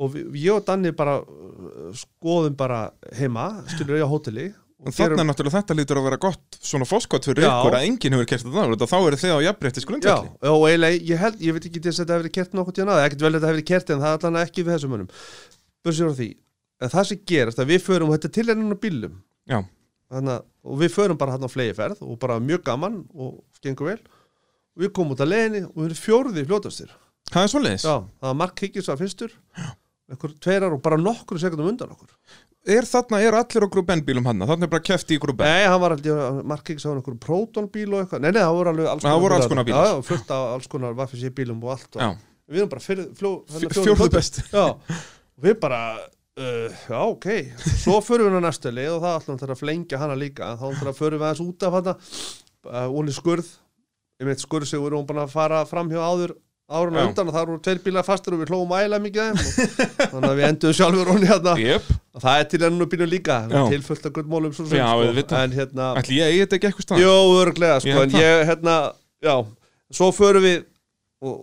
Speaker 2: og við, ég og Danni bara uh, skoðum bara heima skilur ég á hóteli
Speaker 1: en þarna náttúrulega þetta lítur að vera gott svona fóskot fyrir
Speaker 2: Já.
Speaker 1: ykkur að enginn hefur kert þetta þannig, þá eru þið á jafnréttis
Speaker 2: Já,
Speaker 1: grundvelli
Speaker 2: já, og eiginlega, ég held, ég veit ekki til þess að þetta hefur verið kert nokkuð tíðan aðeins, ekkert vel þetta hefur verið kert en það er allan ekki við þessum mönnum Börsir á því, en það sem gerast að við förum og þetta er til ennum á bílum
Speaker 1: Já.
Speaker 2: Þannig, að- og við förum bara hann á flegiferð og bara mjög gaman og gengur vel og við komum út að leiðinni og við erum fjórði fljótastir Já,
Speaker 1: Það er svoleiðis
Speaker 2: það var Mark Higgins að fyrstur einhver tveirar og bara nokkru sekundum undan okkur
Speaker 1: Er þarna, er allir á grúbenn bílum hann þarna er bara keft í grúbenn
Speaker 2: Nei, hann var aldrei, Mark Higgins á einhverjum prótonbíl og eitthvað, nei, nei, það voru alveg alls
Speaker 1: Það voru alls konar bílar.
Speaker 2: Já, já, fullt af alls konar vaffis í bílum og allt og
Speaker 1: Já,
Speaker 2: við erum bara fyrir, fljó,
Speaker 1: Fjó- fjórðu best
Speaker 2: já, og við bara uh, já, ok, svo förum við hann næstu leið og það ætlum við að flengja hana líka þá ætlum við að förum við aðeins út af hana uh, Óli Skurð, ég meitt Skurð sem við erum búin að fara fram hjá áður árun
Speaker 1: Já.
Speaker 2: og undan og það eru tveir bílar fastur og við hlóum ægilega mikið að þeim og, þannig að við endum sjálfur honni hérna
Speaker 1: Jöp,
Speaker 2: og það er til ennum bílum líka
Speaker 1: Já.
Speaker 2: tilfullt af guttmólum svo sem,
Speaker 1: Já,
Speaker 2: sko.
Speaker 1: auðvitað.
Speaker 2: en hérna
Speaker 1: ætli ég eigi þetta ekki eitthvað stað
Speaker 2: Jó, örglega, sko,
Speaker 1: Ég held
Speaker 2: en
Speaker 1: það.
Speaker 2: ég, hérna, já, svo förum við og,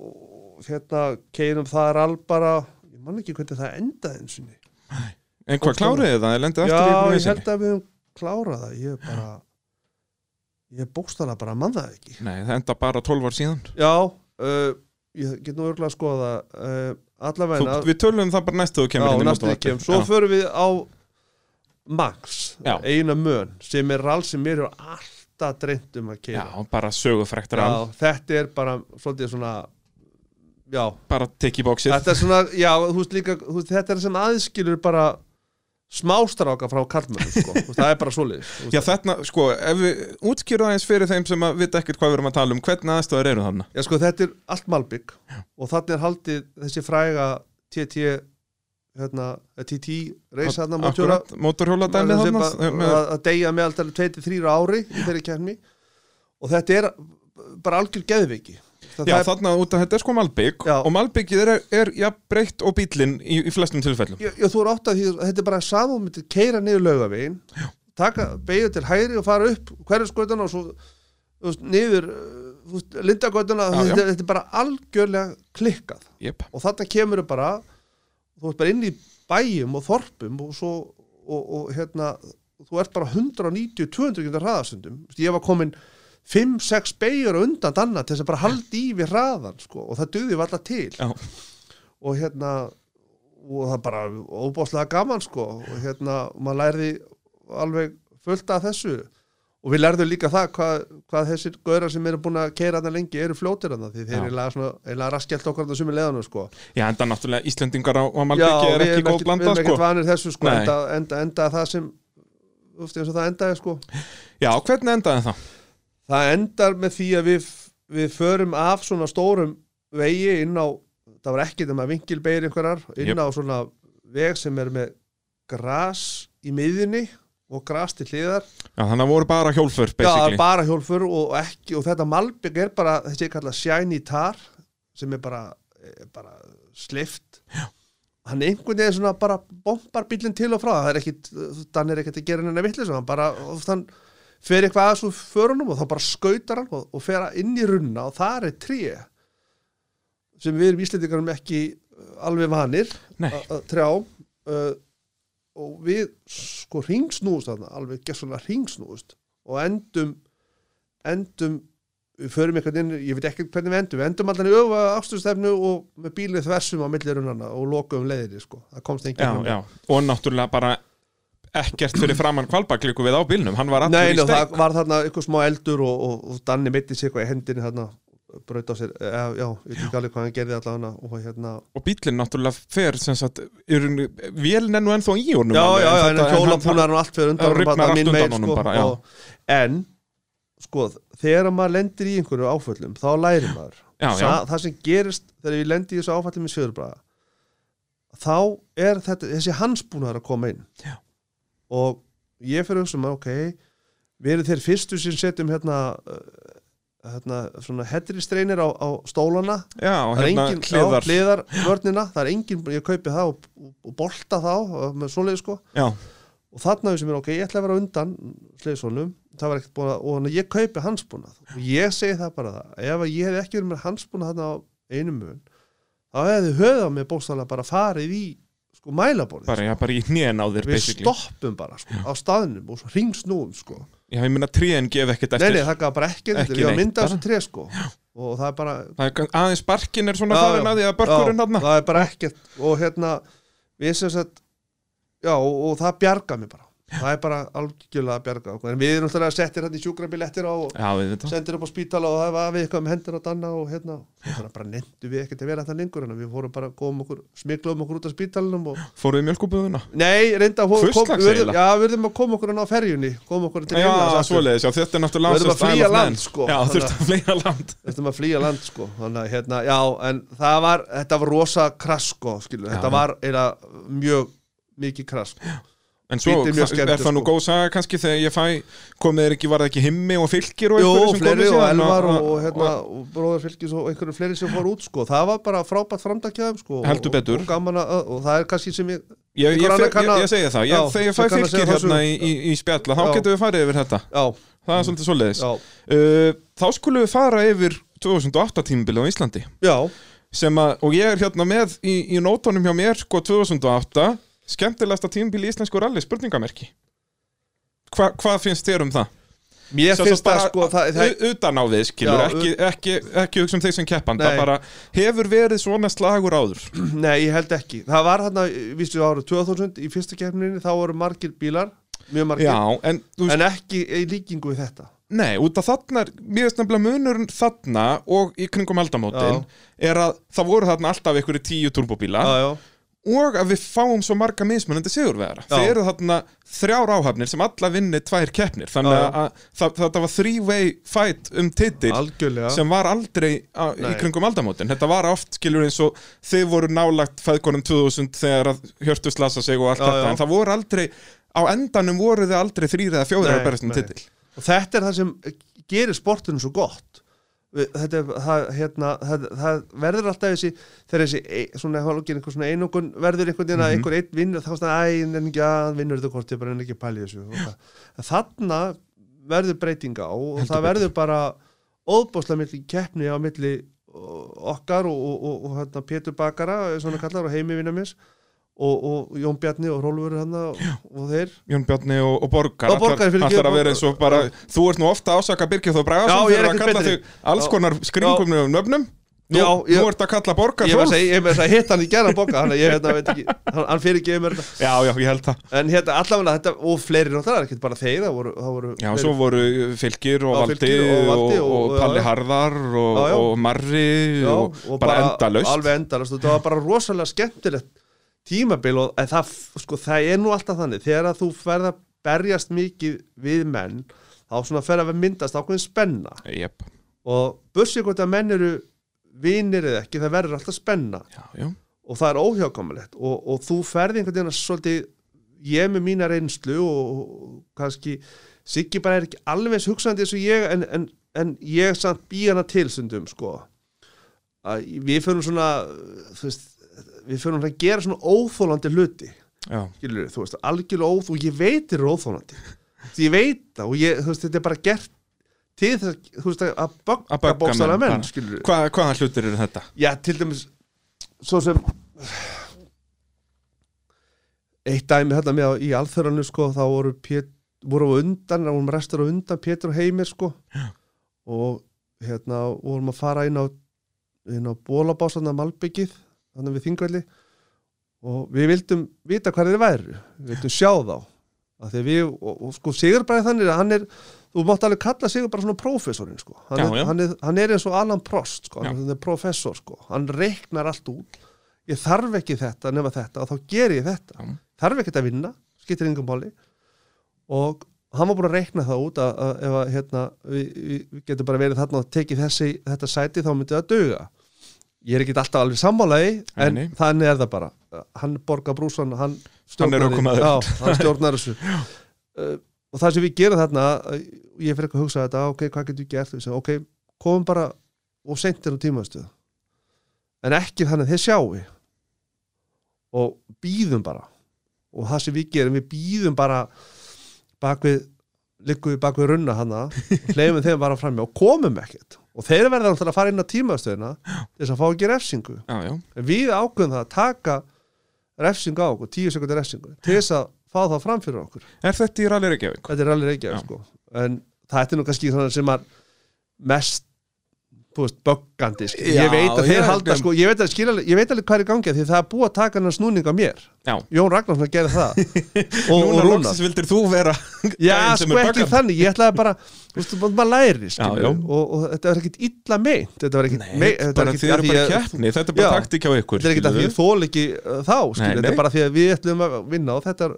Speaker 2: og hérna, keirum það er alveg bara, ég man ekki hvernig það endaði eins og niður.
Speaker 1: En hvað kláriði það, það lendi
Speaker 2: Já,
Speaker 1: eftir í
Speaker 2: ég
Speaker 1: brúinsinni
Speaker 2: held að við höfum klárað það, ég er bara, ég bókstala bara að mann það ekki.
Speaker 1: Nei, það enda bara 12 ár síðan
Speaker 2: Já, uh, ég get nú örglega að skoða það, uh,
Speaker 1: Þú,
Speaker 2: allavegna,
Speaker 1: Við tölum það bara næstu þú kemur
Speaker 2: já,
Speaker 1: hérna
Speaker 2: næstu við kem, svo
Speaker 1: Já.
Speaker 2: förum við á Max,
Speaker 1: Já.
Speaker 2: eina mön, sem er rall sem mér hefur alltaf dreymt um að keira.
Speaker 1: Já, bara sögufrækt rann,
Speaker 2: já, þetta er bara svolítið svona já,
Speaker 1: bara tiki bóksið
Speaker 2: þetta er svona já, þú veist líka, þú veist, þetta er sem aðskilur bara smástráka frá kallmönnum sko. Þú veist, það er bara svoleiðis þú veist.
Speaker 1: Já þarna, sko, ef við útskýrðu aðeins fyrir þeim sem að vita ekkert hvað við erum að tala um hvernig aðstæður eru þarna?
Speaker 2: já, sko, þetta er allt malbygg og þannig er haldið þessi fræga TT hérna, eh, TT reis hérna mótjóra
Speaker 1: Akkurat, mótorhjóladæmið
Speaker 2: Sem
Speaker 1: þarna
Speaker 2: bara-
Speaker 1: með,
Speaker 2: að að deyja með alltaf 23 ári í þeirri kemni og þetta er bara algjör geðviki það,
Speaker 1: Já
Speaker 2: það er
Speaker 1: þarna út að þetta er sko Malbygg
Speaker 2: Já.
Speaker 1: og Malbyggið er, er ja, breytt og bílinn í, í flestum tilfellum
Speaker 2: ég, ég þú er átt að því, þetta er bara saman myndir keira niður laugavegin taka beigju til hægri og fara upp hverjarskotana og svo þú veist, niður eh, lindagotana
Speaker 1: Já, já.
Speaker 2: þetta, þetta er bara algjörlega klikkað
Speaker 1: Jep,
Speaker 2: og þarna kemur þau bara þú ert bara inn í bæjum og þorpum og svo og, og hérna þú ert bara 190-200 km hraðasundum ég var komin 5-6 beigur undan danna til þess að bara haldi í við hraðan sko, og það duði við alla til
Speaker 1: já,
Speaker 2: og hérna og það er bara óbáslega gaman sko og hérna og maður lærði alveg fullt af þessu og við lærðum líka það hvað, hvað þessir gauðra sem eru búin að keira þarna lengi eru fljótir þarna því þeir
Speaker 1: Já.
Speaker 2: eru eiginlega svona- eiginlega raskelt okkur þarna sumi leiðanum sko
Speaker 1: Já, en það náttúrulega Íslendingar á, á Malbyggi er
Speaker 2: við
Speaker 1: ekki
Speaker 2: erum
Speaker 1: góð blanda
Speaker 2: við erum
Speaker 1: sko.
Speaker 2: ekkert vanir þessu sko
Speaker 1: Nei.
Speaker 2: enda, enda, enda það sem ufti eins og það endaði sko
Speaker 1: Já, hvernig endaði það?
Speaker 2: það endar með því að við, við förum af svona stórum vegi inn á, það var ekki þeim að vinkilbeir einhverjar, inn
Speaker 1: Jöp.
Speaker 2: á svona veg sem er með gras í miðjunni og gras til hliðar
Speaker 1: Já, þannig að voru bara hjólfur,
Speaker 2: Já,
Speaker 1: basically.
Speaker 2: bara hjólfur og ekki og þetta malbygg er bara, þessi er kallað shiny tar sem er bara, er bara slift Já. hann einhvern veginn svona bara bombar bílinn til og frá það er ekkit, þann er ekkit að gera henni vitlis hann bara, og hann fer eitthvað að svo förunum og þá bara skautar hann og, og fer að inn í runna og þar er tré sem við erum íslendingarum ekki uh, alveg vanir
Speaker 1: Nei.
Speaker 2: að að trjám uh, og við sko ringsnúðust þarna, alveg gessulega ringsnúðust og endum endum, við förum eitthvað inn ég veit ekki hvernig við endum, við endum alltaf í öfa afstöðstefnu og með bílið þversum á milli runnana og lokuðum leiðinni sko það komst
Speaker 1: Já,
Speaker 2: enginn
Speaker 1: já, og náttúrulega bara ekkert fyrir framann kvalbakliku við á bílnum, hann var
Speaker 2: Nei,
Speaker 1: allir í
Speaker 2: nei,
Speaker 1: steik.
Speaker 2: það var þarna eitthvað smá eldur og, og, og Danni mitti sér eitthvað í hendinni þarna braut á sér, eh, já, ég veit ekki alveg hvað hann gerði allavega og hérna
Speaker 1: Og bílinn náttúrulega fer, sem sagt, er, vélinn er nú ennþá í honum.
Speaker 2: já,
Speaker 1: alveg,
Speaker 2: já, já,
Speaker 1: þetta-
Speaker 2: en hjólabúnar
Speaker 1: hann-
Speaker 2: og allt fyrir
Speaker 1: Já,
Speaker 2: undan honum,
Speaker 1: rifnar
Speaker 2: bara
Speaker 1: allt
Speaker 2: mín
Speaker 1: undan
Speaker 2: meir,
Speaker 1: honum bara, já.
Speaker 2: sko, og- en sko, þegar maður lendir í einhverju áföllum, þá lærir maður
Speaker 1: Já, já.
Speaker 2: Sa- það sem gerist þegar ég lendi í þessu áfallum í Sjöðurbraga þá er þetta, þessi hansbúnar að koma inn já. og ég fyrir að hugsa maður, ok við erum þeir fyrstu sem setjum hérna uh, hérna, svona headristreinir á, á stólana
Speaker 1: Já, og
Speaker 2: það er
Speaker 1: hérna
Speaker 2: engin
Speaker 1: hliðar.
Speaker 2: hliðar, hliðar vörnina, það er engin, ég kaupi það og, og bolta þá uh, með svoleið sko
Speaker 1: Já,
Speaker 2: og þarna við sem er ok, ég ætla að vera á undan sleiðsónum, það var ekkert búin að og hann ég kaupi hansbúnað og ég segi það bara það ef að ég hef ekki verið með hansbúnað þarna á einum mun þá hefði höfða mig bóstaðlega bara farið í sko mælaborðið sko.
Speaker 1: bara, já, bara í hnén á þér,
Speaker 2: við
Speaker 1: basically.
Speaker 2: stoppum bara sko, á staðnum og ringsnúum sko
Speaker 1: Já, ég meina tríðin gef ekkert
Speaker 2: nei,
Speaker 1: eftir.
Speaker 2: nei, það gaf bara ekki,
Speaker 1: Ekki
Speaker 2: ekki við að
Speaker 1: neitt,
Speaker 2: mynda
Speaker 1: bara.
Speaker 2: þessu tre sko og það er bara
Speaker 1: Það er kann- aðeins barkinn er svona
Speaker 2: Já,
Speaker 1: farin
Speaker 2: já,
Speaker 1: að því að börkurinn
Speaker 2: já,
Speaker 1: hann
Speaker 2: það er bara ekkert og hérna við sem sagt já og, og það bjarga mér bara það er bara algjörlega að bjarga okkur en við erum náttúrulega settir hérna í sjúkrabil eftir á og
Speaker 1: Já, við veitum
Speaker 2: sendir upp á spítala og það var við eitthvað með um hendur á danna og hérna þannig bara nefndu við ekkert að vera þetta lengur en við fórum bara góðum okkur smiglaðum okkur út af spítalanum og
Speaker 1: Fóruðu mjölkubúðuna?
Speaker 2: nei reynda að fó-
Speaker 1: Hvurslags
Speaker 2: við
Speaker 1: eiginlega?
Speaker 2: urðum- já við verðum að koma okkur inn á ferjunni koma okkur til
Speaker 1: Já,
Speaker 2: Englands aftur.
Speaker 1: svoleiðis, já, þetta er náttúrulega
Speaker 2: Við erum að
Speaker 1: sem Style
Speaker 2: flýja
Speaker 1: of
Speaker 2: land,
Speaker 1: Man.
Speaker 2: sko.
Speaker 1: Já,
Speaker 2: Þannig
Speaker 1: þurfti að flýja land
Speaker 2: þurftum að flýja land sko þannig að hérna, já, en það var þetta var rosa krass sko, skilu þetta
Speaker 1: já.
Speaker 2: var eða mjög mikið krass sko.
Speaker 1: En svo
Speaker 2: Bíllinn mjög
Speaker 1: hva-
Speaker 2: skemmtur,
Speaker 1: er það nú
Speaker 2: sko.
Speaker 1: góð saga kannski þegar ég fæ komið er ekki, var það ekki himmi og fylgir og
Speaker 2: Jó,
Speaker 1: einhverjum
Speaker 2: og
Speaker 1: sem
Speaker 2: fleiri
Speaker 1: komu
Speaker 2: og
Speaker 1: síðan
Speaker 2: Elvar og, og, hérna, og bróðar fylgis og einhverju fleiri sem fór út sko, það var bara frábært framdakjaðum sko, og-
Speaker 1: Heldur betur.
Speaker 2: og, og, gaman að, og það er kannski sem ég
Speaker 1: Ég, ég,
Speaker 2: einhver
Speaker 1: ég,
Speaker 2: annar kann
Speaker 1: ég,
Speaker 2: að-
Speaker 1: ég segi það, ég,
Speaker 2: Já,
Speaker 1: þegar ég fæ
Speaker 2: sem kann að
Speaker 1: fylgir
Speaker 2: segja þessu.
Speaker 1: hérna í, í, í spjalla þá
Speaker 2: Já.
Speaker 1: getum við farið yfir þetta
Speaker 2: já,
Speaker 1: Það er svolítið svoleiðis
Speaker 2: já,
Speaker 1: uh, Þá skulum við fara yfir 2008 tímabilið á Íslandi
Speaker 2: já,
Speaker 1: sem að, og ég er hérna með í, í nótunum hjá mér, sko 2008 skemmtilegasta tímabili í íslensku rally spurningamerki Hva, hvað finnst þér um það?
Speaker 2: mér
Speaker 1: Sem sagt
Speaker 2: finnst það
Speaker 1: bara
Speaker 2: sko það, það,
Speaker 1: u- utan á við skilur,
Speaker 2: Já,
Speaker 1: ekki, ekki, ekki hugsa um þeir sem keppan
Speaker 2: Nei.
Speaker 1: það bara hefur verið svona slagur áður
Speaker 2: nei, ég held ekki það var þarna, vístu ára 2000 í fyrsta kefninni, þá voru margir bílar mjög margir,
Speaker 1: já, en þú veist,
Speaker 2: en ekki í líkingu við þetta
Speaker 1: nei, út af þarna er- mér veist nefnilega munurinn þarna og í kringum aldamótin er að það voru þarna alltaf einhverju tíu turbóbíla
Speaker 2: já, já,
Speaker 1: og að við fáum svo marga mismunandi sigurvegara
Speaker 2: Já.
Speaker 1: þeir eru þarna þrjár áhafnir sem alla vinni tvær keppnir þannig
Speaker 2: Já, já.
Speaker 1: að, að þetta var three-way fight um titil
Speaker 2: algjörlega
Speaker 1: sem var aldrei á, í
Speaker 2: Nei.
Speaker 1: kringum aldamótin þetta var oft skilur eins og þið voru nálagt fæðkonum 2000 þegar að hjörtu slasa sig og allt
Speaker 2: Já,
Speaker 1: þetta
Speaker 2: já.
Speaker 1: en það voru aldrei á endanum voru þið aldrei þrýr eða fjóður
Speaker 2: Nei,
Speaker 1: að berast um
Speaker 2: nei.
Speaker 1: titil
Speaker 2: og þetta er það sem gerir sportinu svo gott Við- þetta er, það, hérna, það, það verður alltaf þessi þegar þessi e- svona hálfgerð einhver svona einungun verður einhvern veginn að einhver einn vinnur þá er svona æ, en ekki að hann vinnur þetta hvort ég bara en ekki pæli þessu og það. þarna verður breytinga á og
Speaker 1: Heldur
Speaker 2: það verður bara óbáslega milli keppni á milli ó, okkar og, og, og, og hérna, Pétur Bakara svona kallar og heimi vinna mér og, og Jón Bjarni og Rólfur hann og, og þeir
Speaker 1: Jón Bjarni og, og Borgar
Speaker 2: Og Borgar, fyrir
Speaker 1: allar
Speaker 2: ekki,
Speaker 1: að vera eins og bara þú ert nú ofta að ásaka Birgir Þór Bragason
Speaker 2: Já,
Speaker 1: fyrir
Speaker 2: ég er
Speaker 1: að
Speaker 2: ekkert
Speaker 1: kalla
Speaker 2: betri.
Speaker 1: þig alls konar skringum nöfnum Nú,
Speaker 2: Já, ég-
Speaker 1: nú ertu að kalla borgar
Speaker 2: Ég var að segja, ég er með þess að hitta hann í gerðan boka Þannig að ég hérna, veit ekki, hann, hann fyrir ekki mér þetta
Speaker 1: Já, já, ég held það
Speaker 2: En hérna allavega þetta, og fleiri náttúrulega, ekki bara þeir Það voru, það voru
Speaker 1: Já,
Speaker 2: fleiri.
Speaker 1: svo voru Fylgir og
Speaker 2: Já,
Speaker 1: Valdi
Speaker 2: Fylkir og
Speaker 1: og, og,
Speaker 2: Valdi og-
Speaker 1: Palli
Speaker 2: já, já.
Speaker 1: Harðar og,
Speaker 2: Já, já.
Speaker 1: og Marri
Speaker 2: Já,
Speaker 1: og, bara, endalaust
Speaker 2: Alveg endalaust, og þetta var bara rosalega skemmtilegt tímabil og en það, sko, það er nú alltaf þannig Þegar að þú ferð að berjast mikið við menn Þá svona fer að myndast ákveðin spenna
Speaker 1: Jep,
Speaker 2: Og bursið hvort að menn eru vinir eða ekki, það verður alltaf spenna
Speaker 1: já, já,
Speaker 2: og það er óhjákamulegt og, og þú ferði einhvern veginn að svolítið ég með mína reynslu og, og kannski Siggi bara er ekki alveg eins hugsandi eins og ég en, en, en ég samt bý hana til stundum sko að við fyrir svona þú veist, við fyrir að gera svona óþólandi hluti
Speaker 1: já
Speaker 2: skilur, þú veist, algjörlega óþ og ég veit er óþólandi því ég veit það og ég, þú veist, þetta er bara gert til þess að, þú veist, að
Speaker 1: Að
Speaker 2: bögga
Speaker 1: bögga
Speaker 2: bókstæla
Speaker 1: menn,
Speaker 2: menn,
Speaker 1: bara.
Speaker 2: skilur
Speaker 1: Hva, Hvaða hlutir eru þetta?
Speaker 2: Já, til dæmis Svo sem Eitt dæmi hérna með á- í alþöranu sko, þá voru, Pét, voru á undan þá vorum restur á undan, Pétur og Heimir sko og hérna vorum að fara inn á inn á Bólabás, hann að Malbyggið þannig við þingvelli og við vildum vita hvað þeir væru við vildum sjá þá að því að við, og, og sko Sigurbræði þannig að hann er þú mátt alveg kalla Sigurbræði svona prófessorinn sko. hann,
Speaker 1: Já,
Speaker 2: er-
Speaker 1: já.
Speaker 2: hann, er- hann er eins og Alan Prost sko.
Speaker 1: Já.
Speaker 2: hann er professor, sko. hann reiknar allt út ég þarf ekki þetta nema þetta og þá ger ég þetta
Speaker 1: Já.
Speaker 2: þarf ekki að vinna, skiptir yngum bóli og hann var búin að reikna það út að, að ef að hérna, við, við, við getum bara verið þarna og tekið þessi, þetta sæti þá myndi það duga ég er ekki alltaf alveg sammálaði en
Speaker 1: Nei, nei.
Speaker 2: þannig er það bara hann borgar brúsan, hann
Speaker 1: Hann er
Speaker 2: stjórnar því.
Speaker 1: ökumaður.
Speaker 2: Já, hann
Speaker 1: [LAUGHS]
Speaker 2: stjórnar þessu uh, og það sem við gerum þarna uh, ég fyrir ekki að hugsa þetta, ok, hvað getum við gert við segja, ok, komum bara og sentir á tímaðstöð en ekki þannig að þeir sjáu og býðum bara og það sem við gerum, við býðum bara bakvið liggum við bakvið runna hana og hleyfum þeim bara framjá og komum ekkert og þeir verða alltaf að fara inn á tímaðstöðina til þess að fá ekki refsingu
Speaker 1: Já, já,
Speaker 2: En við ákveðum það að taka refsingu á okkur, tíu sekundi refsingu til þess að fá það fram fyrir okkur
Speaker 1: er þetta í Rally Reykjavík?
Speaker 2: þetta er alveg reykjað
Speaker 1: Já.
Speaker 2: sko. en þetta er nú kannski svona sem að mest þú veist, böggandi sko.
Speaker 1: Já,
Speaker 2: ég veit að
Speaker 1: ég-
Speaker 2: þeir halda sko, ég veit að skilja ég veit alveg hvað er í gangi af því það er búið að taka hennar snúning á mér
Speaker 1: Já
Speaker 2: Jón Ragnarsson gerði
Speaker 1: [LAUGHS]
Speaker 2: það og, og
Speaker 1: Núna
Speaker 2: Rúna
Speaker 1: loksins vildir þú vera
Speaker 2: Já,
Speaker 1: gæinn sem
Speaker 2: sko
Speaker 1: er
Speaker 2: ekki
Speaker 1: böggandi.
Speaker 2: þannig, ég ætlaði bara þú veist, maður maður læri, skilur
Speaker 1: já.
Speaker 2: og, og þetta var ekkit illa meint þetta var ekkit
Speaker 1: Nei,
Speaker 2: meint- þetta var
Speaker 1: bara
Speaker 2: ekkit-
Speaker 1: þið
Speaker 2: af
Speaker 1: eru
Speaker 2: því
Speaker 1: bara í
Speaker 2: ég-
Speaker 1: keppni Þetta er bara
Speaker 2: Já.
Speaker 1: taktík hjá ykkur
Speaker 2: þetta er ekki að því
Speaker 1: skilurðu.
Speaker 2: ég þól ekki uh, þá skilur,
Speaker 1: Nei,
Speaker 2: þetta
Speaker 1: nei.
Speaker 2: er bara því að við ætlum að vinna og þetta er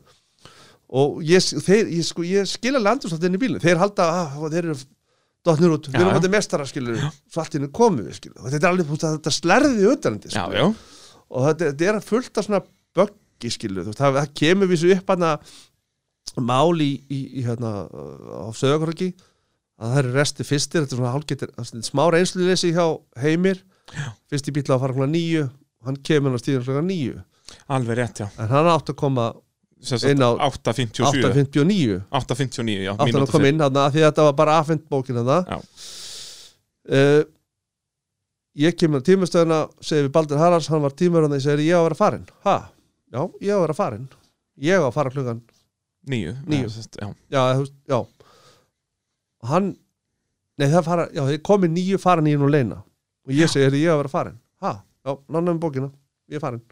Speaker 2: og ég, þeir, ég, sko, ég skilja landur svolítið inn í bílunum, þeir halda að þeir eru dottnir út,
Speaker 1: Já,
Speaker 2: við erum
Speaker 1: já.
Speaker 2: þetta mestara skilur, svo allt inni komum við skilur og þetta er alveg, þú veist, að þetta slerði
Speaker 1: Já,
Speaker 2: utanandi skilur,
Speaker 1: já,
Speaker 2: og þetta, þetta er fullt af svona böggi skilur, þú veist, það, það kemur við svo upp hana máli í, í, í hérna, uh, á söguröki að það eru resti fyrstir, þetta er svona hálfgetir það er smá reynsluleysi hjá heimir já. fyrst í bíla að fara klokka nýju hann kemur hann á stíðan klokka nýju
Speaker 1: alveg rétt, já
Speaker 2: en hann átti að koma
Speaker 1: Sess,
Speaker 2: Inn á
Speaker 1: 8.57
Speaker 2: 8.59
Speaker 1: 8.59, já,
Speaker 2: átti hann að
Speaker 1: mínútur
Speaker 2: koma inn hann því að þetta var bara afhengt bókin hann
Speaker 1: Já.
Speaker 2: uh, ég kemur á tímastöðuna segir við Baldur Haralds, hann var tímur hann segir ég á að vera farin ha? já, ég á að vera farin ég á að fara klukkan
Speaker 1: Níu,
Speaker 2: Níu.
Speaker 1: Já, sest, já.
Speaker 2: já, þú veist, já hann, nei það fara já, þeir komið nýju fara nýjum og leina og ég segi, heyrðu, ég er að vera farin ha, já, nána með bókina, ég er farin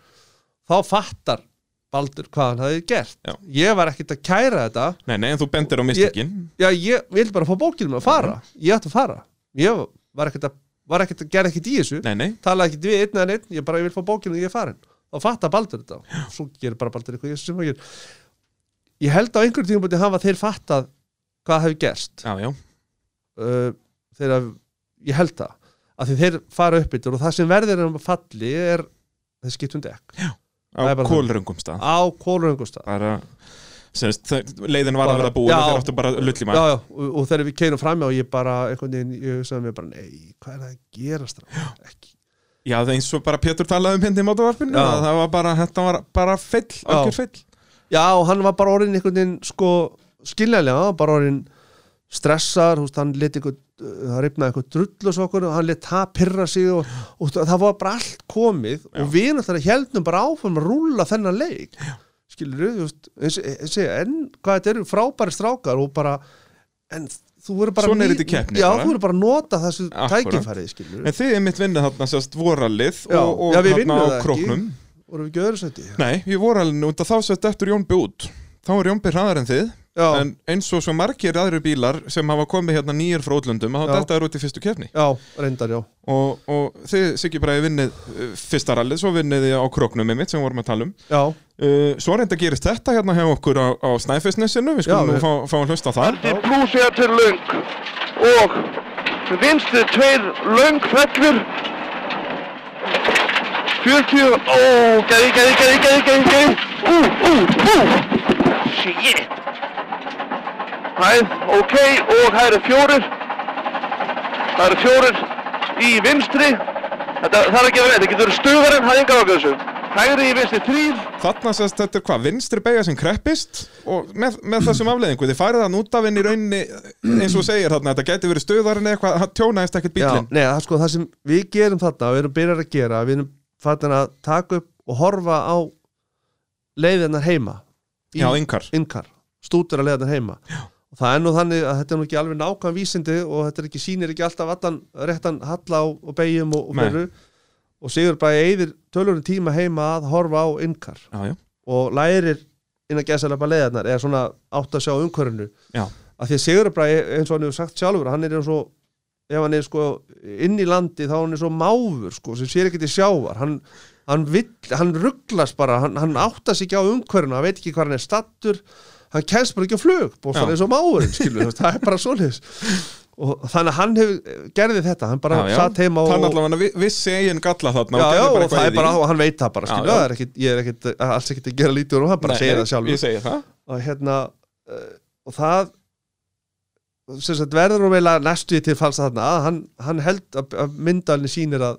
Speaker 2: þá fattar Baldur hvað hann hafi gert
Speaker 1: Já.
Speaker 2: ég var ekkert að kæra þetta
Speaker 1: Nei, nei, en þú bendir á mistökin
Speaker 2: já, ég vildi bara fá bókinum að fara ég ætti að fara ég var ekkert að, var ekkert að gera ekkert í þessu
Speaker 1: Nei, nei,
Speaker 2: talaði ekkert við einn eða einn, ég bara ég vil fá bókinu og ég er farin og fatta Baldur þetta og svo gerir bara Baldur eitthvað ég, sem hann gerir. ég held á einhverjum tíma búin að hafa þeir fattað hvað hefur gerst
Speaker 1: já, já,
Speaker 2: uh, þegar ég held það að því þeir fara upp yfir og það sem verður um falli er þeir skiptum dekk
Speaker 1: á
Speaker 2: Það er bara
Speaker 1: kólröngum stað
Speaker 2: á kóluröngustað
Speaker 1: bara, semst, þau- leiðin var að
Speaker 2: Bara-
Speaker 1: vera búin
Speaker 2: Já.
Speaker 1: og þeir áttu bara lull í
Speaker 2: já,
Speaker 1: maður
Speaker 2: já, og, og þegar við keinum framjá ég bara einhvern veginn, ég hugsaði mér bara nei, hvað er það að gerast það ekki
Speaker 1: Já, það er eins og bara Pétur talaði um hindi í mótavarpinu
Speaker 2: Já.
Speaker 1: að það var bara, þetta var bara feill, algjör feill
Speaker 2: Já, og hann var bara orðin einhvern veginn sko skiljanlega, hann var bara orðin stressar, húst, hann lit einhvern það rifnaði einhvern drull og svo okkur og hann lit það pyrra sig og, og það var bara allt komið og við náttúrulega heldum bara áfram að rúlla þennan leik skilur við, þú veist eins- eins og ég segja, en hvað þetta eru frábæri strákar og bara en þú verður bara
Speaker 1: Svona er
Speaker 2: ný-
Speaker 1: þetta í keppni
Speaker 2: já,
Speaker 1: bara.
Speaker 2: þú verður bara að nota þessu
Speaker 1: Akkúrat.
Speaker 2: tækifærið skilur
Speaker 1: En þið er mitt vinnið þarna sérst voralið
Speaker 2: Já,
Speaker 1: og, og
Speaker 2: já, við
Speaker 1: þarna
Speaker 2: vinnum
Speaker 1: á
Speaker 2: það ekki.
Speaker 1: króknum.
Speaker 2: voru við ekki öðru sæti
Speaker 1: Nei, ég voralinu og þá sett eftir Jónbi út. Þá er Jónbi hraðar en þið.
Speaker 2: já,
Speaker 1: En eins og svo margir aðri bílar sem hafa komið hérna nýjir frá útlöndum, þá
Speaker 2: Já.
Speaker 1: þetta er út í fyrstu kefni.
Speaker 2: já, reyndar já
Speaker 1: Og, og þið, Siggi Bræði, vinnið eh, fyrsta rallið, svo vinnið þið á króknum einmitt sem við vorum að tala um.
Speaker 2: já,
Speaker 1: Uh, svo reynda gerist þetta hérna hjá okkur á, á Snæfellsnesinu, við skulum
Speaker 2: Já,
Speaker 1: nú
Speaker 2: við-
Speaker 1: fá, fá að hlusta þar.
Speaker 3: Vinstri plús er til löng og vinstri tveir löng fellur 40 ó, gæði, gæði, gæði, gæði, gæði, gæði ú, ú, ú shit hæ, ok, og það eru fjórir það eru fjórir í vinstri þetta þarf ekki að vera, þetta getur stuðarinn, það er enga ákveð þessu hægri í vinstri þrýr
Speaker 1: Þarna sérst þetta er hvað, vinstri beigja sem kreppist og með, með þessum afleðingu, þið farið þann út af henni í rauninni eins og þú segir þarna, þetta gæti verið stöðarinn eitthvað, það tjónaðist ekkert
Speaker 2: já
Speaker 1: bílinn.
Speaker 2: nei, það, sko, það sem við gerum þarna og við erum byrjar að gera við erum þarna að taka upp og horfa á leiðinar heima í
Speaker 1: Já, yngar.
Speaker 2: innkar, stútur að leiða þetta heima Já. og það er nú þannig að þetta er nú ekki alveg nákvæm vísindi og þetta er ekki sýnir ekki alltaf allan réttan halla og, og beigjum og, og
Speaker 1: Nei.
Speaker 2: beru og Sigur bara eyðir tölurinn tíma heima að horfa á innkar
Speaker 1: Já, já,
Speaker 2: og lærir inn að gesa lepa leiðarnar eða svona átt að sjá umhverfinu
Speaker 1: já,
Speaker 2: að því að Sigur bara eins og hann hefur sagt sjálfur hann er eins og ef hann er sko inn í landi þá hann er svo máfur sko sem sér ekki til sjávar hann, hann, vill, hann rugglas bara hann, hann áttast ekki á umhverfuna hann veit ekki hvað hann er stattur hann kennst bara ekki á flug og
Speaker 1: Já.
Speaker 2: hann er svo máfurinn skilur við, þú veist, það er bara svoleiðis og þannig að hann hefur gerði þetta hann bara
Speaker 1: já, já.
Speaker 2: satt heima og,
Speaker 1: Þannig allavega vi- vissi eigin galla þarna
Speaker 2: já, já,
Speaker 1: gerði
Speaker 2: og
Speaker 1: eitthvað í
Speaker 2: það er
Speaker 1: því.
Speaker 2: bara og hann veit það bara
Speaker 1: Já,
Speaker 2: skilur
Speaker 1: já.
Speaker 2: við, það er ekkit, ég er ekkit alls ekkit að gera lítið og hann bara
Speaker 1: Nei,
Speaker 2: segir það sjálfur
Speaker 1: Ég segi það.
Speaker 2: og hérna uh, og það sem sagt verður nú meila næstu í til falsa þarna að hann, hann held að, að myndalni sýnir að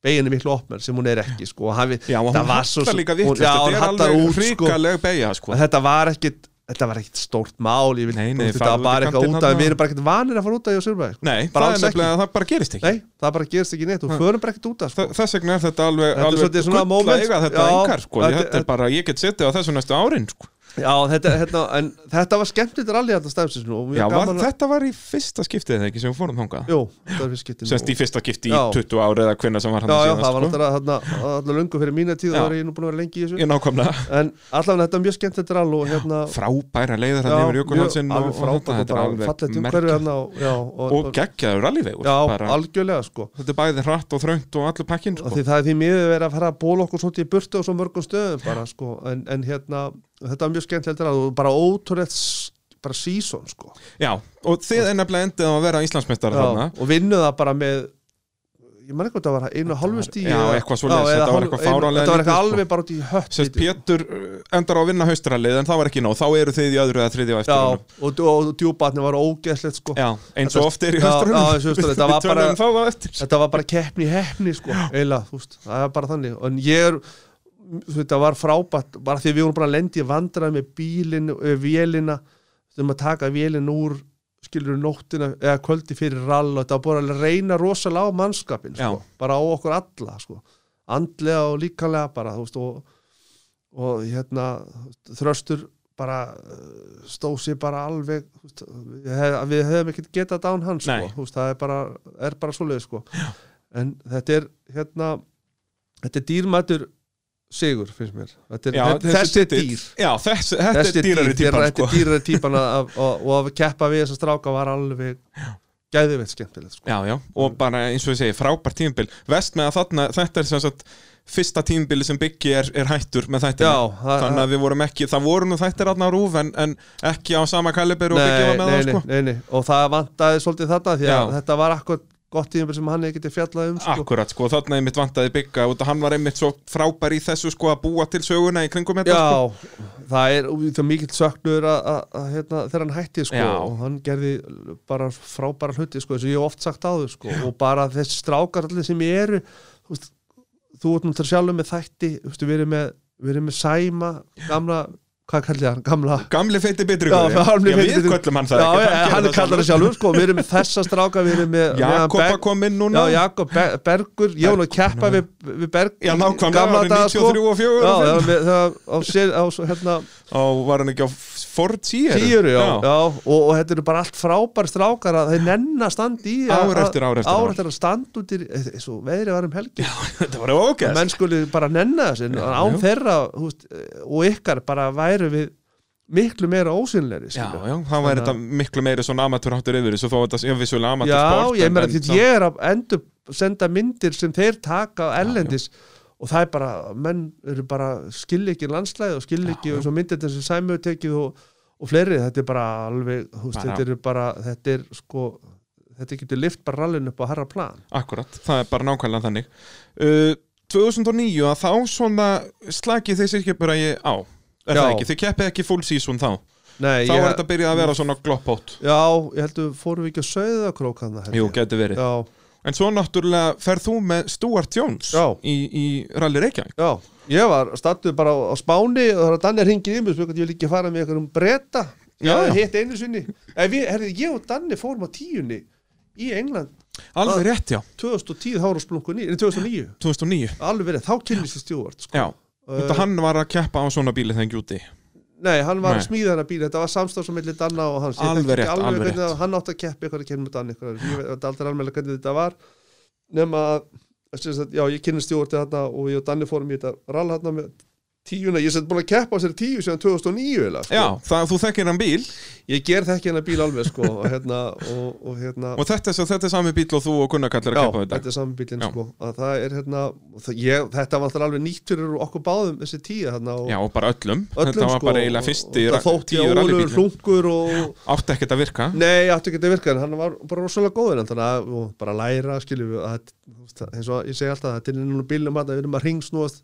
Speaker 2: begin er miklu opnar sem hún er ekki sko og hann við,
Speaker 1: Já, og
Speaker 2: það
Speaker 1: hún
Speaker 2: var svo
Speaker 1: hattar líka vittlust,
Speaker 2: sko. já, hún
Speaker 1: þetta er
Speaker 2: hattar
Speaker 1: alveg
Speaker 2: út sko
Speaker 1: hrikaleg beigja, sko.
Speaker 2: en þetta var ekkit þetta var ekkit stórt mál ég vil,
Speaker 1: Nei, nei,
Speaker 2: þetta
Speaker 1: farðu
Speaker 2: var
Speaker 1: út í
Speaker 2: bara eitthvað
Speaker 1: kantinn
Speaker 2: út að
Speaker 1: þarna.
Speaker 2: við erum bara ekkit vanir að fara út að ég á Sörbæði sko.
Speaker 1: Nei,
Speaker 2: bara
Speaker 1: það er
Speaker 2: alls ekki
Speaker 1: nefnilega að það bara gerist ekki.
Speaker 2: nei, það bara gerist ekki neitt og förum bara ekkit út að
Speaker 1: Þa-
Speaker 2: sko
Speaker 1: Þess vegna er þetta alveg,
Speaker 2: Þetta er
Speaker 1: alveg
Speaker 2: svolítið svona
Speaker 1: gull að
Speaker 2: moment,
Speaker 1: eiga þetta
Speaker 2: já,
Speaker 1: yngar sko.
Speaker 2: þetta-
Speaker 1: þetta, er bara, ég get setið á þessu næstu árin sko.
Speaker 2: já, þetta, hérna, en þetta var skemmtilegt rally þetta stafsins nú og mjög
Speaker 1: já, var,
Speaker 2: gaman að-
Speaker 1: Þetta var í fyrsta skiptið eða ekki sem við fórum þangað
Speaker 2: jú, þetta var fyrst skipti
Speaker 1: Sest í fyrsta skipti í
Speaker 2: Já.
Speaker 1: 20 ári eða hvenna sem var hann
Speaker 2: já, já,
Speaker 1: síðan
Speaker 2: það var
Speaker 1: sko.
Speaker 2: náttúrulega þarna- þarna löngu fyrir mína tíð
Speaker 1: Já.
Speaker 2: þá er ég nú búin að vera lengi í þessu
Speaker 1: Ég nákvæmlega
Speaker 2: en allavega þetta er mjög skemmt þetta er alveg og hérna
Speaker 1: Frábæra leiðar hann
Speaker 2: já,
Speaker 1: yfir Jökulhalsinn
Speaker 2: mjög-
Speaker 1: og,
Speaker 2: alveg
Speaker 1: og þetta, þetta er
Speaker 2: frábært og bara fallegt
Speaker 1: alveg
Speaker 2: umhverfi
Speaker 1: merkilegt
Speaker 2: hérna og, já, og,
Speaker 1: Og geggjaður rallyvegur
Speaker 2: já,
Speaker 1: bara,
Speaker 2: algjörlega sko
Speaker 1: Þetta er bæði hratt og þröngt og allur pakkin
Speaker 2: Af
Speaker 1: sko.
Speaker 2: því það er því miður verið að fara að bóla okkur svolítið í burtu og svo mörgum stöðum bara sko en, en hérna þetta var mjög skemmt heldur að og bara ótrúlegt s- bara sísón sko
Speaker 1: Já, og þið er nefnilega endið á að vera Íslandsmeistar
Speaker 2: já,
Speaker 1: þarna
Speaker 2: og vinnu það bara með ég man eitthvað það var einu og hálfu stíð
Speaker 1: já, eitthvað svoleiðis, þetta var eitthvað fáránlega
Speaker 2: þetta var eitthvað
Speaker 1: lítið, sko.
Speaker 2: alveg bara út í hött
Speaker 1: Sérst Pétur uh, endar á að vinna haustralið en það var ekki nóg, þá eru þið í öðru eða þriðja á eftir
Speaker 2: já,
Speaker 1: honum.
Speaker 2: og, og, og djúbatni var ógeðslegt sko
Speaker 1: Já, eins og oft er í
Speaker 2: Já,
Speaker 1: höstrunum
Speaker 2: já, eins og oft er, þetta var bara-
Speaker 1: Við tölum um það á eftir
Speaker 2: þetta var bara keppni í hefni sko, eiginlega, þú veist, það er bara þannig en ég er, þetta var frábært bara því við vorum bara að lendi vandrað með bílin, eh, vélina þurfum að taka vélina úr skilur nóttina eða kvöldi fyrir rall og þetta var bara að reyna rosalega á mannskapin sko,
Speaker 1: Já.
Speaker 2: bara á okkur alla sko, andlega og líkanlega bara þú veist, og, og hérna þröstur bara eh, stóð sér bara alveg þú veist, við hef- við hefum ekkert getað dán hans
Speaker 1: Nei.
Speaker 2: sko, þú veist, það er bara, er bara svoleið sko. en þetta er hérna þetta er dýrmætur sigur finnst mér þetta er,
Speaker 1: Já,
Speaker 2: þetta, þessi er dýr
Speaker 1: Já, þessi, þetta
Speaker 2: þessi
Speaker 1: er dýrari típan
Speaker 2: þetta
Speaker 1: sko.
Speaker 2: er dýrari típan að- að- og, og að keppa við þessa stráka var alveg gæðiveitt skemmtilegt sko.
Speaker 1: Já, já, og bara eins og ég segi, frábært tímabil Vest með að þarna, þetta er sem sagt fyrsta tímabili sem Biggi er, er hættur með þættina
Speaker 2: Já, það-
Speaker 1: Þannig að við vorum ekki, það voru nú þættir aðna á rúf en, en ekki á sama kalibur og Biggi var með
Speaker 2: nei,
Speaker 1: það sko
Speaker 2: nei, nei, nei, og það vantaði svolítið þetta því að
Speaker 1: Já.
Speaker 2: þetta var akkur gott tíma sem hann ekkert fjallað um sko.
Speaker 1: Akkurat sko, þarna einmitt vantaði Bigga út að hann var einmitt svo frábær í þessu sko að búa til söguna í kringum þetta sko
Speaker 2: Já, það er og það er mikill söknur að, að, að hérna, þegar hann hætti sko,
Speaker 1: Já.
Speaker 2: og hann gerði bara frábæra hluti sko, eins og ég hef oft sagt áður sko, og bara þessi strákar allir sem ég eru þú, veist, þú ert náttúrulega sjálfur með þætti þú veist, við erum með, við erum með Sæma gamla, hvað kallir hann, gamla
Speaker 1: Gamli feiti betri
Speaker 2: Já, hann er
Speaker 1: við
Speaker 2: fyndið-
Speaker 1: köllum hann það
Speaker 2: já,
Speaker 1: ekki
Speaker 2: já, hann
Speaker 1: gerði það
Speaker 2: kallar það
Speaker 1: sjálfur.
Speaker 2: sjálfur sko, við erum með þessa stráka við erum með með
Speaker 1: Jakob
Speaker 2: Berg-
Speaker 1: að koma inn núna
Speaker 2: Já, Jakob Be Bergur, ég var nú að keppa við, við Berg
Speaker 1: Já, nákvæmlega,
Speaker 2: gamla
Speaker 1: árið
Speaker 2: daga, sko.
Speaker 1: 93 og 4
Speaker 2: Já,
Speaker 1: og
Speaker 2: það var með- það var á sér, á, svo- hérna,
Speaker 1: Á, var hann ekki á Ford Sierra
Speaker 2: Týru, já, já. og, og þetta eru bara allt frábær strákar að þeir nenn að standa í
Speaker 1: Ár
Speaker 2: að-
Speaker 1: eftir ár eftir ár.
Speaker 2: ár eftir að standa út í eins og veðrið var um helgi
Speaker 1: [LAUGHS] þetta var ógæst
Speaker 2: menn skuli bara nenna þessu en án
Speaker 1: já.
Speaker 2: þeirra húst, og ykkar bara væru við miklu meira ósynleiri
Speaker 1: Já,
Speaker 2: skilur.
Speaker 1: já, það væri
Speaker 2: Þannig
Speaker 1: þetta
Speaker 2: að-
Speaker 1: miklu meiri svona amatúrháttur yfir þessu þó að þetta sé vissulega
Speaker 2: já
Speaker 1: amatúrsport
Speaker 2: ég meina því ég er að endur senda myndir sem þeir taka ellendis og það er bara, menn eru bara skilja ekki landslæði og skilja ekki og svo myndir sem sæmi og tekið og, og fleiri, þetta er bara alveg húst,
Speaker 1: Bara-
Speaker 2: þetta er bara, þetta er sko þetta getur lift bara rallinu upp á harra plan
Speaker 1: Akkurat, það er bara nákvæmlega þannig uh, 2009 að þá svona slakið þeir sirkjöpur að ég á Er
Speaker 2: Já.
Speaker 1: það ekki, þið keppið ekki full season þá
Speaker 2: Nei,
Speaker 1: Þá
Speaker 2: ég,
Speaker 1: er þetta byrjað að vera svona gloppót
Speaker 2: já, ég heldur, fórum við ekki að sauða krókan það
Speaker 1: Jú, getur verið
Speaker 2: já,
Speaker 1: En svo náttúrulega ferð þú með Stuart Jones
Speaker 2: Já.
Speaker 1: í, í Rally Reykjavík
Speaker 2: já, ég var stattu bara á, á Spáni og það var að Danni hringið í mig og spurði hvort ég vil ekki fara með einhverjum breyta
Speaker 1: Já, já.
Speaker 2: hitt einu sinni Eh, við, herri, ég og Danni fórum á tíunni í England
Speaker 1: Alveg rétt, já,
Speaker 2: 2010 þá voru splunkunni, en 2009
Speaker 1: 2009
Speaker 2: alveg verið, þá kynnist ég stjórn sko.
Speaker 1: Já, þetta hann var að keppa á svona bíli þegar ekki úti
Speaker 2: nei, hann var
Speaker 1: Nei.
Speaker 2: að smíða hennar bíl, þetta var samstafs melli Danna og hans,
Speaker 1: Alveg
Speaker 2: þekki ekki
Speaker 1: rétt, alveg
Speaker 2: hvernig
Speaker 1: rétt.
Speaker 2: að- hann átti að keppi eitthvað að kynna með Danni eitthvað, ég veit aldrei alveg hvernig þetta var nema að, sem sagt, já, ég kynnist stjórn þarna og ég og Danni fórum í þetta rall þarna með tíuna, ég er sem sagt búin að keppa á sér tíu síðan 2009 eiginlega, sko.
Speaker 1: Já, það, þú þekkir hann bíl
Speaker 2: ég ger þekki hennar bíl alveg sko, og hérna, og, og, hérna
Speaker 1: og þetta er, svo- þetta er sami bíl og þú og Gunnar Kall er að
Speaker 2: Já,
Speaker 1: keppa
Speaker 2: þetta
Speaker 1: þetta
Speaker 2: er sami bílinn
Speaker 1: Já.
Speaker 2: sko að það er hérna, það, ég, þetta var alltaf alveg nýtt fyrir okkur báðum þessi tíu hérna og
Speaker 1: Já, og bara öllum,
Speaker 2: öllum
Speaker 1: Þetta var
Speaker 2: sko
Speaker 1: bara eiginlega
Speaker 2: og-
Speaker 1: fyrsti
Speaker 2: og það þótt ég ólugur
Speaker 1: rallybíllinn.
Speaker 2: hlungur og
Speaker 1: Átti ekkert að virka
Speaker 2: nei, ég ætti ekki að virka en hann var bara rosalega góður en þannig að og bara læra, skiljum við að, þú veist, eins og ég segi alltaf, þetta er núna bílum að við erum að ringsnóð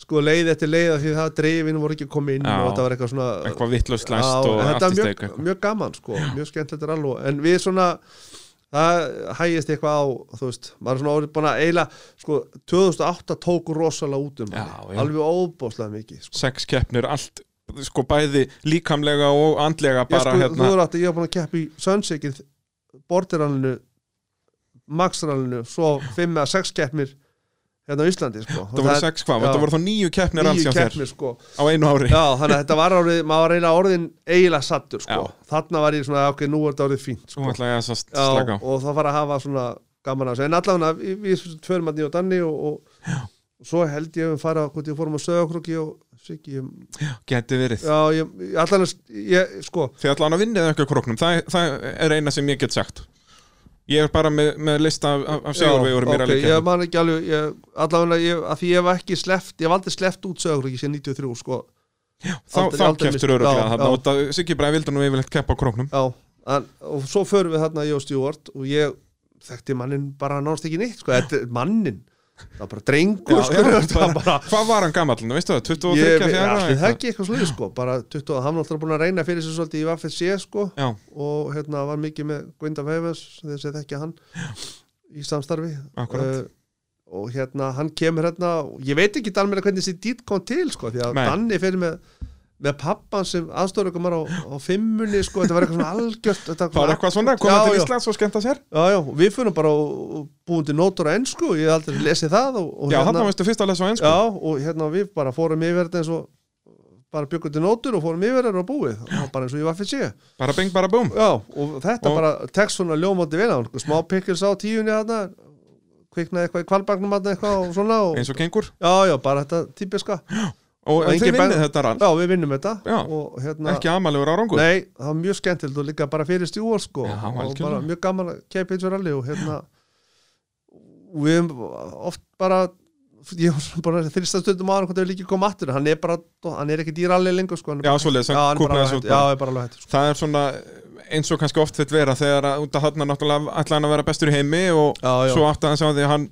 Speaker 2: sko leið eftir leið af því það dreifin voru ekki komið inn
Speaker 1: Já.
Speaker 2: og þetta var eitthvað svona
Speaker 1: Eitthvað vitlaust
Speaker 2: Já,
Speaker 1: læst og
Speaker 2: en þetta
Speaker 1: allt í
Speaker 2: er
Speaker 1: steik
Speaker 2: mjög,
Speaker 1: eitthvað.
Speaker 2: mjög gaman sko, mjög skemmtilegt er alveg en við svona það hægist eitthvað á, þú veist maður er svona orðið búin að eila sko, 2008 tóku rosalega út
Speaker 1: Já,
Speaker 2: um manni,
Speaker 1: já.
Speaker 2: alveg óbóðslega mikið sko.
Speaker 1: Sex keppnir, allt sko bæði líkamlega og andlega
Speaker 2: ég
Speaker 1: bara
Speaker 2: sko, þú
Speaker 1: hérna
Speaker 2: er átt að ég var búin að keppa í Sönsikið bordiralinu Maxralinu, svo 5 eða 6 keppnir hérna á Íslandi sko. Og
Speaker 1: Það voru sex hvað,
Speaker 2: já,
Speaker 1: þetta voru þá nýju keppnir alls
Speaker 2: níu
Speaker 1: hjá þér
Speaker 2: keppnir sko.
Speaker 1: á einu ári
Speaker 2: Já, þannig að þetta var árið, maður var eiginlega orðin eiginlega sattur sko.
Speaker 1: Já.
Speaker 2: þarna var ég svona, ok, nú er þetta orðið fínt
Speaker 1: Svo
Speaker 2: sko.
Speaker 1: ætla ég að s-
Speaker 2: já,
Speaker 1: slaka á
Speaker 2: og það fara að hafa svona gaman að þessu, en allavega við, við förum að nýja og danni og, og svo held ég að við fara, hvort ég fórum að sögja okkur og Siggi, ég,
Speaker 1: Geti verið
Speaker 2: já, ég, allan ég, sko,
Speaker 1: Þið ætla hann að vinna eða ekki á króknum það, það er eina sem ég get sagt Ég er bara með, með lista af, af- af Sigurvegur mér
Speaker 2: ok,
Speaker 1: okay, að
Speaker 2: ég
Speaker 1: líka
Speaker 2: man ekki alveg ég, allavega, ég, að því ég hef ekki sleft, ég hef aldrei sleft út sögja okkur ekki 93, sko,
Speaker 1: Þá,
Speaker 2: aldrei-
Speaker 1: þá
Speaker 2: aldrei
Speaker 1: keftur
Speaker 2: mist-
Speaker 1: öruglega
Speaker 2: já,
Speaker 1: þarna
Speaker 2: já.
Speaker 1: og það- Siggi Bræði vildi nú yfirleitt keppa á króknum
Speaker 2: já en, og svo förum við þarna, ég og Stjórn og ég þekkti mannin bara nánst ekki neitt, sko, þetta er mannin það var bara drengur, sko, það var bara
Speaker 1: Hvað var hann gamall? Veistu það, 23
Speaker 2: ég,
Speaker 1: fjara
Speaker 2: allir
Speaker 1: eitthvað?
Speaker 2: það ekki eitthvað slúið sko bara 20, hann var alltaf búin að reyna fyrir sér svolítið í Vaffet C sko
Speaker 1: Já,
Speaker 2: og hérna var mikið með Gwenda Veves þess að þekki hann í samstarfi Eh,
Speaker 1: Akkúrat.
Speaker 2: og hérna hann kemur hérna og ég veit ekki alveg hvernig þessi dýt kom til sko því að
Speaker 1: Nei.
Speaker 2: Danni fyrir með með pappan sem aðstofur okkur maður á, á fimmunni sko, þetta var eitthvað svona algjört þetta
Speaker 1: það var eitthvað svona, koma til Íslands og skemmta sér
Speaker 2: já, já, og við fyrir bara og, og búum til nótur á ennsku, ég hef aldrei lesið það og, og hérna-
Speaker 1: Já, þarna sko. veistu fyrst að lesa á ennsku
Speaker 2: Já, og hérna við bara fórum yfir þetta eins og bara byggum til nótur og fórum yfir þetta og búið og bara eins og ég var fyrir sig
Speaker 1: Bara bing, bara búm
Speaker 2: Já, og þetta
Speaker 1: Og-
Speaker 2: bara tekst svona ljómandi vel á hann, smá pikkils á tíunni þarna kviknaði eitthvað í kvalbagnum þarna eitthvað og svona og,
Speaker 1: Eins og gengur
Speaker 2: Já, já, bara þetta típiska
Speaker 1: Og, og þið
Speaker 2: engin
Speaker 1: vinnið
Speaker 2: ben-
Speaker 1: þetta rann
Speaker 2: Já, við vinnum þetta
Speaker 1: Já,
Speaker 2: og hérna
Speaker 1: Ekki amalegur árangur
Speaker 2: Nei, það var mjög skemmtilegt og líka bara fyrir stjúar sko
Speaker 1: Já,
Speaker 2: og
Speaker 1: algjörlega.
Speaker 2: bara mjög gaman að keipa eins og rally og hérna og við hefum oft bara ég var svona bara þrista stundum á hann hvort það við líka koma aftur hann er bara, hann er ekki dýralli lengur sko hann er
Speaker 1: Já, svoleiðis, hann
Speaker 2: hann er bara
Speaker 1: kúpnaði
Speaker 2: alveg
Speaker 1: svo
Speaker 2: hættur já, er bara alveg hættur sko.
Speaker 1: Það er svona eins og kannski oft þetta vera þegar að út af hann náttúrulega ætla hann að vera bestur í heimi og
Speaker 2: Já, já.
Speaker 1: svo átt að hann sá því að hann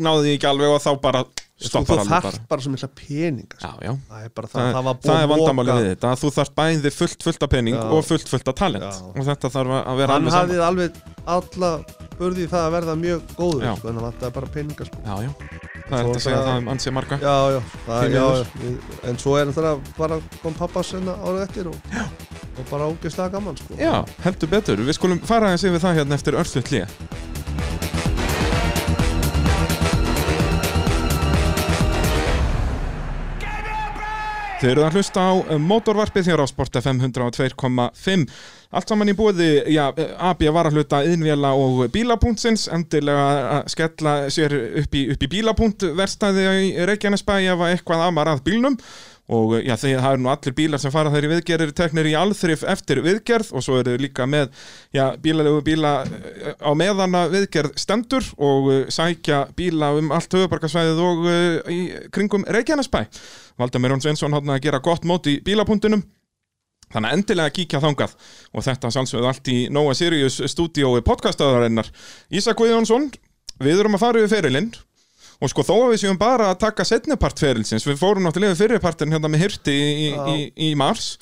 Speaker 1: náði því ekki alveg og þá bara
Speaker 2: Sko, þú
Speaker 1: stoppar alveg
Speaker 2: þarft
Speaker 1: bara
Speaker 2: bara svo mikla peninga sko.
Speaker 1: Já, já
Speaker 2: það er bara það,
Speaker 1: Það,
Speaker 2: það, var
Speaker 1: það
Speaker 2: búið
Speaker 1: er
Speaker 2: að loka-
Speaker 1: vandamálið við þetta að þú þarft bæði fullt fullt af pening
Speaker 2: Já.
Speaker 1: og fullt fullt af talent
Speaker 2: Já.
Speaker 1: og þetta þarf að vera
Speaker 2: hann
Speaker 1: alveg saman
Speaker 2: hafði alveg alla burði í það að verða mjög góður
Speaker 1: Já.
Speaker 2: sko, en það vantaði bara peninga sko.
Speaker 1: Já, já, það er
Speaker 2: Svo
Speaker 1: þetta að segja
Speaker 2: það-
Speaker 1: það um ansið marga
Speaker 2: já, já,
Speaker 1: Því
Speaker 2: það, já,
Speaker 1: miður.
Speaker 2: já við, en svo er náttúrulega bara kom pappa sinna árið eftir og, og bara ógeðslega gaman sko.
Speaker 1: Já, heldur betur, við skulum fara aðeins yfir það hérna eftir örstuð hlýja
Speaker 6: Give me a break!
Speaker 1: Þið eruð að hlusta á eh, mótorvarpið hér á Sport FM 102.5 Allt saman í búiði, já, eh, AB varahluta, innvjela og bílapúntsins endilega að skella sér upp í, upp í bílapúnt verstaði í Reykjanesbæ ef að eitthvað amar að bílnum og eh, já, þeir, það eru nú allir bílar sem fara þeir í viðgerðir teknir í alþrif eftir viðgerð og svo eru þeir líka með já, bílalegu bíla eh, á meðan að viðgerð stendur og eh, sækja bíla um allt höfubarkasvæðið og eh, í kringum Reykjanesbæ Valdamir Rón Sveinsson hann að gera gott mót í bílapunktunum Þannig að endilega kíkja þangað og þetta sálsögðu allt í Nóa Sirius stúdíói podcastaðarinnar Ísak Guðjónsson, við erum að fara yfir ferilinn og sko þó að við séum bara að taka setnipart ferilsins, við fórum náttúrulega yfir fyrirpartin hérna með hirti í, í, í, í mars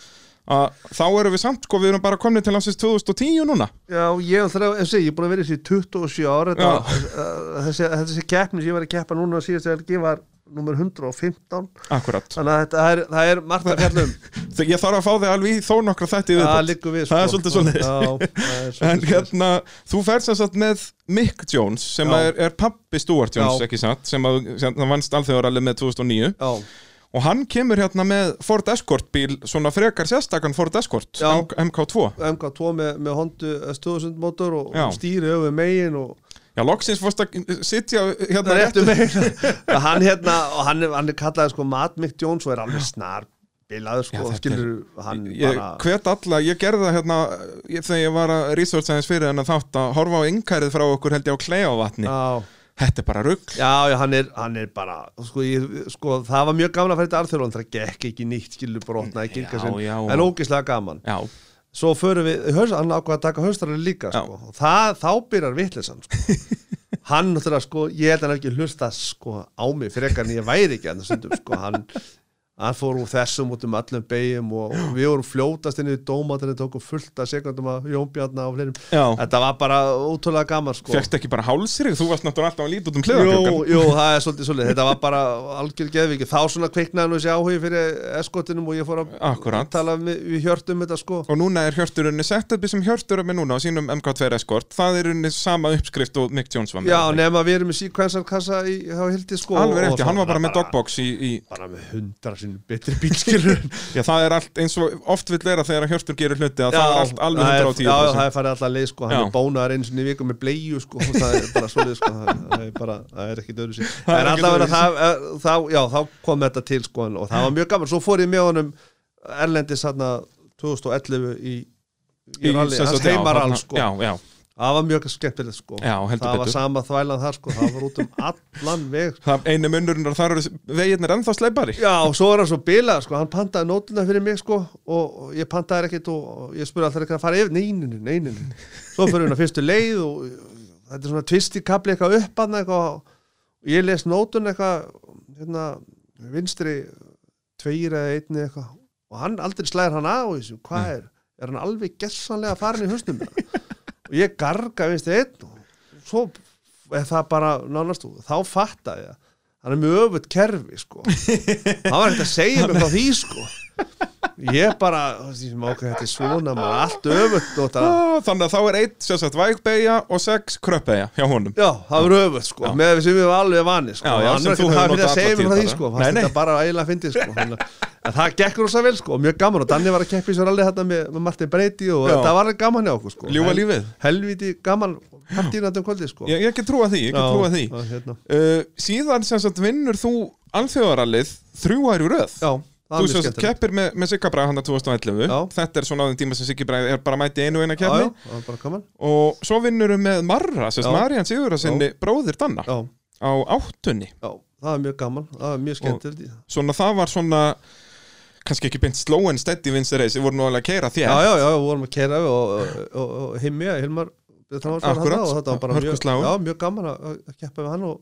Speaker 1: að þá erum við samt sko, við erum bara komni til ásins 2010 núna
Speaker 2: Já, ég er þrjá, þessi, ég er búin að vera í þessi í 27 ár þetta, eh, þessi, þessi keppni sem ég var að keppa núna á síðustu helgi var nummer 115
Speaker 1: Akkurat,
Speaker 2: þannig að þetta, það, er, það er margt að
Speaker 1: [LAUGHS]
Speaker 2: fjallum
Speaker 1: ég þarf að fá þig alveg í þó nokkra þætti í
Speaker 2: það
Speaker 1: viðbót.
Speaker 2: liggur við sko.
Speaker 1: Það er svolítið svoleiðis.
Speaker 2: Já, það
Speaker 1: [LAUGHS]
Speaker 2: er
Speaker 1: En
Speaker 2: svolítið svoleiðis.
Speaker 1: hérna, þú færst sem sagt með Mick Jones sem
Speaker 2: Já.
Speaker 1: er, er pappi Stuart Jones,
Speaker 2: Já.
Speaker 1: ekki satt sem, að, sem hann vannst alþjóðarallið með 2009
Speaker 2: Já,
Speaker 1: og hann kemur hérna með Ford Escort bíl, svona frekar sérstakann Ford Escort,
Speaker 2: Já.
Speaker 1: M- MK2
Speaker 2: MK2 með, með Honda S2000 mótor og
Speaker 1: Já.
Speaker 2: Já. stýri öfu megin og
Speaker 1: Já, loksins fórst að sitja
Speaker 2: það
Speaker 1: hérna
Speaker 2: er
Speaker 1: réttu
Speaker 2: eftir [LAUGHS] megin hann hérna, og hann, er- hann er kallaði sko Matt Mick Jones og er alveg snar
Speaker 1: Já,
Speaker 2: bilaður sko,
Speaker 1: þetta er-
Speaker 2: skilur hann
Speaker 1: Ég
Speaker 2: bara
Speaker 1: hvet alla, ég gerði það hérna ég, þegar ég var að researcha aðeins fyrir en að þátt að horfa á yngkærið frá okkur held ég á kleiavatni
Speaker 2: Já,
Speaker 1: Þetta er bara rugg
Speaker 2: já, já hann, er, hann er bara sko, ég, sko, það var mjög gaman að fara þetta alþjóðan það gekk ekki nýtt, skilur bara opnaði
Speaker 1: Já,
Speaker 2: kirka sinn,
Speaker 1: já.
Speaker 2: en ógislega gaman
Speaker 1: Já,
Speaker 2: svo förum við, hörs, hann ákvað að taka höstarinn líka
Speaker 1: Já.
Speaker 2: sko. og það, þá byrjar vitleysan sko.
Speaker 1: [LAUGHS]
Speaker 2: hann náttúrulega sko ég held hann hafi ekki hlusta sko á mig frekar en ég væri ekki hann stundum sko hann hann fór úr þessum út um allum beigjum og og við vorum fljótast inn í dómatarinn tóku fullt að sekundum að jónbjarna og fleirum
Speaker 1: Já.
Speaker 2: þetta var bara ótrúlega gaman sko
Speaker 1: fegst ekki bara hálsrið, þú varst náttúrulega alltaf að líta út um
Speaker 2: Jú,
Speaker 1: kleiðaklökan
Speaker 2: jú, það er svolítið svolítið, þetta var bara algjör geðviki, þá svona kveiknaði nú þessi áhugi fyrir eskotinum og ég fór að
Speaker 1: Akkúrat.
Speaker 2: tala við, við hjörtum þetta sko
Speaker 1: og núna er hjörturunni setupið sem hjörtur er með núna á sínum MK2 Escort það er unni sama uppskrift og Mick Jones var með
Speaker 2: Já, nema við erum með síkvensarkassa í, þá hildi sko
Speaker 1: alveg
Speaker 2: og
Speaker 1: rétti, hann
Speaker 2: svona
Speaker 1: var bara með dogbox í, í
Speaker 2: Bara með hundra sinni betri bílskilur
Speaker 1: [LAUGHS] já, það er allt eins og oft vill vera þegar hjörtur gerir hluti að það er allt alveg
Speaker 2: það er-
Speaker 1: 110
Speaker 2: Já, það er farið alltaf leið sko, hann
Speaker 1: Já.
Speaker 2: er bónaðar eins og í viku með bleju sko og Það er bara svolítið sko, það það er bara, það er ekkit öðru sér
Speaker 1: Það er
Speaker 2: En
Speaker 1: ekkit öðruvísi.
Speaker 2: allavega það, eh, þá, já, þá kom þetta til sko en- og það var mjög gaman Svo fór ég með honum Erlendis þarna 2011 í, í, í rally, hans heimarall sko
Speaker 1: já, já,
Speaker 2: Það var mjög skemmtilegt sko
Speaker 1: Já, heldur
Speaker 2: Það var
Speaker 1: betur.
Speaker 2: sama þvælan þar sko, það var út um allan veg sko.
Speaker 1: það einu munurinn og það eru veginir ennþá sleipari
Speaker 2: Já, og svo er hann svo bilað, sko, hann pantaði nótuna fyrir mig, sko, og og ég pantaði þær ekkit og og ég spurði alltaf ekki að fara yfir, neininu, neininu. Svo fyrir hann að fyrstu leið og þetta er svona tvist í kapli eitthvað upp hann eitthvað og ég les nótuna eitthvað, hérna, vinstri tveir eða einni eitthvað og hann aldrei slæðir hann á þessu, hvað er, er hann alveg gessanlega farin í höstum og ég garga vinstri einn og svo er það bara nánast þú, þá fattaði ég að hann er mjög öfut kerfi,
Speaker 1: [LAUGHS]
Speaker 2: sko hann var ekkert að segja mér frá því sko ég bara, þú veist, ég má ekki þetta er svona maður er allt öfutt og það
Speaker 1: Ah, þannig að þá er eitt sérsagt vægbeigja og sex kröpbeigja hjá honum
Speaker 2: já, það var öfutt sko,
Speaker 1: Já.
Speaker 2: með því sem við varum alveg vani sko,
Speaker 1: Já, já,
Speaker 2: hann
Speaker 1: sem
Speaker 2: var
Speaker 1: þú hefur
Speaker 2: ekkert það fyrir
Speaker 1: notað
Speaker 2: að segja
Speaker 1: alla tíð
Speaker 2: mér frá því
Speaker 1: bara.
Speaker 2: sko
Speaker 1: Nei,
Speaker 2: fannst
Speaker 1: nei.
Speaker 2: þetta bara eiginlega fyndið sko Þannig að- en það gekk rosa vel sko, og mjög gaman og Danni var að keppi sér alveg þetta með, með Martin Breiti og
Speaker 1: Já.
Speaker 2: þetta var gaman hjá okkur sko
Speaker 1: Ljúfa
Speaker 2: Hel-
Speaker 1: lífið.
Speaker 2: helviti gaman, partýnatum kvöldi sko
Speaker 1: ég, ég ekki trúa því, ég ekki trúa því
Speaker 2: já, hérna.
Speaker 1: uh, síðan sem sagt vinnur þú alþjóðarallið þrjú ár í röð
Speaker 2: já,
Speaker 1: Þú
Speaker 2: það var mjög
Speaker 1: sem sagt
Speaker 2: skemmtilegt
Speaker 1: keppir með, með Sigga Braga hann 2011
Speaker 2: Já.
Speaker 1: Þetta er svona á þeim tíma sem Siggi Braga er bara mæti einu og eina
Speaker 2: Já, já,
Speaker 1: keppni
Speaker 2: það var bara gaman
Speaker 1: Og svo vinnur við með Marra, sérst
Speaker 2: Já.
Speaker 1: Marian Sigurða sinni bróðir Danna
Speaker 2: já,
Speaker 1: Á áttunni
Speaker 2: já, það var mjög gaman, það var mjög skemmtilegt
Speaker 1: Svona það var svona, kannski ekki beint slow and steady vinstri reis Ég voru nú alveg að keira þér
Speaker 2: já, já, já, við vorum að kera og, og, og, og himja, Hilmar Björn Þráinsson var
Speaker 1: Akkúrat,
Speaker 2: þarna og þetta var bara mjög,
Speaker 1: hörkuslagur.
Speaker 2: já, mjög gaman að að keppa við hann og,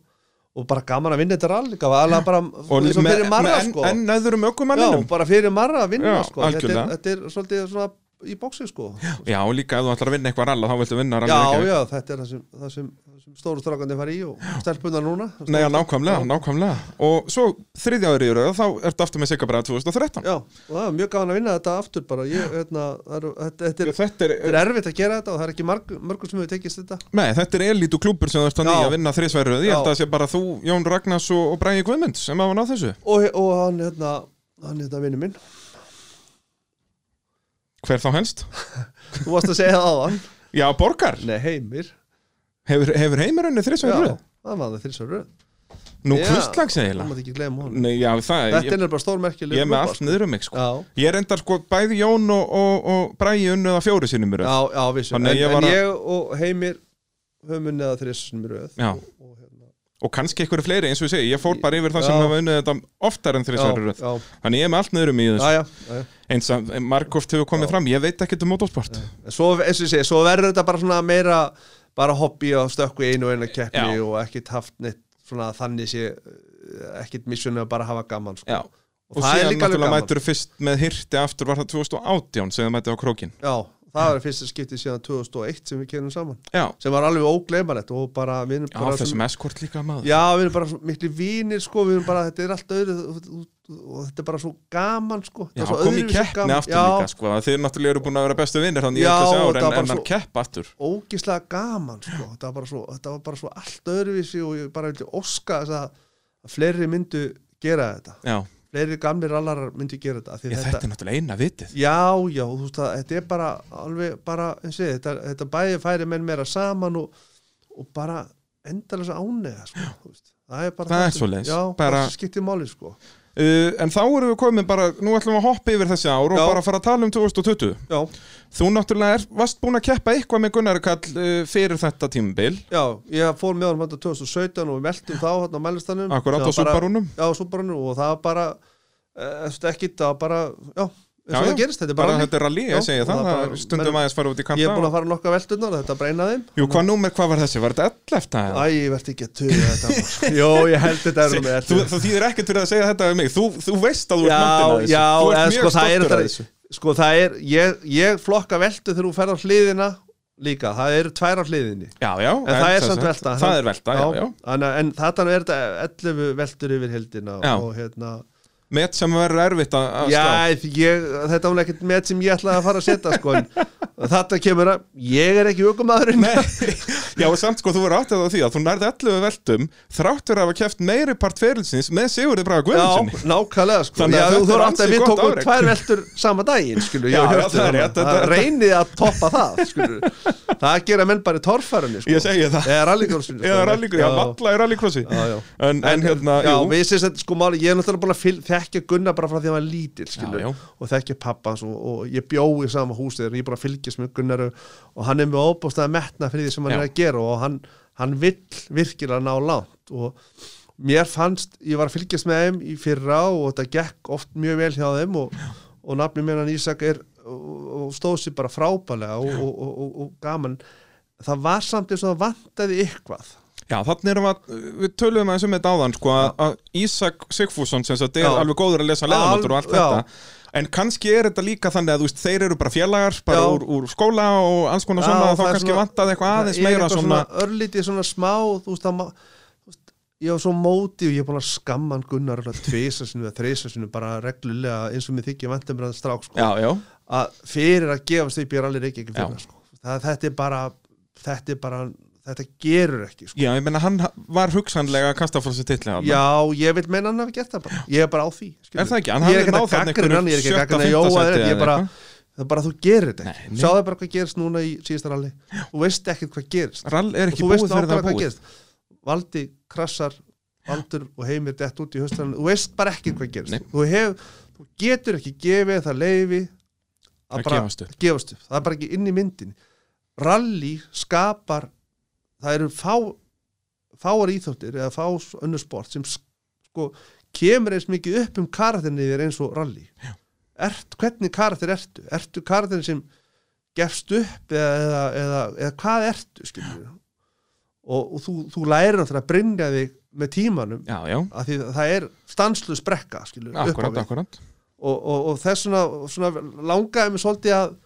Speaker 2: og bara gaman að vinna þetta rall líka, var alveg bara
Speaker 1: Og
Speaker 2: eins og
Speaker 1: með,
Speaker 2: fyrir marra
Speaker 1: með
Speaker 2: sko
Speaker 1: enn en öðrum
Speaker 2: já,
Speaker 1: ökumanninum
Speaker 2: bara fyrir marra að
Speaker 1: Já,
Speaker 2: vinna sko þetta er,
Speaker 1: algjörlega.
Speaker 2: þetta er svolítið svona í bóksi sko já,
Speaker 1: Já, líka ef þú ætlar að vinna eitthvað ralla þá viltu vinna ralla
Speaker 2: já, þetta er það sem, það sem, það sem stóru strákandi fari í og stelpunar núna
Speaker 1: Nei, já, nákvæmlega, nákvæmlega Og svo þriðja árið í röð, þá ertu aftur með Sigga Braga 2013
Speaker 2: já, og það var mjög gaman að vinna þetta aftur bara, ég, hérna, það eru- þetta, þetta, er,
Speaker 1: Þetta er,
Speaker 2: þetta er erfitt að gera þetta og það er ekki marg, mörgum sem hefur tekist þetta
Speaker 1: Nei, þetta er elítu klúpur sem þú ert að
Speaker 2: Já.
Speaker 1: nýja að vinna þrísværið Ég held að
Speaker 2: Já.
Speaker 1: það sé bara þú, Jón Ragnars og, og Bræði Guðmunds sem hafa náð þessu
Speaker 2: og, og hann hérna hann er þetta vinnu minn
Speaker 1: Hver þá helst?
Speaker 2: þú varst að segja það á
Speaker 1: [LAUGHS]
Speaker 2: hann
Speaker 1: Já, borgar.
Speaker 2: nei heimir
Speaker 1: Hefur, hefur heimurunni þrissvæður
Speaker 2: já,
Speaker 1: röð?
Speaker 2: það var það þrísar röð
Speaker 1: Nú,
Speaker 2: Já.
Speaker 1: hvistlags
Speaker 2: það
Speaker 1: eiginlega.
Speaker 2: mátt ekki gleyma honum
Speaker 1: Nei, já, það,
Speaker 2: þetta
Speaker 1: ég,
Speaker 2: er bara stórmerkileg
Speaker 1: ég er með
Speaker 2: klúbbar,
Speaker 1: allt niður um mig, sko.
Speaker 2: já
Speaker 1: Ég er endar, sko, bæði Jón og, og, og Bræi unnuða fjóru sinni mér.
Speaker 2: Já, já, vissum, en,
Speaker 1: Þannig að ég var
Speaker 2: en
Speaker 1: að-
Speaker 2: ég og Heimir höfum unnið að þrissum í röð
Speaker 1: Já.
Speaker 2: og, og hérna,
Speaker 1: Og kannski einhverju fleiri, eins og ég segi, ég fór bara yfir það sem
Speaker 2: Já.
Speaker 1: hafa unnið þetta oftar en þrissvæður röð.
Speaker 2: já,
Speaker 1: Þannig ég er með allt niður um í
Speaker 2: já,
Speaker 1: þessu.
Speaker 2: já, já, já.
Speaker 1: Eins að Markoft hefur komið fram, ég veit ekkert um motorsport.
Speaker 2: En Svo, eins og ég segi, svo verður þetta bara svona meira bara hobby og stökku í einu og einu keppni
Speaker 1: Já.
Speaker 2: og ekkit haft neitt svona þannig sé eh, ekkit missunni að bara hafa gaman sko.
Speaker 1: Já.
Speaker 2: og,
Speaker 1: Og
Speaker 2: það er
Speaker 1: síðan
Speaker 2: líka alveg
Speaker 1: náttúrulega
Speaker 2: gaman
Speaker 1: mættur fyrst með hirti aftur var það 2018 sem það mætti á krókin.
Speaker 2: Já, það var fyrsta skipti síðan 2001 sem við kynum saman
Speaker 1: Já,
Speaker 2: sem var alveg ógleymanlegt og bara við erum
Speaker 1: já
Speaker 2: bara
Speaker 1: þessum eskort líka maður.
Speaker 2: Já, við erum bara svo miklu vínir sko, við erum bara, þetta er allt öðru og þetta er bara svo gaman sko
Speaker 1: Já,
Speaker 2: Þetta er svo
Speaker 1: kom í
Speaker 2: öðruvísi
Speaker 1: keppni
Speaker 2: gaman.
Speaker 1: aftur
Speaker 2: já,
Speaker 1: líka sko, að þið náttúrulega eru búin að vera bestu vinnir þannig
Speaker 2: Já,
Speaker 1: ég ætla að
Speaker 2: og
Speaker 1: segja
Speaker 2: það
Speaker 1: ára
Speaker 2: var
Speaker 1: en, en
Speaker 2: svo-
Speaker 1: hann keppa aftur
Speaker 2: ógislega gaman sko. þetta, var bara svo, þetta var bara svo allt öðruvísi og ég bara vildi óska þess að, að fleiri myndu gera þetta
Speaker 1: Já,
Speaker 2: fleiri gamlir allarar myndu gera þetta, af því
Speaker 1: ég, þetta er náttúrulega eina vitið
Speaker 2: Já, já, þú veist að þetta er bara alveg bara, eins og ég, þetta, þetta bæði færi menn meira saman og, og bara endalega ánega sko, þú veist. það er bara
Speaker 1: Það er
Speaker 2: sem-
Speaker 1: svoleiðis.
Speaker 2: Já,
Speaker 1: Bara-
Speaker 2: bara skiptir máli sko
Speaker 1: uh, En þá erum við komin bara, nú ætlum við að hoppa yfir þessi ár og
Speaker 2: Já.
Speaker 1: bara fara að tala um 2020
Speaker 2: Já,
Speaker 1: Þú náttúrulega er, varst búin að keppa eitthvað með Gunnar Kall uh, fyrir þetta tímabil
Speaker 2: já, ég fór með honum hann 2017 og við meldum þá hann á mælistanum
Speaker 1: Akkurat á
Speaker 2: Mm. Já, bara-
Speaker 1: Subarunum
Speaker 2: Já, Subarunum og það var bara eftir ekki, það var bara já, eins
Speaker 1: Já,
Speaker 2: og
Speaker 1: já.
Speaker 2: það gerist, þetta er
Speaker 1: Bara
Speaker 2: bara
Speaker 1: þetta er rally,
Speaker 2: Já,
Speaker 1: ég segi
Speaker 2: og
Speaker 1: það,
Speaker 2: það
Speaker 1: það
Speaker 2: bara-
Speaker 1: er stundum
Speaker 2: menn-
Speaker 1: aðeins fara út í
Speaker 2: Ég er búin
Speaker 1: kanta
Speaker 2: að fara nokka veldunar, þetta breynaði
Speaker 1: Jú, hvað númer, hvað var þessi? Var þetta 11? eða?
Speaker 2: Æ, ég verði ekki að tuga þetta maður.
Speaker 1: [LAUGHS]
Speaker 2: Jó, ég held þetta er með
Speaker 1: Þú, þú þýðir ekkert fyrir að segja þetta um mig Þú, þú veist að þú ert
Speaker 2: já,
Speaker 1: mandinn að þessu
Speaker 2: já,
Speaker 1: Þú ert
Speaker 2: eða,
Speaker 1: mjög
Speaker 2: sko, það er
Speaker 1: stoltur af
Speaker 2: þetta
Speaker 1: þessu
Speaker 2: sko það er, ég, ég flokka veldu þegar þú fer á hliðina líka, það eru tvær á hliðinni
Speaker 1: Já, já
Speaker 2: en, það er
Speaker 1: sem
Speaker 2: samt
Speaker 1: sagt-
Speaker 2: velta
Speaker 1: Það er velta, já, já
Speaker 2: Þannig að- en þarna er þetta 11 veldur yfir heldina
Speaker 1: Já.
Speaker 2: og hérna
Speaker 1: Met sem verður erfitt að að slá
Speaker 2: já, ég, þetta var ekkert með sem ég ætlaði að fara að setja sko, en þetta kemur að ég er ekki aukumadurinn
Speaker 1: Já, og samt sko, þú verður áttið á því að þú nærði 11 veltum þráttur að hafa keft meiri part ferilsins með Sigurði Braga Guðmundssoni.
Speaker 2: Já, nákvæmlega sko.
Speaker 1: Þannig að
Speaker 2: Já,
Speaker 1: þetta
Speaker 2: þú
Speaker 1: er
Speaker 2: þarf
Speaker 1: ansi
Speaker 2: alltaf að við
Speaker 1: gott
Speaker 2: tókum
Speaker 1: afrek.
Speaker 2: tvær veltur sama daginn, skilur,
Speaker 1: Já,
Speaker 2: ég
Speaker 1: já,
Speaker 2: hörstu
Speaker 1: það er
Speaker 2: þarna.
Speaker 1: rétt, þetta-
Speaker 2: það reynið að toppa það,
Speaker 1: [LAUGHS]
Speaker 2: skilur. Það gera menn bara í torfærunni, sko.
Speaker 1: Ég segi það.
Speaker 2: Eða rallycrossinu. sko.
Speaker 1: Eða rallycrossi, já, valla í rallycrossi.
Speaker 2: Já, já.
Speaker 1: En, en hérna,
Speaker 2: já,
Speaker 1: jú,
Speaker 2: við séum þetta sko máli, ég er náttúrulega búin að fyl- þekkja Gunnar bara frá því að hann var lítill, skilur,
Speaker 1: Já, já.
Speaker 2: og þekkja pappa hans og, og ég bjó í sama húsi þegar ég bara fylgjast með Gunnar og hann er með óbústað að metna fyrir því sem hann
Speaker 1: Já.
Speaker 2: er að gera og hann, hann vill virkilega ná langt og mér fannst, ég var að fylgjast með þeim í fyrra og þetta gekk oft mjög vel hjá þeim og, og nafni mér hann Ísak er og, og stóð sér bara frábælega og, og, og, og, og gaman það var samt eins og það vantaði ykkvað
Speaker 1: já, þannig erum við, við töluðum aðeins um þetta áðan, sko, að- að Ísak Sigfússon, sem sagt, er
Speaker 2: Já.
Speaker 1: alveg góður að lesa leðanóttur og allt
Speaker 2: Al- já.
Speaker 1: þetta. En kannski er þetta líka þannig að, þú veist, þeir eru bara félagar, bara
Speaker 2: Já.
Speaker 1: úr, úr skóla og alls konar svona,
Speaker 2: og
Speaker 1: þá
Speaker 2: það er
Speaker 1: kannski
Speaker 2: svona-
Speaker 1: vantaði eitthvað aðeins
Speaker 2: það er
Speaker 1: meira
Speaker 2: eitthvað
Speaker 1: svona,
Speaker 2: örlítið svona smá, þú veist, það, ma- þú veist, ég var svo móti og ég er búin að skamma hann Gunnar tveisasinu eða þreisasinu bara reglulega eins og mér þykja vantum mér að strák sko,
Speaker 1: já, já,
Speaker 2: að fyrir að gefast upp ég er alveg ekki ekki
Speaker 1: Já.
Speaker 2: fyrir sko. það, þetta er bara þetta er bara, þetta gerur ekki sko.
Speaker 1: já, ég meina, hann var hugsanlega að kasta frá sér titli hann.
Speaker 2: já, ég vil menna hann hafi gert það bara ég er bara á því skilur.
Speaker 1: Er það ekki? Hann
Speaker 2: ég er
Speaker 1: hafði
Speaker 2: ekki
Speaker 1: náð
Speaker 2: að
Speaker 1: þarna
Speaker 2: gaggrina hann, ég er ekki
Speaker 1: einhverju
Speaker 2: að gaggrina
Speaker 1: sjötta,
Speaker 2: Jóa
Speaker 1: fimmta
Speaker 2: eða neitt,
Speaker 1: sæti
Speaker 2: ég er bara
Speaker 1: eða
Speaker 2: það er bara að þú gerir þetta
Speaker 1: Nei,
Speaker 2: ekki
Speaker 1: nei.
Speaker 2: sjáðu bara hvað gerist núna í síðasta rally þú veist ekkert hvað gerist
Speaker 1: Rall er
Speaker 2: og
Speaker 1: ekki
Speaker 2: þú
Speaker 1: búið
Speaker 2: veist
Speaker 1: fyrir það
Speaker 2: nákvæmlega hvað
Speaker 1: búið
Speaker 2: gerist Valdi krassar Valdur og heimir dett út í höstrann þú veist bara ekki hvað gerist
Speaker 1: Nei.
Speaker 2: þú, hef, þú getur ekki gefið það leifi
Speaker 1: Að
Speaker 2: bara
Speaker 1: gefast upp.
Speaker 2: gefast upp það er bara ekki inn í myndin rally skapar það eru fá, fáar íþjóttir eða fá önnur sport sem s- sko, kemur eins mikið upp um karatinni þér eins og rally Ert, hvernig karatir ertu? Ertu karatir sem gefst upp eða, eða, eða, eða hvað ertu skilur við og, og þú, þú lærir náttúrulega að bringa þig með tímanum
Speaker 1: Já, já,
Speaker 2: af því að það er stanslust brekka skilur við, upp á
Speaker 1: akkurat,
Speaker 2: við.
Speaker 1: akkurat
Speaker 2: og, og, og þess svona, svona langaði mig svolítið að,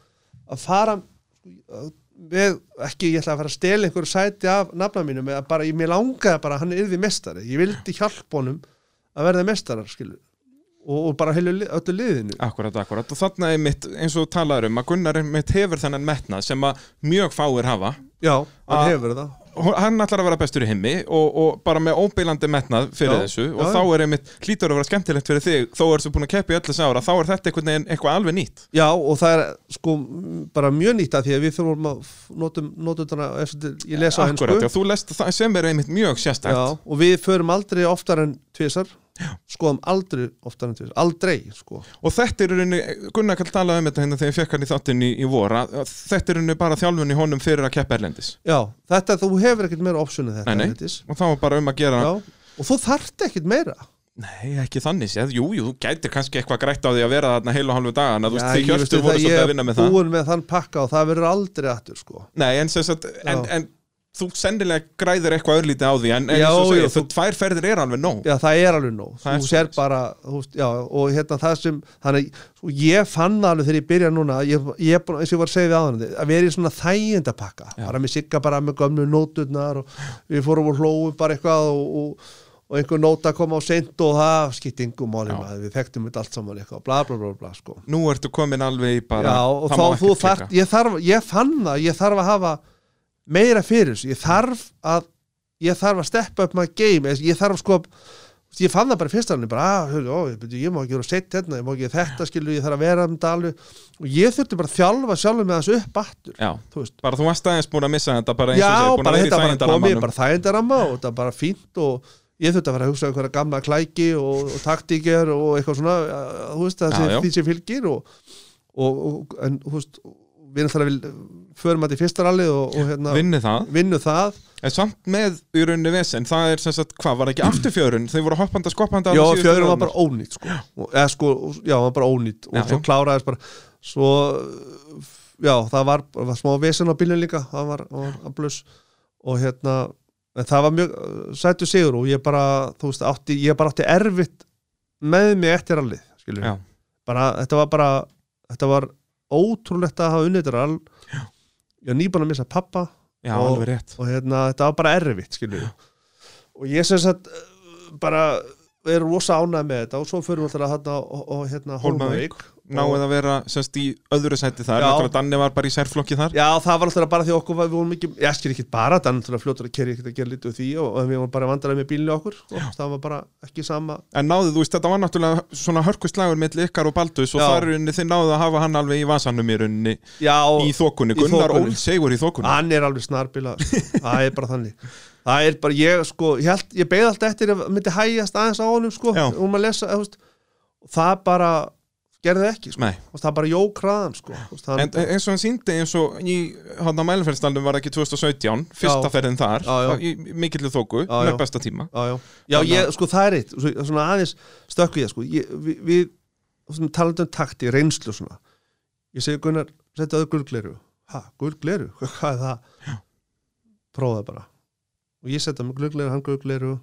Speaker 2: að fara að- með, ekki ég ætla að fara að stela einhverju sæti af nafna mínum eða bara, ég, mér langaði bara að hann yrði mestari ég vildi hjálpa honum að verða mestarar skilur við. og, og bara heilu, li- öllu liðinu
Speaker 1: Akkurat, akkurat, og þarna er mitt, eins og þú talaður um að Gunnar er mitt hefur þennan metnað sem að mjög fáir hafa
Speaker 2: já, hann
Speaker 1: Að-
Speaker 2: hefur það
Speaker 1: hon- hann ætlar að vera bestur í heimi og, og bara með óbeilandi metnað fyrir
Speaker 2: Já,
Speaker 1: þessu
Speaker 2: já,
Speaker 1: og þá er einmitt, hlýtur að vera skemmtilegt fyrir þig þó er þú búin að keppa í öllu þessu ára þá er þetta einhvern veginn eitthvað alveg nýtt
Speaker 2: Já, og það er sko m, bara mjög nýtt að því að við þurfum að f- notum notundana, ég lesa á
Speaker 1: Akkurat,
Speaker 2: hensku
Speaker 1: já, þú lest það sem er einmitt mjög
Speaker 2: Já,
Speaker 1: sérstætt
Speaker 2: og við förum aldrei oftar en tvisar skoðum aldrei oftar en tvisar aldrei, sko
Speaker 1: og þetta er í rauninni, Gunnar kall talaði um þetta hérna þegar ég fekk hann í þáttin í, í vora þetta er í rauninni bara þjálfun í honum fyrir að keppa erlendis
Speaker 2: Já, þetta, þú hefur ekkert meira optionið þetta
Speaker 1: Nei, nei.
Speaker 2: Herdís.
Speaker 1: og þá er bara um að gera
Speaker 2: Já, og þú þarft ekkert meira
Speaker 1: Nei, ekki þannig séð, jú, jú, þú gætir kannski eitthvað grætt á því að vera þarna heil og halvu dagan að þú
Speaker 2: Já,
Speaker 1: veist, þið
Speaker 2: ég
Speaker 1: hjörtu
Speaker 2: veistu
Speaker 1: voru
Speaker 2: það,
Speaker 1: svolítið að vinna með
Speaker 2: Ég
Speaker 1: það
Speaker 2: er búin með þann pakka og það verður aldrei aftur, sko
Speaker 1: Nei, en sem sagt, en,
Speaker 2: Já.
Speaker 1: en þú sennilega græðir eitthvað örlítið á því en, en
Speaker 2: Já,
Speaker 1: eins og segja,
Speaker 2: já,
Speaker 1: þú
Speaker 2: þú-
Speaker 1: tvær ferðir er alveg nóg
Speaker 2: Já, það er alveg nóg,
Speaker 1: Það er
Speaker 2: þú sér
Speaker 1: svoleiðis.
Speaker 2: bara þú veist, já, og hérna það sem þannig, sko, ég fann það alveg þegar ég byrja núna ég, ég, er búinn- eins og ég var að segja við aðan að vera í svona þægindapakka bara með sigga bara með gömlu nóturnar og við fórum og hlóum bara eitthvað og, og, og einhver nóta kom á seint og það skipt yngum máli
Speaker 1: Já.
Speaker 2: maður, við þekktum þetta allt saman eitthvað, bla bla bla bla sko.
Speaker 1: Nú ertu komin alveg í bara
Speaker 2: Já, og
Speaker 1: það
Speaker 2: þá
Speaker 1: má
Speaker 2: þú
Speaker 1: ekkert
Speaker 2: þarf,
Speaker 1: klika.
Speaker 2: ég þarf, ég fann það, ég þarf að hafa meira fyrir þessu, ég þarf að, ég þarf að steppa upp maður game, ég þarf sko, ég fann það bara í fyrsta alveg, bara, að, hörðu, ó, ég, byrju, ég má ekki vera seitt hérna, ég má ekki þetta skilu, ég þarf að vera um dalu og ég þurfti bara að þjálfa sjálfur með þessu upp aftur,
Speaker 1: Já,
Speaker 2: þú veist.
Speaker 1: bara þú varst aðeins búin að missa þetta bara eins
Speaker 2: Já,
Speaker 1: og segja, búin
Speaker 2: bara
Speaker 1: að vera
Speaker 2: þetta
Speaker 1: í
Speaker 2: bara komið,
Speaker 1: þægindarammanum
Speaker 2: bara þægindaramma og þetta bara fínt og ég þurfti að vera að hugsa um einhverja gamla klæki og, og taktíker og eitthvað svona, að- þú veist,
Speaker 1: Já,
Speaker 2: þessi
Speaker 1: já.
Speaker 2: því sem fylgir og, og, og en, þú veist, við erum þar að vil, förum að þetta í fyrsta ralli og, og hérna,
Speaker 1: Vinni það,
Speaker 2: vinnu það.
Speaker 1: en samt með í rauninni vesen, það er sem sagt, hvað, var ekki afturfjörun, þau voru hoppanda, skoppanda
Speaker 2: Já,
Speaker 1: þarna síðustu
Speaker 2: fjöðurinn var
Speaker 1: ferðirnar?
Speaker 2: bara ónýtt, sko, og, eða sko, já, hann var bara ónýtt og
Speaker 1: Já,
Speaker 2: svo
Speaker 1: já.
Speaker 2: kláraðist bara, svo, já, það var, var smá vesen á bílun líka, það var, það var að blöss og hérna, en það var mjög uh, sætu sigur og ég bara, þú veist, átti, ég bara átti erfitt með mig eftir allir, skilur
Speaker 1: Já.
Speaker 2: bara, þetta var bara, þetta var ótrúlegt að hafa unnið þetta all, ég var nýbúin að missa pappa
Speaker 1: Já,
Speaker 2: og-
Speaker 1: alveg rétt
Speaker 2: og hérna, þetta var bara erfitt skilur við og ég sem sagt uh, bara er rosa ánægð með þetta og svo fyrir við alltaf hérna og, og hérna
Speaker 1: Hólmavík.
Speaker 2: Hólmavík
Speaker 1: náið að vera semst í öðru sæti þar
Speaker 2: Já.
Speaker 1: náttúrulega Danni var bara í særflokki þar
Speaker 2: Já, það var alltaf bara því okkur var, við vorum ekki, ég skil ekki bara, það er náttúrulega fljótur að kerja ekkert að gera lítið úr því og, og við vorum bara vandræði með bílinni okkur og það var bara ekki sama
Speaker 1: en náðu, þú veist, þetta var náttúrulega svona hörkustlagur milli ykkar og Baldus og
Speaker 2: Já.
Speaker 1: þar unni þið náðu að hafa hann alveg í vasanum í runni
Speaker 2: Já, og
Speaker 1: í þokunni,
Speaker 2: í
Speaker 1: Gunnar
Speaker 2: þokunni.
Speaker 1: Ólsegur í þokunni
Speaker 2: hann er alveg snarbila, það er bara þannig Það er bara, ég sko, ég, held, ég beigði alltaf eftir að myndi hægjast aðeins á honum sko,
Speaker 1: Já.
Speaker 2: og maður lesa, þú veist, og það bara gerði ekki sko.
Speaker 1: Nei,
Speaker 2: Þú veist, það bara jók hraðan sko. Þú veist, hann,
Speaker 1: en eh, eins og hann síndi eins og í hann að mælumferðstallum var ekki 2017 fyrsta
Speaker 2: Já.
Speaker 1: ferðin þar,
Speaker 2: Já, já.
Speaker 1: þá í mikillu þoku
Speaker 2: Já,
Speaker 1: með
Speaker 2: já.
Speaker 1: besta tíma
Speaker 2: já, já. já ég, sko það er eitt svo- svona aðeins stökku ég sko ég, við, við svona, talandi um takti, reynslu svona ég segi Gunnar, setja þau gulgleru ha, gulgleru, [LAUGHS] hvað er það prófaði bara og ég setja mig gulgleru, hann gulgleru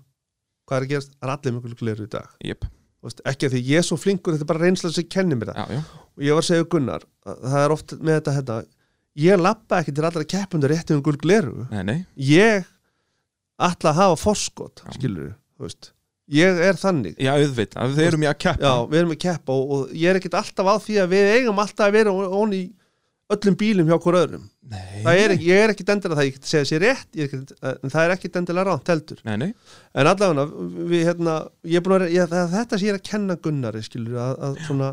Speaker 2: hvað er að gerast, það er allir með gulgleru í dag
Speaker 1: Jep,
Speaker 2: Þú veist, ekki að því ég er svo flinkur, þetta er bara reynsla sem kennir mér það
Speaker 1: já, já,
Speaker 2: og ég var að segja við Gunnar að það er oft með þetta hérna ég lappa ekki til allra keppundur rétti um gulgleru
Speaker 1: nei, nei
Speaker 2: ég ætla að hafa forskot skilur þú veist ég er þannig
Speaker 1: Já, auðvitað, þeir eru mjög að keppa
Speaker 2: já, við erum að keppa og, og ég er ekkert alltaf á því að við eigum alltaf að vera onni í öllum bílum hjá okkur öðrum
Speaker 1: Nei,
Speaker 2: það er ekki, ég er ekkert endilega það ég get segja sér rétt, ég er ekkert, en það er ekkert endilega ránt heldur
Speaker 1: nei, nei,
Speaker 2: en allavega við hérna ég er búin að vera, ég, það- þetta sé ég er að kenna Gunnari skilur að, að svona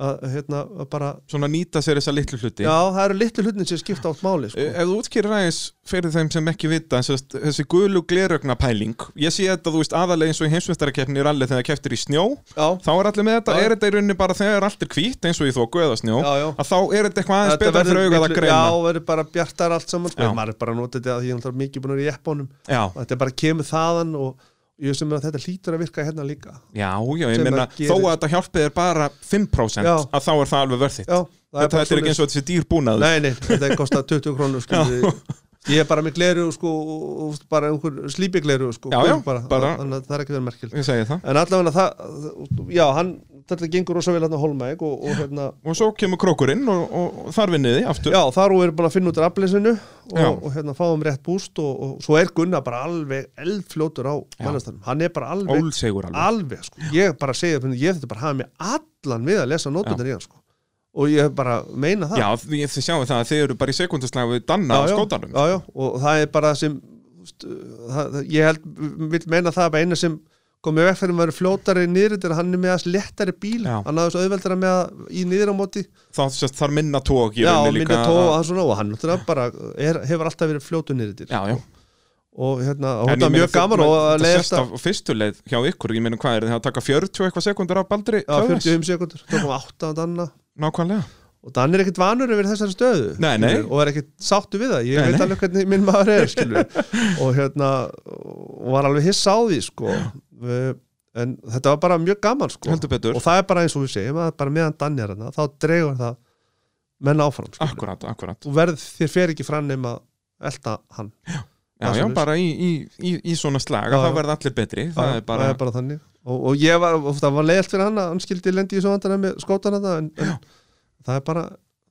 Speaker 2: að hérna að bara
Speaker 1: svona nýta sér þessa litlu hluti
Speaker 2: já, það eru litlu hlutin sem skipta átt máli sko.
Speaker 1: Eh, Ef þú útskýrir aðeins fyrir þeim sem ekki vita sérst, þessi gulu glerögna pæling ég sé þetta, þú veist, aðalega eins og í heimsvistarakeppni er allir þegar það keftir í snjó
Speaker 2: já,
Speaker 1: þá er allir með þetta,
Speaker 2: Já.
Speaker 1: er þetta í rauninni bara þegar allt er hvít eins og í þóku eða snjó
Speaker 2: Já, já.
Speaker 1: að þá er þetta eitthvað aðeins betra fyrir augað að
Speaker 2: miklu-
Speaker 1: greina
Speaker 2: já, verður bara bjartar allt saman sko.
Speaker 1: Já.
Speaker 2: En maður er bara að nota þetta að ég er náttúrulega mikið búin að vera í jeppunum
Speaker 1: já,
Speaker 2: og þetta er bara kemur þaðan og ég sem er að þetta hlýtur að virka hérna líka
Speaker 1: já, já, ég
Speaker 2: Sem
Speaker 1: meina
Speaker 2: að
Speaker 1: þó
Speaker 2: gerist.
Speaker 1: að þetta hjálpið er bara 5%
Speaker 2: Já.
Speaker 1: að þá er það alveg verðið
Speaker 2: já,
Speaker 1: þetta þetta er ekki eins og þetta sé dýr búnaður
Speaker 2: nei, nei, þetta kostar 20 krónur sko, ég er bara með gleru sko, og- og bara einhver slípi gleru sko,
Speaker 1: Já, já,
Speaker 2: gul bara,
Speaker 1: bara-
Speaker 2: þannig að það er ekki verið merkilt
Speaker 1: ég segi það
Speaker 2: en allavega það, já, hann þetta gengur rosa vel hérna á Holmæk og, og hérna
Speaker 1: og svo kemur krókurinn og, og, og þar vinniði aftur
Speaker 2: Já, þar og við erum búin að finna út af afleysinu og,
Speaker 1: Já.
Speaker 2: og hérna fáum rétt búst og, og svo er Gunnar bara alveg eldfljótur á mælastanum, hann er bara alveg
Speaker 1: ólsegur alveg
Speaker 2: alveg, sko, ég bara segja fyrir ég þetta bara hafa mig allan við að lesa nótundir í hann, sko, og ég bara meina það
Speaker 1: Já, því- þið sjáum það að þið eru bara í sekundaslæðu við Danna á skótanum sko.
Speaker 2: já, já, og það er bara það sem veist, það, það- ég held, vil meina það að eina sem komið vekk fyrir maður fljótari niður þetta er að hann er með aðeins lettari bíl
Speaker 1: Já.
Speaker 2: hann aðeins auðveldara með að í niður á móti
Speaker 1: þá sérst þar minna tók
Speaker 2: já, og minni tóa hann svona og hann náttúrulega bara er, hefur alltaf verið fljótu niður þetta
Speaker 1: já, já.
Speaker 2: og hérna, og
Speaker 1: En ég
Speaker 2: þetta er
Speaker 1: meina,
Speaker 2: mjög gaman
Speaker 1: þú-
Speaker 2: og að
Speaker 1: þetta
Speaker 2: leiða
Speaker 1: sérst af fyrstu leið hjá ykkur ég meina hvað er það að taka 40 og eitthvað sekundur af baldri
Speaker 2: Já,
Speaker 1: Hlöðvers?
Speaker 2: 45 sekundur, tókum 8 á um Danna
Speaker 1: nákvæmlega
Speaker 2: og Dan er ekkert vanur yfir þessari stöðu
Speaker 1: Nei, nei.
Speaker 2: skilur, og er ekkert sáttu við það ég
Speaker 1: Nei,
Speaker 2: veit
Speaker 1: nei.
Speaker 2: alveg hvernig minn maður er
Speaker 1: [LAUGHS]
Speaker 2: skilur. og hérna og var alveg hissa á því sko. Eh, en þetta var bara mjög gaman sko.
Speaker 1: Heldur betur.
Speaker 2: og það er bara eins og við segjum að bara meðan Dan er hérna, þá dregur það menn áfram skilur.
Speaker 1: akkurat, akkurat
Speaker 2: og verð, þér fer ekki fram nema elta hann
Speaker 1: já, já,
Speaker 2: Svoleiðis.
Speaker 1: bara í, í, í, í svona slag að
Speaker 2: Já, já.
Speaker 1: það verða allir betri það er bara,
Speaker 2: það er bara þannig og, og ég var, og það var leiðalt fyrir hann að hann skildi lendi í svo vandana með skótana það en, en það er bara,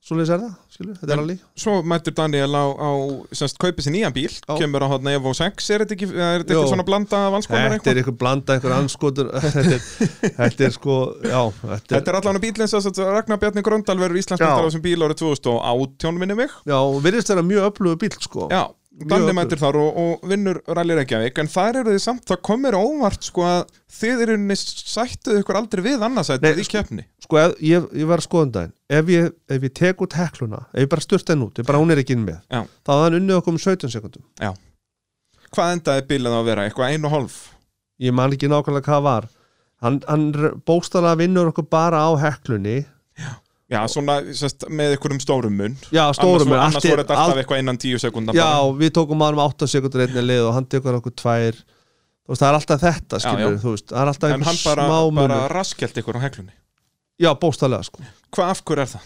Speaker 2: svoleiðis er það skilur, þetta
Speaker 1: En-
Speaker 2: er alveg
Speaker 1: svo mættur Daniel á, á semst, kaupið sér nýjan bíl
Speaker 2: Já.
Speaker 1: kemur á hodna Evo 6 er þetta ekki, eða er þetta
Speaker 2: Jó.
Speaker 1: ekki svona blanda af alls konar
Speaker 2: Þetta
Speaker 1: eitthvað
Speaker 2: er eitthvað blanda, eitthvað anskotur þetta, er- þetta er sko, já Þetta er,
Speaker 1: Þetta er allan að bílinn sem sagt Ragnar Bjarni Gröndal verður Íslandsmyndar á þessum bíl árið 2018 minni mig
Speaker 2: já, og virðist vera mjög öflugu bíl sko
Speaker 1: Já, Danni
Speaker 2: öflugur.
Speaker 1: mætir þar og, og vinnur Rally Reykjavík en þar eru þið samt, það komir óvart sko að þið eru henni sættuð ykkur aldrei við annarsættið
Speaker 2: Nei,
Speaker 1: í keppni
Speaker 2: Sko, ef, ég, ég var að skoða um daginn ef ég, ef ég tek út hekluna, ef ég bara styrta henn út, ég bara hún er ekki inn með
Speaker 1: Já.
Speaker 2: þá hafði hann unnið okkur um 17 sekundum
Speaker 1: Já Hvað endaði bílinn á að vera? Eitthvað einu og hálf?
Speaker 2: Ég man ekki nákvæmlega hvað var Hann, hann bókstala vinnur okkur bara á heklunni
Speaker 1: Já, svona sest, með einhverjum stórum mun
Speaker 2: Já,
Speaker 1: Annars,
Speaker 2: stórum
Speaker 1: voru-
Speaker 2: er
Speaker 1: annars voru þetta alltaf
Speaker 2: allt-
Speaker 1: eitthvað innan tíu sekundar
Speaker 2: Já, við tókum hann um 8 sekundur einni leið og hann tekur okkur tvær Þú veist, það er alltaf þetta,
Speaker 1: Já,
Speaker 2: skilur,
Speaker 1: já.
Speaker 2: þú veist, það er alltaf
Speaker 1: En hann
Speaker 2: einhver
Speaker 1: bara,
Speaker 2: smá munur.
Speaker 1: bara raskelt ykkur á heklunni
Speaker 2: Já, bóstalega sko
Speaker 1: Hvað af hverju er það?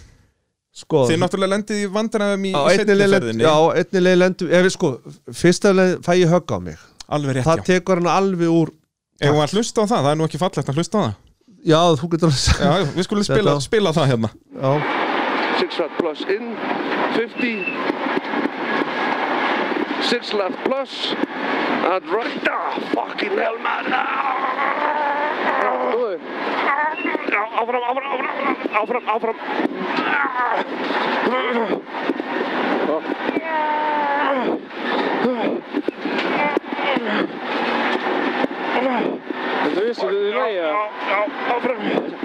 Speaker 2: Sko,
Speaker 1: Þið náttúrulega lendið í vandræðum í
Speaker 2: á einni leið lend-
Speaker 1: setniferðinni
Speaker 2: já, á einni leið lendum ef við sko, fyrsta leið fæ ég högg á mig
Speaker 1: Alveg rétt,
Speaker 2: það
Speaker 1: já
Speaker 2: tekur hann alveg úr
Speaker 1: Ef hann hlusta á það, það er nú ekki fallegt að hlusta á það
Speaker 2: já, þú getur alveg sagt
Speaker 1: Já, já, við skulum spila,
Speaker 2: Þetta-
Speaker 1: spila það hérna
Speaker 2: já,
Speaker 3: Six left plus in, 50. Six left plus, and right. Ah, fucking hell, man. Ah.
Speaker 5: Góður,
Speaker 3: Já, Áfram, áfram, áfram, áfram, áfram. Ah.
Speaker 5: þetta vissum við í lagi að
Speaker 3: Já, áfram.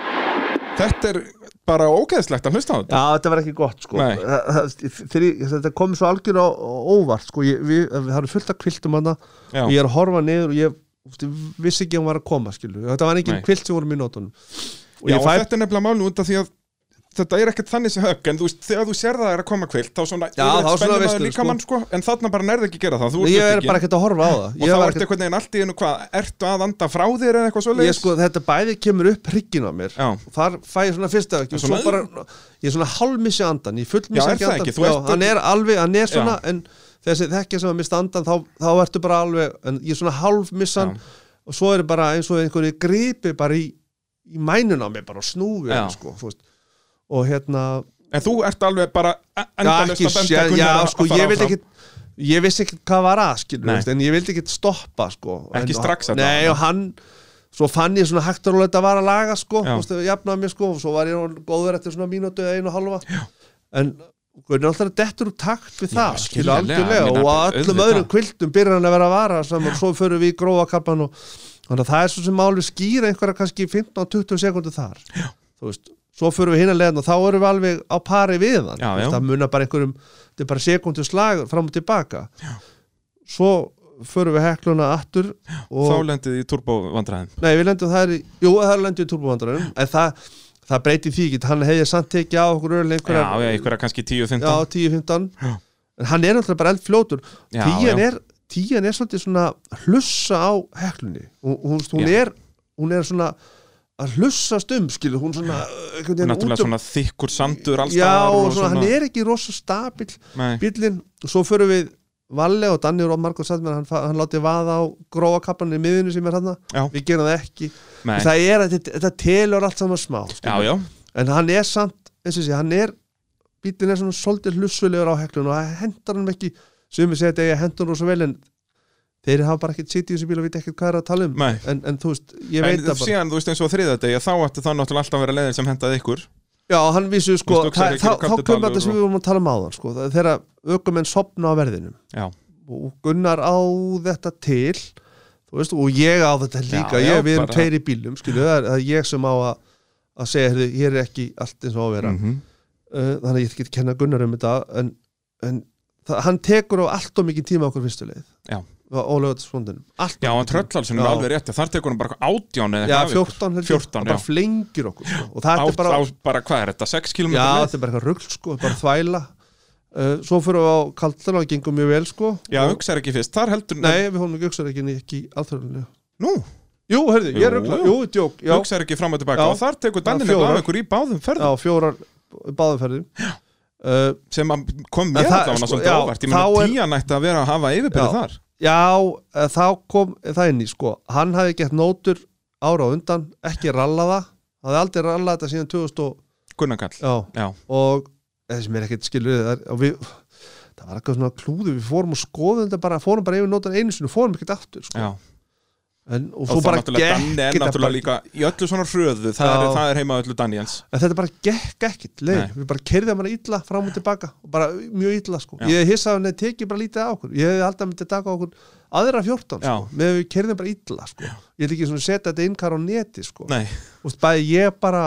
Speaker 1: Þetta er bara ógeðslegt að hlusta á þetta
Speaker 2: já, þetta var ekki gott sko
Speaker 1: Nei.
Speaker 2: Það- það- þegar ég- þetta kom svo algjör á á óvart sko, ég, við, við það eru fullt af kviltum hana
Speaker 1: Já.
Speaker 2: og ég er að horfa niður og ég þú veist, ég vissi ekki að hún var að koma skilur, þetta var engin
Speaker 1: Nei.
Speaker 2: kvilt sem vorum í nótunum og
Speaker 1: Já,
Speaker 2: ég
Speaker 1: og
Speaker 2: fæ
Speaker 1: þetta er nefnilega málum út af því að þetta er ekkert þannig sem högg en þú veist, þegar þú sér það er að koma kvilt þá svona,
Speaker 2: Já,
Speaker 1: yfirleitt
Speaker 2: þá svona
Speaker 1: spennir maður
Speaker 2: veistu,
Speaker 1: líkamann, sko. en þarna bara nærði ekki að gera það þú
Speaker 2: Nei,
Speaker 1: ert
Speaker 2: ég er
Speaker 1: upptekinn.
Speaker 2: bara ekkert að horfa á það
Speaker 1: og
Speaker 2: Ég
Speaker 1: þá
Speaker 2: var
Speaker 1: ertu einhvern veginn allt í einu hvað ertu að anda frá þér eða eitthvað svoleiðis
Speaker 2: ég sko þetta bæði kemur upp hryggin á mér
Speaker 1: Já.
Speaker 2: og þar fæ ég svona fyrsta ekki og svo
Speaker 1: Svona-
Speaker 2: bara, ég er svona hálmissi andan ég
Speaker 1: Já,
Speaker 2: fullmissi
Speaker 1: er
Speaker 2: ekki
Speaker 1: það
Speaker 2: andan
Speaker 1: ekki? Þú
Speaker 2: Já,
Speaker 1: ert-
Speaker 2: hann er alveg, hann er svona en þessi þekkja sem að mista andan þá, þá ertu bara alveg, en ég er svona hálfmissan og svo er bara eins og einhverju gripi bara í, í mænun á mér bara og snúi
Speaker 1: Já.
Speaker 2: hann, sko, þú veist. og hérna
Speaker 1: en þú ert alveg bara
Speaker 2: já,
Speaker 1: endalust að benda
Speaker 2: ekki, já,
Speaker 1: Gunnar
Speaker 2: já,
Speaker 1: að- að
Speaker 2: sko,
Speaker 1: fara
Speaker 2: ég veit
Speaker 1: áfram.
Speaker 2: ekki ég vissi ekki hvað var að skilur,
Speaker 1: Nei.
Speaker 2: veist, en ég vildi ekki stoppa sko.
Speaker 1: Ekki
Speaker 2: en,
Speaker 1: strax
Speaker 2: að
Speaker 1: allavega.
Speaker 2: nei, og hann, svo fann ég svona hægt og rólega þetta var að laga sko,
Speaker 1: Já.
Speaker 2: þú veist, jafnaði mér sko, og svo var ég orðinn góður eftir svona mínútu eða einu og halva já. en Guðni alltaf dettur úr takt við það
Speaker 1: skiljanlega,
Speaker 2: skilur algjörlega
Speaker 1: ég meina,
Speaker 2: og að öllum
Speaker 1: auðvitað.
Speaker 2: öðrum kvildum byrjar hann að vera að vara saman, svo förum við í gróa kappan og þannig að það er svo sem máli skýra einhverja kannski 15-20 sekundu þar já. þú veist, svo förum við hinn að leiðan og þá erum við alveg á pari við hann
Speaker 1: Já,
Speaker 2: Þú veist,
Speaker 1: já.
Speaker 2: það munar bara einhverjum, þetta er bara sekundu slag fram og tilbaka já. svo förum við hekluna aftur og
Speaker 1: þá lendið þið í turbovandræðin
Speaker 2: Nei, við lendum það er í, jú, það er lendum í turbovandranum en það, það breyti því ekki, hann hefði samt tekið á okkur öll
Speaker 1: já,
Speaker 2: einhverjar,
Speaker 1: já, einhverja kannski 10-15
Speaker 2: já, 10-15 en hann er náttúrulega bara eldfljótur
Speaker 1: Já,
Speaker 2: tíjan
Speaker 1: já.
Speaker 2: er, tíjan er svolítið svona hlussa á heklunni hún, hún, hún
Speaker 1: Já.
Speaker 2: er, hún er svona að hlussa stum, skilur, hún svona einhvern veginn
Speaker 1: náttúrulega
Speaker 2: út um-
Speaker 1: svona þykkur sandur alls
Speaker 2: já,
Speaker 1: staðar
Speaker 2: og svona, hann er ekki rosa stabil
Speaker 1: Nei.
Speaker 2: bíllinn, og svo förum við Valle og Danni og Margot Sætmenn hann, fa- hann láti vaða á gróa kappan í miðinu sem er hann,
Speaker 1: Já.
Speaker 2: við gerum það ekki
Speaker 1: Nei.
Speaker 2: það er að þetta, þetta telur allt saman smá
Speaker 1: já,
Speaker 2: skilur.
Speaker 1: já,
Speaker 2: en hann er samt, eins og sé, hann er bíllinn er svona svolítið hlussulegur á heklun og það hendar hann ekki, sem við segja þetta ég hendur hann svo vel en þeir hafa bara ekkert sitið í þessu bíl og veit ekkert hvað er að tala um
Speaker 1: Nei.
Speaker 2: en, en þú veist, ég
Speaker 1: en
Speaker 2: veit það bara
Speaker 1: síðan þú veist eins og þriðadegi þá ætti það náttúrulega alltaf að vera leiðin sem hendaði ykkur
Speaker 2: já, hann vísu sko,
Speaker 1: Þú veist,
Speaker 2: þá
Speaker 1: Öxarvíkur og
Speaker 2: þá- þá
Speaker 1: Kaptadalur
Speaker 2: um kemur þetta sem við vorum að tala um áðan sko, þegar ökumenn sopna á verðinum
Speaker 1: já,
Speaker 2: og Gunnar á þetta til þú veist, og ég á þetta líka
Speaker 1: Já, já,
Speaker 2: ég, við erum
Speaker 1: bara-
Speaker 2: tveir í bílum, skilu það er, það er ég sem á að, að segja, heyrðu, hér er ekki allt eins og á að vera
Speaker 1: Mhm.
Speaker 2: uh, þannig að ég get ekki að kenna Gunnar um þetta en, en það, hann tekur á allt og mikið tíma okkur fyrstu leið
Speaker 1: Já.
Speaker 2: og spondinum allt
Speaker 1: Já, hann
Speaker 2: of mikinn tíma.
Speaker 1: tröllalsinn er
Speaker 2: Já.
Speaker 1: alveg rétt þar tekur hann bara átján eða
Speaker 2: Já,
Speaker 1: eitthvað af ykkur.
Speaker 2: 14, held ég.
Speaker 1: 14,
Speaker 2: Það
Speaker 1: já.
Speaker 2: bara flengir okkur sko. og það
Speaker 1: Átt,
Speaker 2: er bara
Speaker 1: á, bara hvað er þetta, 6 km
Speaker 2: Já, þetta er bara eitthvað rugl sko, bara þvæla uh, Svo fyrir við á kaldan og það gengur mjög vel sko
Speaker 1: Já,
Speaker 2: og,
Speaker 1: hugsaður ekki fyrst, þar heldur
Speaker 2: Nei, við honum auksar ekki ekki alþjóðlega
Speaker 1: Nú,
Speaker 2: Jú, heyrðu, ég
Speaker 1: Jú.
Speaker 2: er rugla, jú, djók Já,
Speaker 1: hugsaður ekki fram og tilbaka
Speaker 2: Já.
Speaker 1: og þar tekur
Speaker 2: Það er
Speaker 1: Danninni af
Speaker 2: fjórar.
Speaker 1: ykkur í báðum
Speaker 2: já
Speaker 1: ferðum
Speaker 2: fjórar báðumferðum uh,
Speaker 1: sem að kom
Speaker 2: En
Speaker 1: mér
Speaker 2: það-
Speaker 1: það var
Speaker 2: sko,
Speaker 1: svolítið
Speaker 2: já,
Speaker 1: óvart, ég
Speaker 2: þá
Speaker 1: meina
Speaker 2: er-
Speaker 1: tían ætti að vera að hafa
Speaker 2: Já.
Speaker 1: yfirbyrði þar
Speaker 2: Já, eh, þá kom það inn í sko Hann hafði gett nótur ára á undan ekki rallaða, það hafði aldrei rallað þetta síðan 2000 og,
Speaker 1: Gunnar Kall,
Speaker 2: já,
Speaker 1: já,
Speaker 2: og það sem er ekkert skilur það, er- og við, það var eitthvað svona klúðu við fórum og skoðum þetta bara, fórum bara yfir nótan einu sinni, og fórum ekkert aftur sko.
Speaker 1: já
Speaker 2: en, og,
Speaker 1: og
Speaker 2: svo
Speaker 1: það
Speaker 2: bara
Speaker 1: náttúrulega
Speaker 2: gekk
Speaker 1: Danni er
Speaker 2: þetta
Speaker 1: náttúrulega
Speaker 2: bara,
Speaker 1: líka í öllu svona hröðu, það er,
Speaker 2: Já.
Speaker 1: það er heima öllu Dannians
Speaker 2: en þetta bara gekk ekkit leið,
Speaker 1: Nei.
Speaker 2: við bara kerðum hana illa fram og tilbaka, og bara mjög illa sko.
Speaker 1: Já.
Speaker 2: ég hissaði henni tekið bara lítið á okkur ég hefði alltaf myndið taka á okkur aðra 14 sko.
Speaker 1: Já.
Speaker 2: með við kerðum bara illa sko. ég hefði ekki svona setja þetta innkar á neti sko.
Speaker 1: Nei,
Speaker 2: Þú veist, bæði ég bara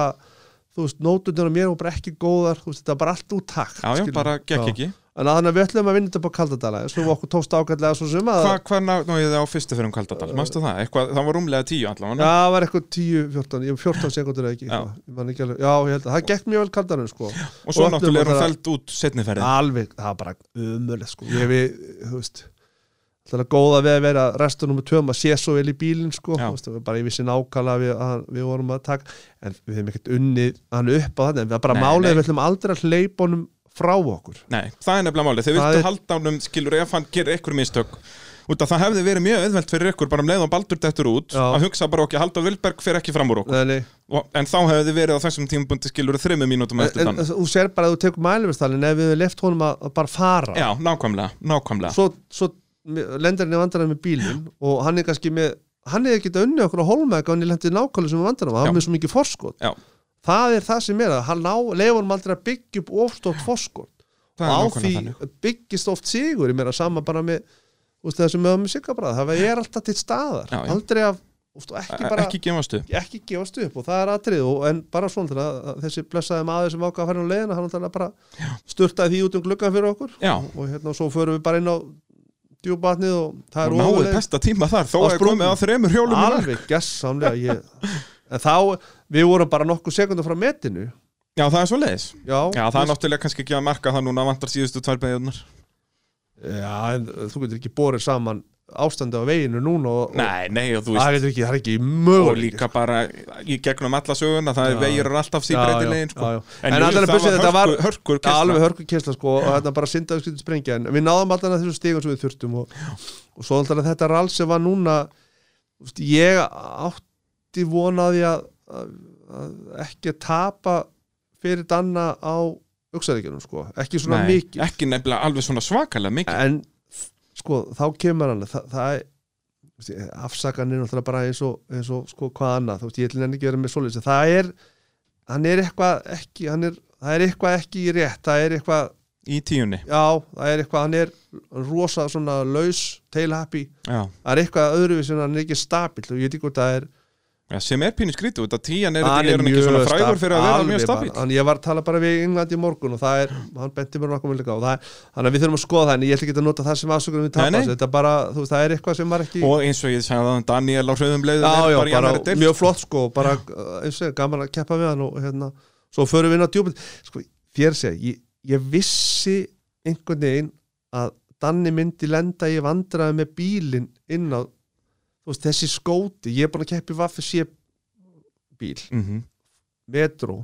Speaker 2: þú veist, nótundur á mér og bara ekki góðar þú veist, þetta var bara allt úr takk
Speaker 1: já, já,
Speaker 2: skilurðu.
Speaker 1: bara gekk
Speaker 2: Já.
Speaker 1: ekki
Speaker 2: en að þannig að við ætlum að vinna þetta upp á kaldadala svo okkur tókst ágætlega svo sem að
Speaker 1: Hvað hva náðið þið á fyrstu fyrir um Kaldadal, manstu það? Eitthvað, það var rúmlega tíu allavega
Speaker 2: Já, það var eitthvað 10, 14, ég var 14 sekundur eða ekki,
Speaker 1: Já.
Speaker 2: eitthvað, ég man ekki alveg, já, ég held að það gekk mjög vel kaldanum, sko
Speaker 1: Og svo
Speaker 2: og öllum
Speaker 1: náttúrulega er hún
Speaker 2: bara-
Speaker 1: fælt út setniferði
Speaker 2: alveg, það var bara umöðlega, sko ég við, þú veist alltaf góða við að vera restunum með töm að sé svo vel í bílinn, sko,
Speaker 1: Já.
Speaker 2: þú veist, bara ég vissi nákvæmlega við, að, við vorum að taka en við hefum ekkert unnið hann upp á þetta en við bara
Speaker 1: Nei,
Speaker 2: málið
Speaker 1: nei.
Speaker 2: að við ætlum aldrei að hleypa honum frá okkur
Speaker 1: Nei, það er nefnilega málið, þið
Speaker 2: Það
Speaker 1: viltu
Speaker 2: er-
Speaker 1: halda ánum skilur ef hann gerir ykkur mistök út að það hefði verið mjög auðvelt fyrir ykkur bara um leið og baldur dettur út
Speaker 2: Já.
Speaker 1: að hugsa bara okkur, Halldór Vilberg fyrir ekki fram úr okkur
Speaker 2: Nei, nei.
Speaker 1: og, en þá hefði þið verið á þessum tímabundi skilur þrimmu mínútum eftir
Speaker 2: en en
Speaker 1: þann
Speaker 2: þú sér bara að þú tekur mælumistallin ef við hefum left honum að, að bara fara
Speaker 1: Já, nákvæmlega, nákvæmlega
Speaker 2: svo, svo lendir hann í vandarinn með bílinn og hann er kannski með hann hefði getað unnið okkur á holmæk og hann er lendið nákvæmlega sem vandarinn og
Speaker 1: Já.
Speaker 2: hann er með svo mikið forskot
Speaker 1: Já,
Speaker 2: það er það sem er að hann ná leifunum aldrei að byggja upp ofstótt forskot
Speaker 1: það
Speaker 2: og á
Speaker 1: er
Speaker 2: því
Speaker 1: nákvæmlega þannig
Speaker 2: byggist oft sigur ég meira sama bara með þú veist, það sem við höfum með sigabræð það er alltaf til staðar
Speaker 1: Já, já.
Speaker 2: aldrei að úst, ekki
Speaker 1: E,
Speaker 2: bara
Speaker 1: Ekki gefast upp
Speaker 2: ekki gefast upp og það er atrið og, en bara svona til að að þessi blessaði maður sem ákvað að fara á leiðina, hann alltaf bara sturtaði því út um gluggan fyrir okkur
Speaker 1: Já.
Speaker 2: og hérna og svo förum við bara inn á djúbatnið og það
Speaker 1: Og
Speaker 2: er
Speaker 1: náðu
Speaker 2: ofalegið.
Speaker 1: besta tíma þar, þó
Speaker 2: Á
Speaker 1: að
Speaker 2: sprungnum.
Speaker 1: komið á þremur hjólum í mark.
Speaker 2: alveg gessamlega ég... en þá, við vorum bara nokkuð sekundum frá metinu
Speaker 1: Já, það er svo leiðis
Speaker 2: já,
Speaker 1: Já, það er náttúrulega kannski ekki að marka það núna vantar síðustu tvær beigjarnar
Speaker 2: já en, þú getur ekki borið saman ástandi á veginu núna og, og
Speaker 1: Nei, nei, og þú veist
Speaker 2: það getur ekki, það er ekki
Speaker 1: og
Speaker 2: möguleik
Speaker 1: líka bara í gegnum alla söguna það er vegir eru alltaf síbreytilegin sko.
Speaker 2: já, já. En, en allan að busið þetta var
Speaker 1: hörkur, hörkur
Speaker 2: Já,
Speaker 1: kistla.
Speaker 2: alveg hörkur kistla sko og þetta bara syndaði skritið sprengja en við náðum allan að þessu stígan sem við þurftum og, og svo alltaf þetta rall sem var núna þú veist, ég átti vonaði að, að, að ekki tapa fyrir Danna á auksaríkjunum sko, ekki svona
Speaker 1: Nei,
Speaker 2: mikið
Speaker 1: ekki nefnilega alveg svona svakalega mikið
Speaker 2: en sko þá kemur hann það, það er þú veist, afsakan er náttúrulega bara eins og, eins og sko hvað annað, þú veist, ég ætlum enn ekki verið með svoleiðis það er, hann er eitthvað ekki, hann er, það er eitthvað ekki í rétt það er eitthvað,
Speaker 1: í tíunni
Speaker 2: já, það er eitthvað hann er rosa svona laus tailhappy,
Speaker 1: já.
Speaker 2: það er eitthvað öðruvísi en hann er ekki stabilt og ég veit ekki hvort það er
Speaker 1: Já, sem er pínu skrítið út að tían er, er, er ekki svona frægur fyrir að vera mjög stabil
Speaker 2: Þannig ég var að tala bara við England í morgun og það er, hann benti mér nokkuð mjög líka og það er, þannig að við þurfum að skoða það en ég ætla ekki að nota það sem afsökunum við
Speaker 1: Nei, nei.
Speaker 2: tapast þetta er bara, þú veist, það er eitthvað sem var ekki
Speaker 1: og eins og ég sagði það Daniel á hröðum leiðum
Speaker 2: já,
Speaker 1: er
Speaker 2: já,
Speaker 1: bara í
Speaker 2: bara,
Speaker 1: annari deild.
Speaker 2: mjög flott sko og bara, uh, eins og ég, gaman að keppa við hann og hérna, svo förum við inn á djúpind sko, þér segja, ég, ég vissi einhvern veginn að Danni myndi lenda í vandraði með bílinn inn á þú veist, þessi skóti, ég er búin að keppi vaffi sé bíl
Speaker 1: Mhm.
Speaker 2: metro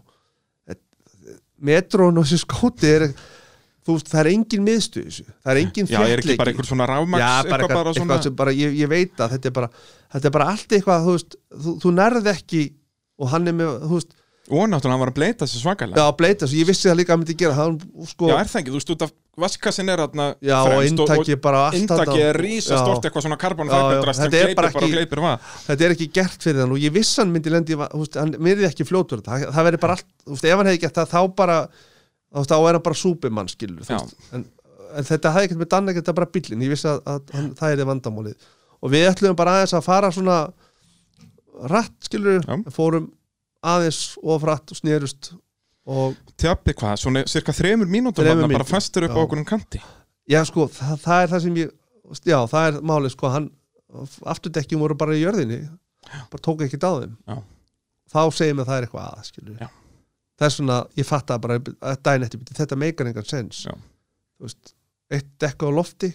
Speaker 2: metron og þessi skóti er þú veist, það er engin miðstu í þessu það er engin
Speaker 1: já, er ekki bara einhver svona rafmaks
Speaker 2: Já, bara
Speaker 1: eitthvað
Speaker 2: eitthvað,
Speaker 1: bara svona
Speaker 2: eitthvað sem bara, ég, ég veit að þetta er bara, þetta er bara allt eitthvað, þú veist, þú, þú nærð ekki og hann er með, þú veist,
Speaker 1: og náttúrulega hann var að bleita sér svakalega
Speaker 2: já, bleita svo ég vissi það líka að hann myndi gera, hann sko
Speaker 1: já, er það ekki, þú veist út að vaskasinn er þarna
Speaker 2: já, og
Speaker 1: fremst
Speaker 2: inntaki er bara allt
Speaker 1: Inntaki
Speaker 2: þarna.
Speaker 1: er rísastort
Speaker 2: Já.
Speaker 1: eitthvað svona
Speaker 2: Já, já,
Speaker 1: karbonfagundrast sem
Speaker 2: þetta er
Speaker 1: gleipir
Speaker 2: bara
Speaker 1: bara,
Speaker 2: ekki-
Speaker 1: gleipir vað
Speaker 2: þetta er ekki gert fyrir hann og ég vissi hann myndi lendi, í va- þú veist, hann myndi ekki fljótur það, það verður bara allt, þú veist, ef hann hefði gett það þá bara, þú veist, þá er hann bara súpimann skilur, þú
Speaker 1: Já.
Speaker 2: veist, en en þetta hafði ekkert með Dannek þetta er bara bíllinn, ég vissi að, að hann, það er vandamálið og við ætlum bara aðeins að fara svona rætt skilur
Speaker 1: Já.
Speaker 2: fórum aðeins of rætt og snerust og
Speaker 1: Tjappi hvað, svona cirka þremur mínútur
Speaker 2: Þremur
Speaker 1: þarna, bara
Speaker 2: mínútur,
Speaker 1: fastur upp á
Speaker 2: já.
Speaker 1: okkur um kanti
Speaker 2: já sko, það, það er það sem ég já, það er málið sko hann, afturdekkjum voru bara í jörðinni bara tók ekkert á þeim
Speaker 1: Já.
Speaker 2: þá segir mér það er eitthvað að skilur
Speaker 1: Já.
Speaker 2: þess vegna ég fatt að bara að dæn eftir bíddu, þetta meikar engan sens
Speaker 1: Já.
Speaker 2: Þú veist, eitt dekka á lofti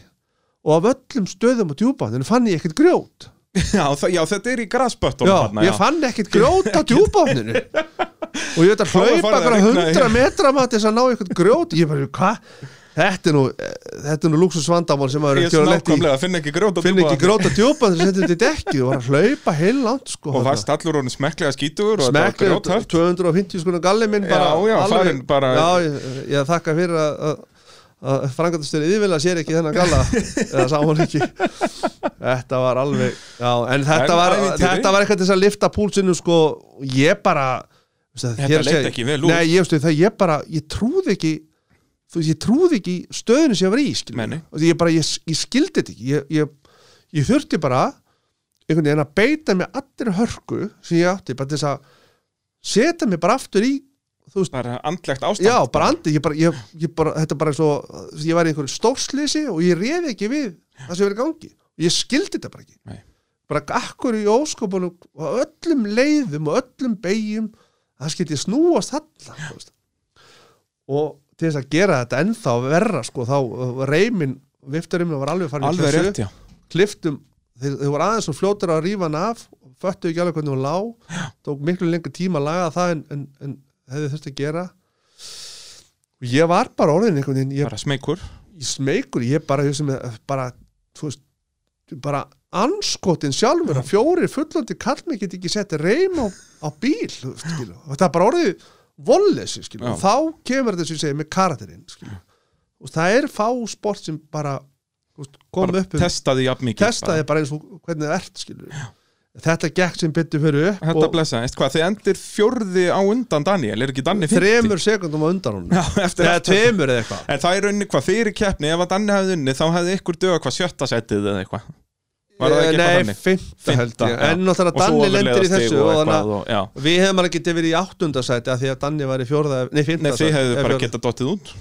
Speaker 2: og af öllum stöðum á djúpa þannig fann ég ekkert grjót
Speaker 1: já, það- já, þetta er í grasböttunum
Speaker 2: já,
Speaker 1: þarna,
Speaker 2: ég fann ekkert grjót á djúbofninu
Speaker 1: [LAUGHS]
Speaker 2: og ég veit að
Speaker 1: Þá var
Speaker 2: hlaupa
Speaker 1: farið að
Speaker 2: bara
Speaker 1: rigna,
Speaker 2: 100
Speaker 1: já.
Speaker 2: metra maður til þess að ná eitthvað grjót ég bara, hvað? Þetta er nú þetta er nú luxusvandamál sem maður
Speaker 1: Ég
Speaker 2: er ekki að leta í
Speaker 1: nákvæmlega, finn ekki grjót á
Speaker 2: finn ekki
Speaker 1: djúpa.
Speaker 2: grjót á djúbofninu sem setjum þetta í dekki og var að hlaupa heil langt sko,
Speaker 1: og
Speaker 2: þarna.
Speaker 1: varst allur honum smekklega skítugur og þetta var
Speaker 2: smekklega
Speaker 1: grjóthart
Speaker 2: 250 skona sko, galli minn bara,
Speaker 1: Já, já, farinn bara-
Speaker 2: já, ég, ég þakka fyrir að- að, að frangatastöri yfirlega sér ekki þennan galla
Speaker 1: [LAUGHS]
Speaker 2: eða sá hún ekki þetta var alveg já, en þetta
Speaker 1: En
Speaker 2: var,
Speaker 1: ævintýri.
Speaker 2: þetta var eitthvað til þess að lifta púlsinu sko, ég bara þetta
Speaker 1: leit ekki vel út.
Speaker 2: nei, ég, veistu, það, ég bara, ég trúði ekki þú veist, ég trúði ekki stöðinu sem ég var í skilur.
Speaker 1: Nei, nei.
Speaker 2: Og því ég bara, ég, ég skildi þetta ekki ég, ég, ég þurfti bara einhvern veginn að beita mig allir hörku sem ég átti, bara til þess að setja mig bara aftur í þú veist,
Speaker 1: bara andlegt ástand
Speaker 2: já, bara andið ég bara, ég, ég bara, þetta bara svo ég var í einhverju stórslýsi og ég reði ekki við það sem verið gangi, ég skildi þetta bara ekki
Speaker 1: Nei.
Speaker 2: bara akkur í óskopunum og öllum leiðum og öllum beigjum það skildi snúast allan þú veist. og til þess að gera þetta ennþá verra sko, þá uh, reimin, viftarinn var alveg farin í
Speaker 1: alveg
Speaker 2: klessu
Speaker 1: rétt, já
Speaker 2: kliftum þeir, þeir voru aðeins og fljótar að rífa hann af og föttu ekki alveg hvernig hún lá tók miklu lengur tíma að laga það en, en, en hefði þurft að gera og ég var bara orðin einhvern veginn, ég,
Speaker 1: bara smeykur
Speaker 2: ég smeykur ég bara, ég sem, bara, þú veist bara anskotin sjálfur að fjórir fullandi kallmi get ekki sett reym á, á bíl þú veist, skilu. og það er bara orðið vollesi, skilu,
Speaker 1: Já.
Speaker 2: og þá kemur þetta sem ég segi með karakterinn, skilu og það er fá sport sem bara þú veist, kom
Speaker 1: bara
Speaker 2: upp um
Speaker 1: testaði jafn mikið
Speaker 2: testaði bara eins og hvernig það ert skilur við. þetta gekk sem byttu fyrir upp
Speaker 1: Þetta
Speaker 2: og
Speaker 1: blessaðist, hvað, þið endir fjórði á undan Daniel, er ekki Danni 50?
Speaker 2: þremur sekundum á undan
Speaker 1: [LAUGHS]
Speaker 2: hún
Speaker 1: Já, eftir
Speaker 2: eða
Speaker 1: allt þetta.
Speaker 2: tveimur eða eitthvað
Speaker 1: En það er unni hvað, fyrir keppni, ef að Danni hefði unni, þá hefði ykkur döga hvað sjötta setið eða eitthvað Var það
Speaker 2: Eh,
Speaker 1: ekki eitthvað
Speaker 2: nei,
Speaker 1: þannig?
Speaker 2: fimmta held
Speaker 1: Fimmta,
Speaker 2: ég
Speaker 1: já.
Speaker 2: en náttúrulega
Speaker 1: Og svo
Speaker 2: Danni lendir í
Speaker 1: ofurleiðastig
Speaker 2: þessu
Speaker 1: og
Speaker 2: og
Speaker 1: eitthvað
Speaker 2: þannig
Speaker 1: og- já.
Speaker 2: að við hefum alveg getið verið í áttundasæti að því að Danni var í fjórða nei,
Speaker 1: Nei,
Speaker 2: fimmta
Speaker 1: þið
Speaker 2: sæti,
Speaker 1: hefðu
Speaker 2: eh,
Speaker 1: bara
Speaker 2: fjórða-
Speaker 1: getað dottið út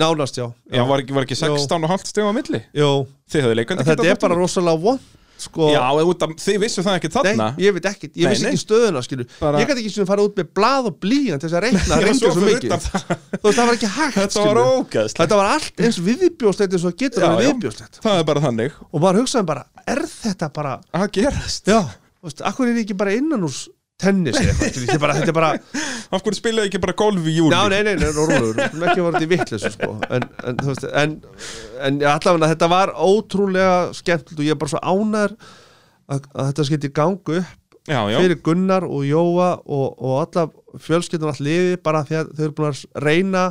Speaker 2: nánast, já,
Speaker 1: Já, var ekki, var ekki
Speaker 2: Jó.
Speaker 1: 16 og halvt stig á milli
Speaker 2: Jú,
Speaker 1: Þið hefðu
Speaker 2: en
Speaker 1: leikandi
Speaker 2: þetta er bara
Speaker 1: dottið út
Speaker 2: rosalega vond sko,
Speaker 1: Já, út af, þið vissu það ekki
Speaker 2: nei,
Speaker 1: þarna
Speaker 2: ég veit ekkert, ég
Speaker 1: Nei,
Speaker 2: vissi
Speaker 1: nei.
Speaker 2: ekki stöðuna skilur,
Speaker 1: Bara-
Speaker 2: ég gæti ekki sem fara út með blað og blíjan til þess að
Speaker 1: [LAUGHS]
Speaker 2: reikna,
Speaker 1: Já,
Speaker 2: reyndu
Speaker 1: svo
Speaker 2: svo
Speaker 1: fyrir
Speaker 2: mikið
Speaker 1: utan það.
Speaker 2: þú veist, það var ekki hægt
Speaker 1: Þetta var
Speaker 2: skilurðu.
Speaker 1: ógæðslega
Speaker 2: Þetta var allt eins viðbjóðslegt eins og það getur
Speaker 1: Já,
Speaker 2: að
Speaker 1: já.
Speaker 2: viðbjóðslegt
Speaker 1: Það er bara þannig
Speaker 2: og maður hugsaði bara, er þetta bara
Speaker 1: að gerast
Speaker 2: já, þú veist, akkur er ég ekki bara innan úr tennis eða eitthvað, skilur, þetta er bara, þetta er bara
Speaker 1: Af hverju spilaði ekki bara golf í júli
Speaker 2: já, nei, nei, nei, rólegur, sem ekki var þetta í vitleysu sko, en, en þú veist, en en allavega þetta var ótrúlega skemmtilegt og ég er bara svo ánæður að, að þetta skilti gangu upp
Speaker 1: Já, já,
Speaker 2: fyrir Gunnar og Jóa og, og alla fjölskyldun all liði bara því að þau eru búin að reyna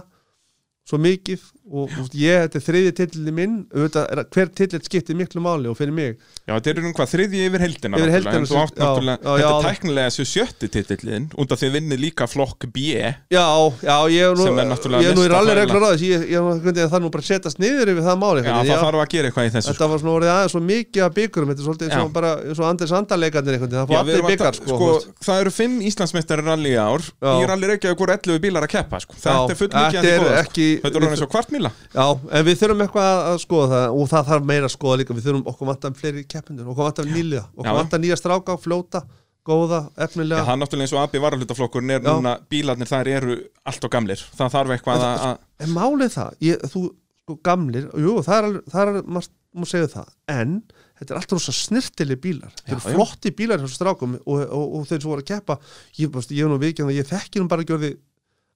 Speaker 2: svo mikið og úst, ég, þetta er þriði titlið minn auðvitað, er að hver titlið skiptir miklu máli og fyrir mig
Speaker 1: já þetta er um hvað þriðji yfir heldina
Speaker 2: Yfir
Speaker 1: náttúrulega,
Speaker 2: heildina
Speaker 1: en þú
Speaker 2: sem-
Speaker 1: átt
Speaker 2: já,
Speaker 1: náttúrulega-
Speaker 2: já, já,
Speaker 1: Þetta er
Speaker 2: já.
Speaker 1: tæknilega þessu sjötti titillin Undan þið vinnið líka flokk B
Speaker 2: já, já, ég er nú,
Speaker 1: Sem er náttúrulega
Speaker 2: ég er nú í
Speaker 1: neista
Speaker 2: ralli
Speaker 1: þvæla.
Speaker 2: reglur á þess ég, ég, er nú- hvernig er það nú bara að setjast niður yfir það máli
Speaker 1: Já,
Speaker 2: hvernig,
Speaker 1: það þarf að gera eitthvað í þessu sko.
Speaker 2: þetta var svona orðið aðeins svo mikið að byggurum þetta er svolítið eins
Speaker 1: Já.
Speaker 2: og bara eins og Anders Andarleikarnir einhvern veginn, það
Speaker 1: Já,
Speaker 2: fór
Speaker 1: við
Speaker 2: allir
Speaker 1: erum að
Speaker 2: byggar
Speaker 1: ta-
Speaker 2: sko,
Speaker 1: sko,
Speaker 2: sko
Speaker 1: Það eru fimm Íslandsmeistari rally í ár
Speaker 2: Já.
Speaker 1: Í rally Reykjavík voru 11 bílar að keppa sko.
Speaker 2: Já,
Speaker 1: Þetta er full mikið
Speaker 2: þetta
Speaker 1: að
Speaker 2: er
Speaker 1: góða sko.
Speaker 2: ekki-
Speaker 1: Þetta er orðin eins og kvartmíla
Speaker 2: já, en við þurfum eitthvað að- að skoða það og það þarf meira að skoða líka, við þurfum okkur vantar fleiri keppindur, okkur vantar nýliða
Speaker 1: Já.
Speaker 2: okkur vantar nýja stráka, fljóta, góða
Speaker 1: Já,
Speaker 2: efnilega,
Speaker 1: það er náttúrulega eins og AB varalutaflokkurinn er
Speaker 2: Já.
Speaker 1: núna Bílarnir þar eru allt og gamlir Það þarf eitthvað að að-
Speaker 2: En málið það, ég, þú sko, gamlir, jú, það er, alveg- það er maður, maður segja það, en þetta er alltaf rosa snirtili bílar, þetta eru
Speaker 1: Já, já.
Speaker 2: flotti bílar hjá strákum og, og, og, þeir sem voru að keppa ég, bara, ég er nú vikið að ég þekki nú bara ekki orðið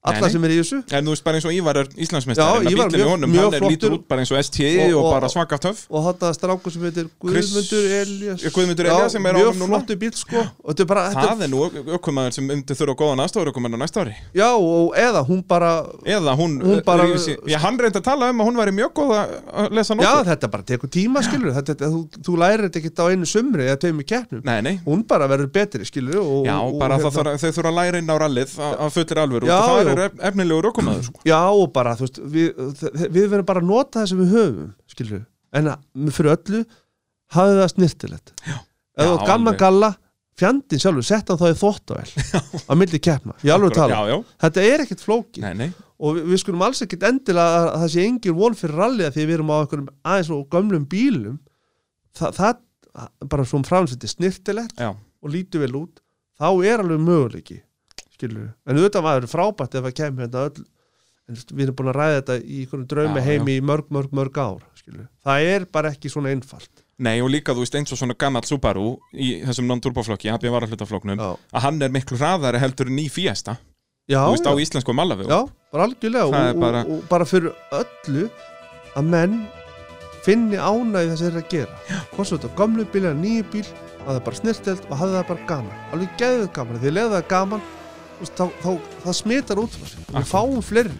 Speaker 2: alla
Speaker 1: Nei, nei.
Speaker 2: sem er í þessu
Speaker 1: En þú veist bara eins og Ívar er
Speaker 2: Já,
Speaker 1: Íslandsmeistari
Speaker 2: Ívar
Speaker 1: Bílinn
Speaker 2: er
Speaker 1: í
Speaker 2: mjög-
Speaker 1: honum,
Speaker 2: mjög
Speaker 1: hann er lítur
Speaker 2: flottur.
Speaker 1: út bara eins og STI og,
Speaker 2: Og- og-
Speaker 1: bara svaka töff
Speaker 2: og þarna strákur sem heitir
Speaker 1: Chris-
Speaker 2: Guðmundur Elias
Speaker 1: Ja, Guðmundur Elías sem er á honum
Speaker 2: mjög
Speaker 1: núna.
Speaker 2: flottu bíl sko og þetta er bara, þetta,
Speaker 1: Það er nú ökkumæður sem myndi þurfa góðan aðstofur ökkumæður næsta ári
Speaker 2: já og eða hún bara
Speaker 1: Eða hún, eh,
Speaker 2: Hún bara-
Speaker 1: rífur sig- Já, hann reyndi að tala um að hún væri mjög góð að lesa
Speaker 2: já
Speaker 1: nótur
Speaker 2: þetta bara tekur tíma skilur þetta, þetta, þú, þú lærir þetta ekki á einu sumri eða tveimur keppnum,
Speaker 1: Nei, nei,
Speaker 2: hún bara verður betri skilur og,
Speaker 1: Já,
Speaker 2: og,
Speaker 1: bara
Speaker 2: og, hérna,
Speaker 1: það þarf, að- þau þurfa að læra inn á rallið að að fullir alvöru
Speaker 2: Já,
Speaker 1: og það
Speaker 2: já,
Speaker 1: eru er ef- efnilegur okkumaður sko.
Speaker 2: Já og bara, þú veist, við, við verðum bara að nota það sem við höfum, skilur við. En að- fyrir öllu, hafið það snirtilegt. Já. Ef þú
Speaker 1: Já,
Speaker 2: gaman
Speaker 1: alveg.
Speaker 2: galla, fjandinn sjálfur, sett hann þá í
Speaker 1: [LAUGHS]
Speaker 2: þvóttavél á milli keppna, ég alveg tala.
Speaker 1: Já, já,
Speaker 2: Þetta er ekkert flókið
Speaker 1: nei, nei
Speaker 2: og við, við skulum alls ekkert endilega að, að það sé engin von fyrir rallyða því að við erum á einhverjum aðeins og gömlum bílum. Þa, það, bara um svona framsætti snirtilegt
Speaker 1: Já,
Speaker 2: og lítur vel út þá er alveg möguleiki skilur en auðvitað maður er frábært ef að kemur hérna öll en við erum búin að ræða þetta í einhvern draumi
Speaker 1: Já,
Speaker 2: heimi í mörg, mörg, mörg ár skilur það er bara ekki svona einfalt
Speaker 1: nei og líka þú veist eins og svona gammal Subaru í þessum non-turboflokki, AB varaflutaflokknum
Speaker 2: já,
Speaker 1: að hann er miklu hraðari heldur en í Fiesta
Speaker 2: já,
Speaker 1: Um, þú veist á
Speaker 2: já,
Speaker 1: íslensku malafi
Speaker 2: já bara algjörlega
Speaker 1: Það er
Speaker 2: og,
Speaker 1: bara-
Speaker 2: Og, og bara fyrir öllu að menn finni ánægði þess að þeir eru að gera hvort svo þetta gömlu bíl eða nýju bíl að það er bara snirtelt og hafði það bara gaman alveg geðið gaman, því leða það er gaman þú veist, þá, þá, það smitar út frá sér við
Speaker 1: Akkurat.
Speaker 2: fáum fleiri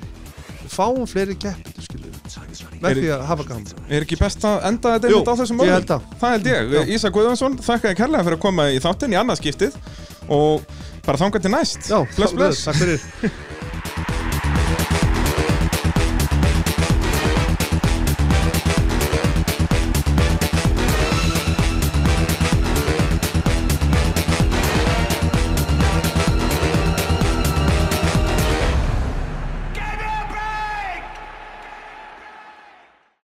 Speaker 2: við fáum fleiri keppendur skilur við, með
Speaker 1: Er-
Speaker 2: því að hafa gaman
Speaker 1: Er ekki best að enda þetta
Speaker 2: Jú,
Speaker 1: einmitt á þessum
Speaker 2: ég
Speaker 1: orðum?
Speaker 2: held að.
Speaker 1: Það held ég.
Speaker 2: Já.
Speaker 1: Ísa Guðjónsson, þakkaði kærlega fyrir að koma í þáttin í annað skiptið og bara þangað til næst.
Speaker 2: já,
Speaker 1: bless, bless.
Speaker 2: takk fyrir